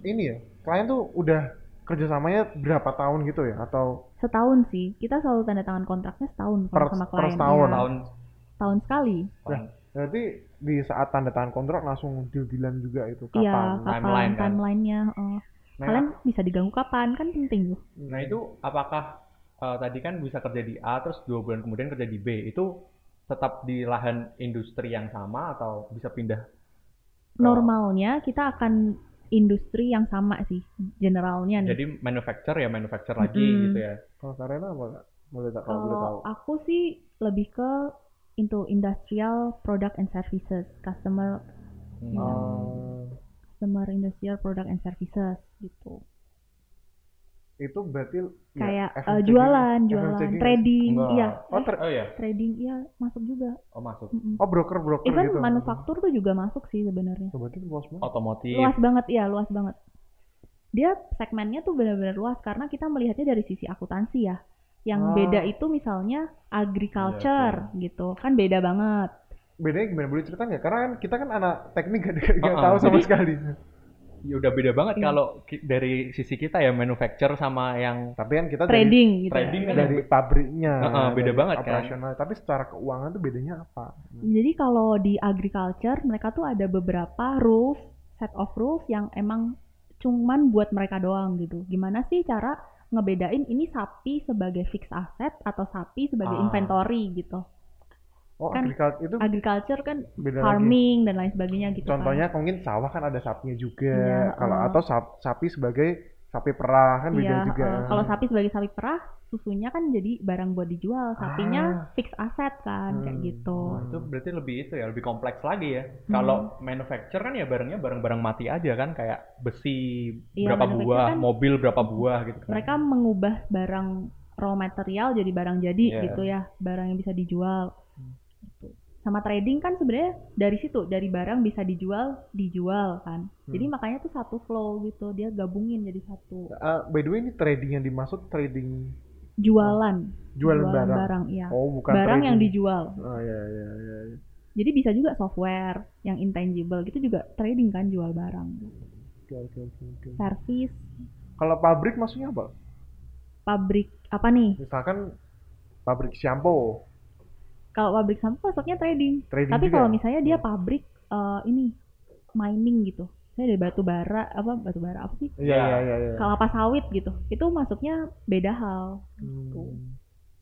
S4: ini ya, klien tuh udah kerjasamanya berapa tahun gitu ya? Atau
S5: Setahun sih. Kita selalu tanda tangan kontraknya setahun
S4: Per-
S5: sama, sama
S4: per
S5: klien.
S4: setahun.
S5: ya.
S3: Tahun
S5: Tahun sekali.
S4: Nah, berarti di saat tanda tangan kontrak langsung deal-dealan juga itu
S5: Iya,
S4: kapan?
S5: kapan
S3: Timeline kan?
S5: timeline-nya. heeh.
S3: Nah,
S5: Kalian bisa diganggu kapan, kan penting tuh.
S3: nah itu apakah uh, tadi kan bisa kerja di A terus dua bulan kemudian kerja di B itu tetap di lahan industri yang sama atau bisa pindah? ke-
S5: Normalnya kita akan industri yang sama sih, generalnya nih.
S3: Jadi manufacturer ya manufacturer lagi
S5: Mm-mm.
S3: gitu ya.
S4: Kalau Karena apa nggak? Boleh tak kalau boleh tahu.
S5: Kalau aku sih lebih ke into industrial product and services, customer
S3: Hmm.
S5: Oh.
S4: Eh,
S5: customer industrial product and services gitu.
S4: itu berarti ya,
S5: Kayak
S4: FMCG
S5: eh, jualan,
S4: FMCG
S5: jualan,
S4: nggak sih?
S5: trading,
S3: Enggak.
S5: iya.
S4: Oh,
S5: Eh,
S4: tra-
S3: Oh ya,
S5: trading iya masuk juga.
S3: oh masuk
S5: Mm-mm.
S4: oh broker broker
S5: Even
S4: gitu.
S5: manufaktur tuh juga masuk sih sebenarnya.
S4: Oh, Berarti itu luas banget.
S3: otomotif.
S5: Luas banget ya, luas banget. Dia segmennya tuh benar-benar luas karena kita melihatnya dari sisi akuntansi ya. Yang
S4: Ah. Iya,
S5: beda itu misalnya agriculture gitu. Kan beda banget.
S4: Bedanya gimana boleh cerita nggak? Karena kan kita kan anak teknik nggak nggak
S3: Uh-uh.
S4: tahu sama
S3: Jadi-
S4: sekali.
S3: ya udah beda banget
S5: Iya.
S3: kalau ki- dari sisi kita ya manufacture sama yang
S4: Tapi kan kita dari
S5: trading gitu. ya.
S3: trading kan
S4: dari pabriknya,
S3: Heeh, beda
S4: dari
S3: banget kan.
S4: operasional. Tapi secara keuangan tuh bedanya apa?
S5: Jadi kalau di agriculture mereka tuh ada beberapa rules, set of rules yang emang cuman buat mereka doang gitu. Gimana sih cara ngebedain ini sapi sebagai fixed asset atau sapi sebagai
S3: Ah.
S5: inventory gitu.
S4: Oh,
S5: Kan
S4: agriculture itu
S5: Agriculture kan
S4: beda lagi.
S5: farming dan lain sebagainya gitu kan.
S4: Contohnya mungkin sawah kan ada sapinya juga.
S5: Iya,
S4: kalau
S5: heeh.
S4: atau sap- sapi sebagai sapi perah kan beda
S5: Iya,
S4: juga.
S5: eh, kalau sapi sebagai sapi perah, susunya kan jadi barang buat dijual. Sapinya fixed asset kan kayak
S4: Ah. Hmm.
S5: gitu.
S4: Hmm.
S3: Wah, itu berarti lebih itu ya lebih kompleks lagi ya
S5: Hmm.
S3: kalau manufacture kan ya barangnya barang-barang mati aja kan kayak besi
S5: Iya,
S3: berapa
S5: manufacture
S3: buah
S5: kan-
S3: mobil berapa buah gitu kan
S5: mereka mengubah barang raw material jadi barang jadi
S3: Iya.
S5: gitu ya barang yang bisa dijual
S4: Hmm.
S5: Gitu. sama trading kan sebenarnya dari situ dari barang bisa dijual dijual kan
S4: Hmm.
S5: jadi makanya tuh satu flow gitu dia gabungin jadi satu
S4: Eh, by the way ini trading yang dimaksud trading
S5: jualan
S4: jualan, barang.
S5: iya
S4: Oh, bukan
S5: barang yang
S4: trading.
S5: dijual
S4: Oh iya iya iya. iya.
S5: jadi bisa juga software yang intangible gitu juga trading kan jual barang
S4: Oke oke oke oke.
S5: service
S4: Kalau pabrik maksudnya apa?
S5: pabrik apa nih
S4: Misalkan pabrik shampoo,
S5: kalau pabrik sampah masuknya trading
S4: trading
S5: Tapi
S4: Iya juga. ya?
S5: kalau misalnya dia pabrik eh, ini mining gitu, saya dari batu bara apa batu bara apa sih?
S4: Iya iya iya iya.
S5: Kelapa sawit gitu, itu masuknya beda hal.
S4: Hmm.
S5: gitu.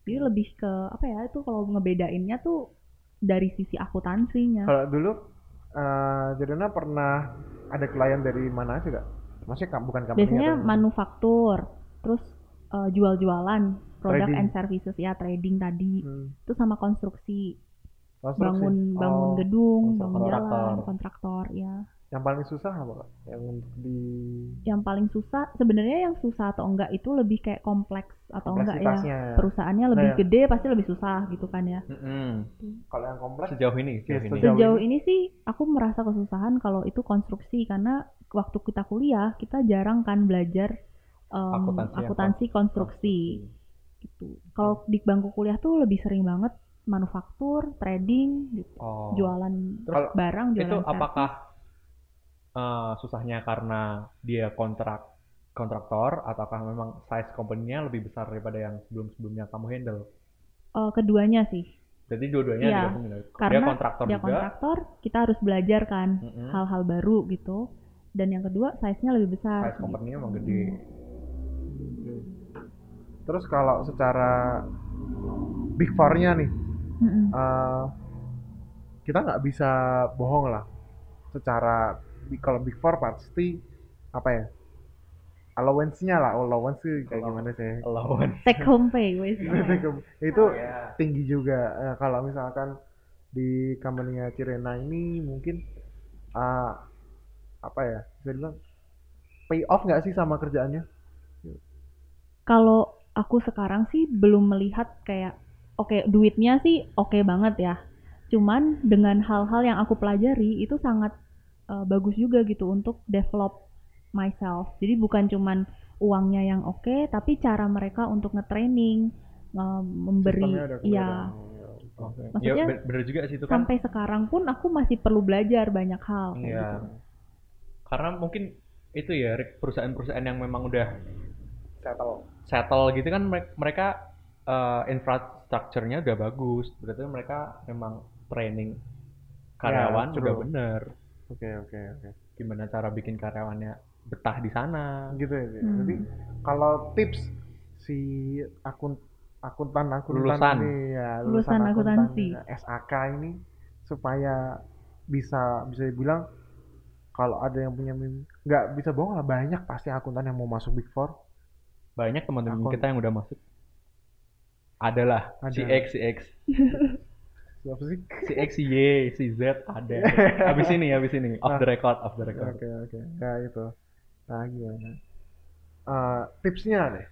S5: Jadi lebih ke apa ya itu kalau ngebedainnya tuh dari sisi akuntansinya.
S4: Kalau dulu eh Jadona pernah ada klien dari mana aja kak? Maksudnya kam- bukan company
S5: Biasanya
S4: atau-
S5: manufaktur, terus eh, jual-jualan produk
S4: Trading.
S5: and services ya trading tadi,
S4: Hmm.
S5: itu sama konstruksi,
S4: Konstruksi.
S5: bangun bangun
S4: Oh,
S5: gedung,
S4: konstruktor.
S5: bangun jalan,
S3: Kontraktor.
S5: kontraktor ya.
S4: Yang paling susah apa kak? Yang untuk di
S5: Yang paling susah sebenarnya yang susah atau enggak itu lebih kayak kompleks atau enggak ya.
S4: kompleksitasnya. ya.
S5: perusahaannya lebih
S4: Nah, ya.
S5: gede pasti lebih susah gitu kan ya.
S3: Mm-mm.
S4: Kalau yang kompleks
S3: sejauh ini sejauh
S4: Iya,
S3: ini
S4: Sejauh
S5: Sejauh ini sih aku merasa kesusahan kalau itu konstruksi karena waktu kita kuliah kita jarang kan belajar um,
S3: Akuntansi Hmm. apa?
S5: akuntansi konstruksi gitu. Kalau di bangku kuliah tuh lebih sering banget manufaktur, trading, gitu.
S3: oh.
S5: jualan
S3: Terus
S5: barang, jualan
S3: itu
S5: service.
S3: apakah eh, susahnya karena dia kontrak kontraktor ataukah memang size company-nya lebih besar daripada yang sebelum-sebelumnya kamu handle?
S5: Eh, keduanya sih.
S3: Jadi dua-duanya
S5: Iya,
S3: digabungin ya? dia
S5: karena
S3: kontraktor
S5: Dia
S3: juga. Hmm.
S5: kontraktor, kita harus belajar kan
S3: Mm-mm.
S5: hal-hal baru gitu. Dan yang kedua size-nya lebih besar.
S3: Size company-nya emang gede.
S5: Hmm.
S4: Terus kalau secara big four-nya nih,
S5: Mm-mm.
S4: eh, kita nggak bisa bohong lah. Secara kalau big four pasti apa ya? Allowance-nya lah, allowance sih kayak gimana sih?
S3: Allowance.
S5: Take home pay, wes.
S4: itu tinggi juga. Eh, kalau misalkan di company-nya Cirena ini mungkin eh, apa ya? Bisa bilang pay off nggak sih sama kerjaannya?
S5: kalau aku sekarang sih belum melihat kayak oke duitnya sih oke banget ya cuman dengan hal-hal yang aku pelajari itu sangat eh, bagus juga gitu untuk develop myself jadi bukan cuman uangnya yang oke tapi cara mereka untuk nge-training eh, memberi
S4: Sistemnya Oh, ada
S5: ya
S3: Oke.
S4: iya.
S3: Ya,
S5: Maksudnya,
S3: ben- bener juga sih itu kan.
S5: sampai sekarang pun aku masih perlu belajar banyak hal kayak
S3: Iya.
S5: gitu.
S3: Karena mungkin itu ya Rick, perusahaan-perusahaan yang memang udah
S4: Settle.
S3: settle gitu kan merek- mereka eh, infrastrukturnya udah bagus berarti mereka memang training karyawan
S4: Ya,
S3: udah
S4: true.
S3: bener
S4: Oke oke oke.
S3: gimana cara bikin karyawannya betah di sana
S4: Gitu ya. Ci.
S5: Hmm.
S4: Jadi kalau tips si akun akuntan akuntan
S3: Lulusan.
S4: ini ya
S5: Lulusan akuntansi.
S4: akuntan, SAK ini ya, supaya bisa bisa dibilang kalau ada yang punya mimpi nggak bisa bohong lah banyak pasti akuntan yang mau masuk big four
S3: banyak teman-teman
S4: Akun.
S3: kita yang udah masuk adalah
S4: Ada.
S3: si X si X
S4: siapa sih
S3: si X si Y si Z ada habis ini habis ini off the record off the
S4: Ah. oke
S3: record
S4: oke ya itu nah gimana Eh, tipsnya deh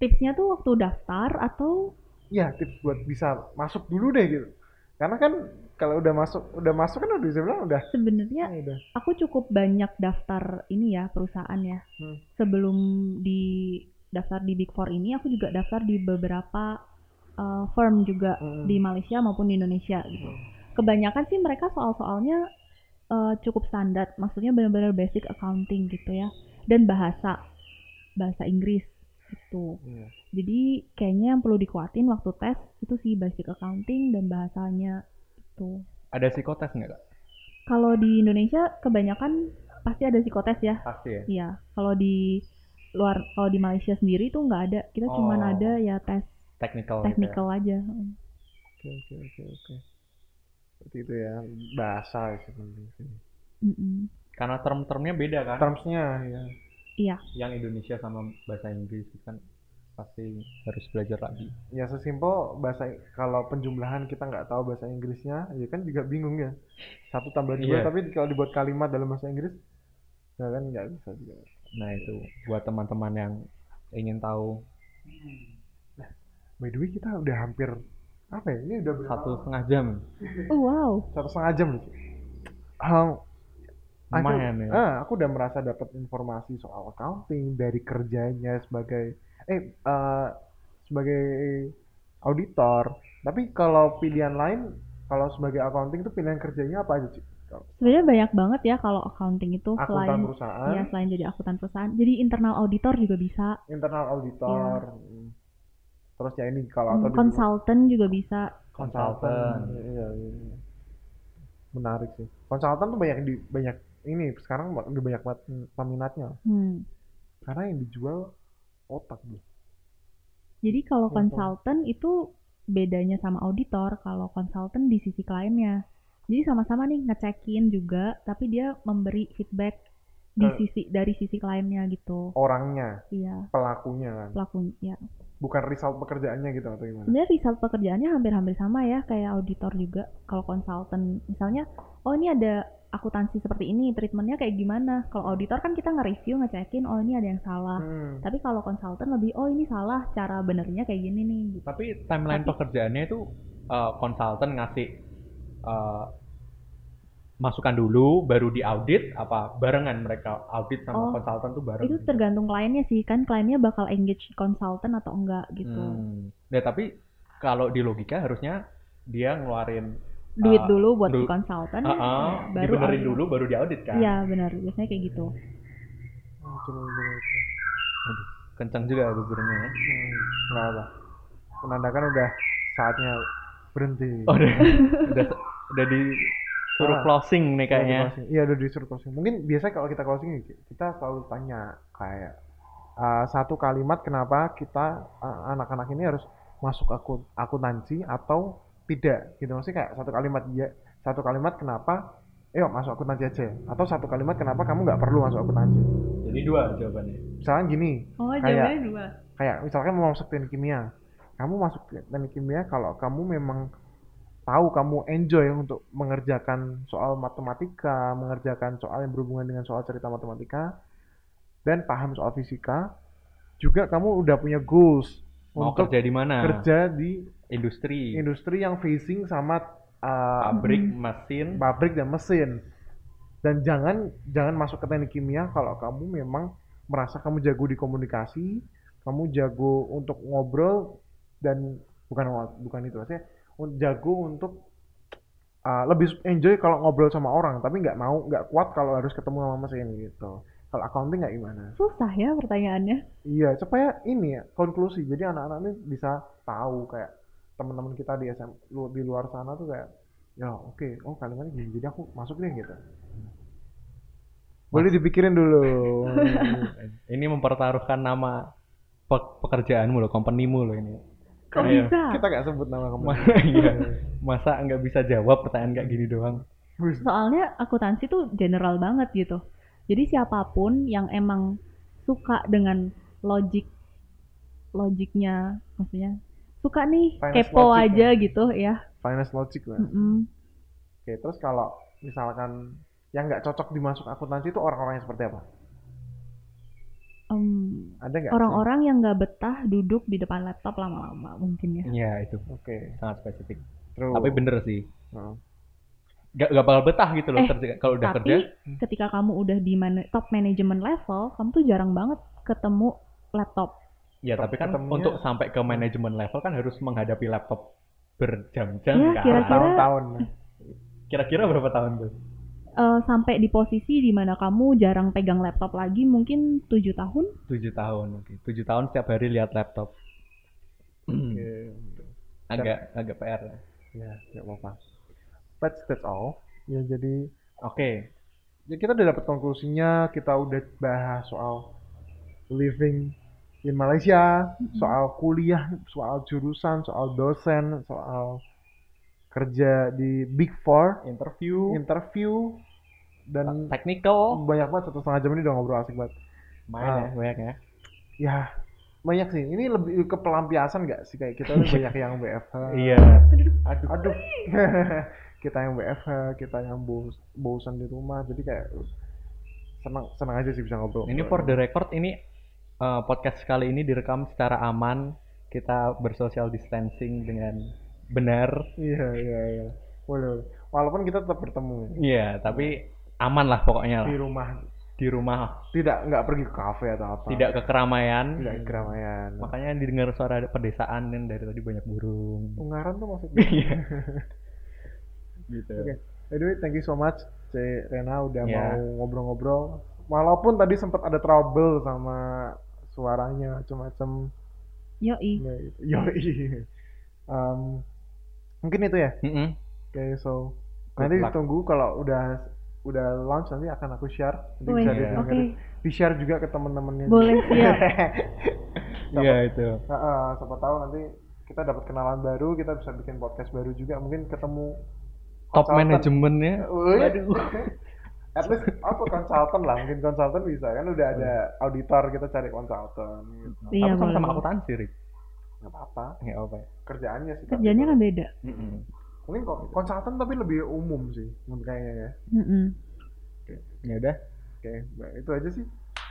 S5: tipsnya tuh waktu daftar atau
S4: ya tips buat bisa masuk dulu deh gitu karena kan kalau udah masuk udah masuk kan udah bisa bilang udah
S5: sebenarnya
S4: udah
S5: aku cukup banyak daftar ini ya perusahaan ya.
S4: Hmm.
S5: Sebelum di daftar di Big Four ini, aku juga daftar di beberapa uh, firm juga
S4: Mm-mm.
S5: di Malaysia maupun di Indonesia gitu. Kebanyakan sih mereka soal-soalnya eh, cukup standar, maksudnya benar-benar basic accounting gitu ya, dan bahasa bahasa Inggris gitu.
S1: Iya.
S5: Jadi kayaknya yang perlu dikuatin waktu tes itu sih basic accounting dan bahasanya itu.
S3: Ada psikotes nggak kak?
S5: Kalau di Indonesia kebanyakan pasti ada psikotes ya.
S3: Pasti ya.
S5: Iya, kalau di luar kalau di Malaysia sendiri tuh nggak ada. Kita cuman
S3: Oh.
S5: ada ya tes
S3: Technical. gitu ya.
S5: technical aja.
S4: Oke oke oke oke. Seperti itu ya bahasa sih penting sih.
S5: Mm-mm.
S3: Karena term-termnya beda kan.
S4: Termsnya ya.
S5: Iya.
S3: Yang Indonesia sama bahasa Inggris itu kan pasti harus belajar lagi.
S4: Ya sesimpel bahasa kalau penjumlahan kita nggak tahu bahasa Inggrisnya, ya kan juga bingung ya. Satu tambah dua,
S3: Iya.
S4: tapi kalau dibuat kalimat dalam bahasa Inggris, ya kan nggak bisa juga.
S3: Nah itu buat teman-teman yang ingin tahu
S4: By the way kita udah hampir apa ya? Ini udah berapa?
S3: satu setengah jam
S5: Oh, wow.
S4: satu setengah jam loh. Um, aku,
S3: lumayan
S5: Eh.
S3: ya.
S4: ah, aku udah merasa dapat informasi soal accounting dari kerjanya sebagai eh eh, sebagai auditor. Tapi kalau pilihan lain kalau sebagai accounting itu pilihan kerjanya apa aja sih?
S5: Sebenarnya banyak banget ya kalau accounting itu
S4: Akuntan
S5: selain
S4: perusahaan,
S5: ya selain jadi akuntan perusahaan, jadi internal auditor juga bisa,
S4: internal auditor. hmm. Terus ya ini kalau atau
S5: Hmm,
S4: di-
S5: consultant juga bisa.
S4: konsultan. Iya, iya, iya. Menarik sih. Konsultan tuh banyak di banyak ini sekarang udah banyak banget peminatnya.
S5: Hmm.
S4: karena yang dijual otak bro
S5: Jadi
S4: Iya, Pak.
S5: kalau konsultan itu bedanya sama auditor, kalau konsultan di sisi kliennya. Jadi sama-sama nih ngecekin juga, tapi dia memberi feedback di
S4: Eh.
S5: sisi dari sisi kliennya gitu.
S4: orangnya
S5: Iya,
S4: pelakunya kan
S5: pelakunya. Ya.
S4: bukan result pekerjaannya gitu atau gimana
S5: Sebenarnya result pekerjaannya hampir-hampir sama ya kayak auditor juga. Kalau konsultan misalnya, oh ini ada akuntansi seperti ini, treatmentnya kayak gimana? Kalau auditor kan kita nge-review, ngecekin, oh ini ada yang salah.
S4: hmm.
S5: Tapi kalau konsultan lebih, oh ini salah, cara benernya kayak gini nih. Gitu.
S3: Tapi timeline
S5: Tapi-
S3: pekerjaannya itu eh, konsultan ngasih eh, masukan dulu, baru diaudit apa barengan mereka audit sama
S5: Oh,
S3: konsultan tuh bareng.
S5: Itu
S3: gitu.
S5: tergantung kliennya sih, kan kliennya bakal engage konsultan atau enggak gitu.
S3: Hmm. Nah, tapi kalau di logika harusnya dia ngeluarin
S5: Duit
S3: Ah,
S5: dulu buat
S3: du-
S5: si konsultan,
S3: "Ah, ah,
S5: baru
S3: dibenerin
S5: audit.
S3: dulu Hmm. baru diaudit kan.
S5: Iya benar, biasanya kayak gitu.
S4: Oh, coba, coba, coba.
S3: Kenceng juga tuh burungnya. ya.
S4: Hmm, nggak apa menandakan udah saatnya berhenti
S3: Oh, udah, udah, udah disuruh
S4: Ah.
S3: closing nih
S4: Udah di
S3: kayaknya.
S4: closing. iya udah disuruh closing mungkin biasanya kalau kita closing kita selalu tanya kayak eh, satu kalimat kenapa kita eh, anak-anak ini harus masuk akun akuntansi atau tidak gitu maksudnya kayak satu kalimat dia satu kalimat kenapa yuk masuk akuntansi aja atau satu kalimat kenapa kamu nggak perlu masuk akuntansi
S3: Jadi dua jawabannya.
S4: misalnya gini
S5: Oh,
S4: Kayak-
S5: jawabannya dua.
S4: kayak misalkan mau masuk teknik kimia kamu masuk ke teknik kimia kalau kamu memang tahu kamu enjoy untuk mengerjakan soal matematika mengerjakan soal yang berhubungan dengan soal cerita matematika dan paham soal fisika juga kamu udah punya goals
S3: Mau
S4: untuk
S3: kerja di mana?
S4: kerja di
S3: Industri,
S4: industri yang facing sama uh,
S3: pabrik, mesin.
S4: pabrik dan mesin dan jangan jangan masuk ke teknik kimia kalau kamu memang merasa kamu jago di komunikasi kamu jago untuk ngobrol dan bukan ngo- bukan itu maksudnya un- jago untuk uh, lebih enjoy kalau ngobrol sama orang tapi nggak mau nggak kuat kalau harus ketemu sama mesin gitu kalau accounting nggak gimana
S5: Susah ya pertanyaannya.
S4: Iya, supaya ini ya konklusi. Jadi anak-anak ini bisa tahu kayak teman-teman kita di SM lu- di luar sana tuh kayak ya oke, oh kalimatnya gini jadi aku masuk deh gitu. Boleh dipikirin dulu.
S3: Ini mempertaruhkan nama pe- pekerjaanmu loh, companymu loh ini.
S5: Kok
S3: Iya.
S5: bisa?
S4: kita nggak sebut nama kamu.
S3: Ma- iya. Masa nggak bisa jawab pertanyaan kayak gini doang?
S4: Wis,
S5: soalnya akuntansi tuh general banget gitu. Jadi siapapun yang emang suka dengan logik logiknya maksudnya suka nih
S4: Finance
S5: kepo
S4: logic
S5: aja gitu ya.
S4: Finance logic lah.
S5: Mm-mm.
S4: Oke, terus kalau misalkan yang nggak cocok dimasuk akuntansi itu orang-orangnya seperti apa?
S5: Em,
S4: Ada nggak? sih?
S5: orang-orang yang nggak betah duduk di depan laptop lama-lama mungkin ya.
S3: Iya itu
S4: Oke.
S3: sangat spesifik.
S4: Terus.
S3: Tapi bener sih,
S4: Heeh.
S3: gak, gak bakal betah gitu loh
S5: Eh,
S3: kerja- kalau udah kerja.
S5: Tapi
S4: Hmm.
S5: ketika kamu udah di mana- top management level, kamu tuh jarang banget ketemu laptop.
S3: Ya tapi kan
S4: ketemunya-
S3: untuk sampai ke manajemen level kan harus menghadapi laptop berjam-jam
S5: Ya,
S3: kan.
S5: kira-kira-
S4: Tahun-tahun.
S3: Kira-kira berapa tahun tuh?
S5: Eh eh, sampai di posisi di mana kamu jarang pegang laptop lagi mungkin tujuh tahun
S3: tujuh tahun oke tujuh tahun setiap hari lihat laptop
S4: Hmm,
S3: agak agak PR oke
S4: Ya, nggak apa-apa. But that's all. Ya jadi ya kita udah dapat konklusinya, kita udah bahas soal living in Malaysia,
S3: Mm-hmm.
S4: soal kuliah, soal jurusan, soal dosen, soal kerja di Big Four,
S3: interview uh,
S4: interview, dan
S3: technical
S4: banyak banget satu setengah jam ini udah ngobrol asik banget.
S3: main ya banyak ya
S4: Ya banyak sih. Ini lebih ke pelampiasan nggak sih kayak kita tuh banyak yang WFH.
S3: iya
S4: Uh, Aduh. Aduh. kita yang WFH, kita yang bos- bosan di rumah, jadi kayak senang senang aja sih bisa ngobrol.
S3: ini for the record ini eh, podcast kali ini direkam secara aman kita bersosial distancing dengan benar
S4: Iya iya iya. Boleh. boleh. Walaupun kita tetap bertemu ya.
S3: iya tapi aman lah pokoknya
S4: di
S3: lah.
S4: rumah,
S3: di rumah
S4: tidak nggak pergi ke kafe atau apa.
S3: tidak ke keramaian
S4: Tidak ke keramaian.
S3: makanya didengar suara pedesaan kan dari tadi banyak burung
S4: Ungaran tuh maksudnya.
S3: iya gitu
S4: Oke. Anyway, thank you so much, C Rena udah
S3: Ya.
S4: mau ngobrol-ngobrol. Walaupun tadi sempat ada trouble sama suaranya, macam-macam.
S3: Hmm.
S5: yoi
S4: Yoi. Um, mungkin itu ya.
S3: Mm-mm.
S4: Oke, so
S3: Good
S4: nanti
S3: luck.
S4: ditunggu kalau udah udah launch nanti akan aku share. Nanti
S5: Wih,
S4: bisa
S3: Iya.
S5: oke
S4: didengerin. Di-share juga ke temen-temennya.
S5: boleh siap
S3: iya itu
S4: Nah, eh, siapa tahu nanti kita dapat kenalan baru, kita bisa bikin podcast baru juga, mungkin ketemu
S3: top
S4: consultant.
S3: manajemennya
S4: Wih. At least apa konsultan lah, mungkin konsultan bisa kan udah ada auditor kita cari konsultan. Gitu.
S5: iya
S3: tapi sama-sama
S5: boleh.
S3: akuntansi Rik
S4: Gak apa-apa,
S3: ya apa ya
S4: kerjaannya sih. tapi-
S5: kerjanya kan beda
S3: Mm-mm.
S4: Mungkin kok konsultan tapi lebih umum sih, menurut kayaknya ya.
S5: Mm-mm.
S3: ya udah
S4: Oke, nah, itu aja sih.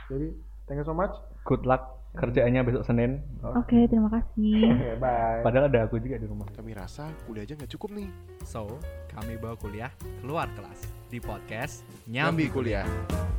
S4: Jadi, thank you so much.
S3: good luck kerjaannya besok Senin
S5: oke terima kasih
S4: Oke, bye.
S3: padahal ada aku juga di rumah
S1: Kami rasa kuliahnya nggak cukup nih.
S2: So, kami bawa kuliah keluar kelas di podcast
S1: Nyambi
S2: Nyambi
S1: kuliah.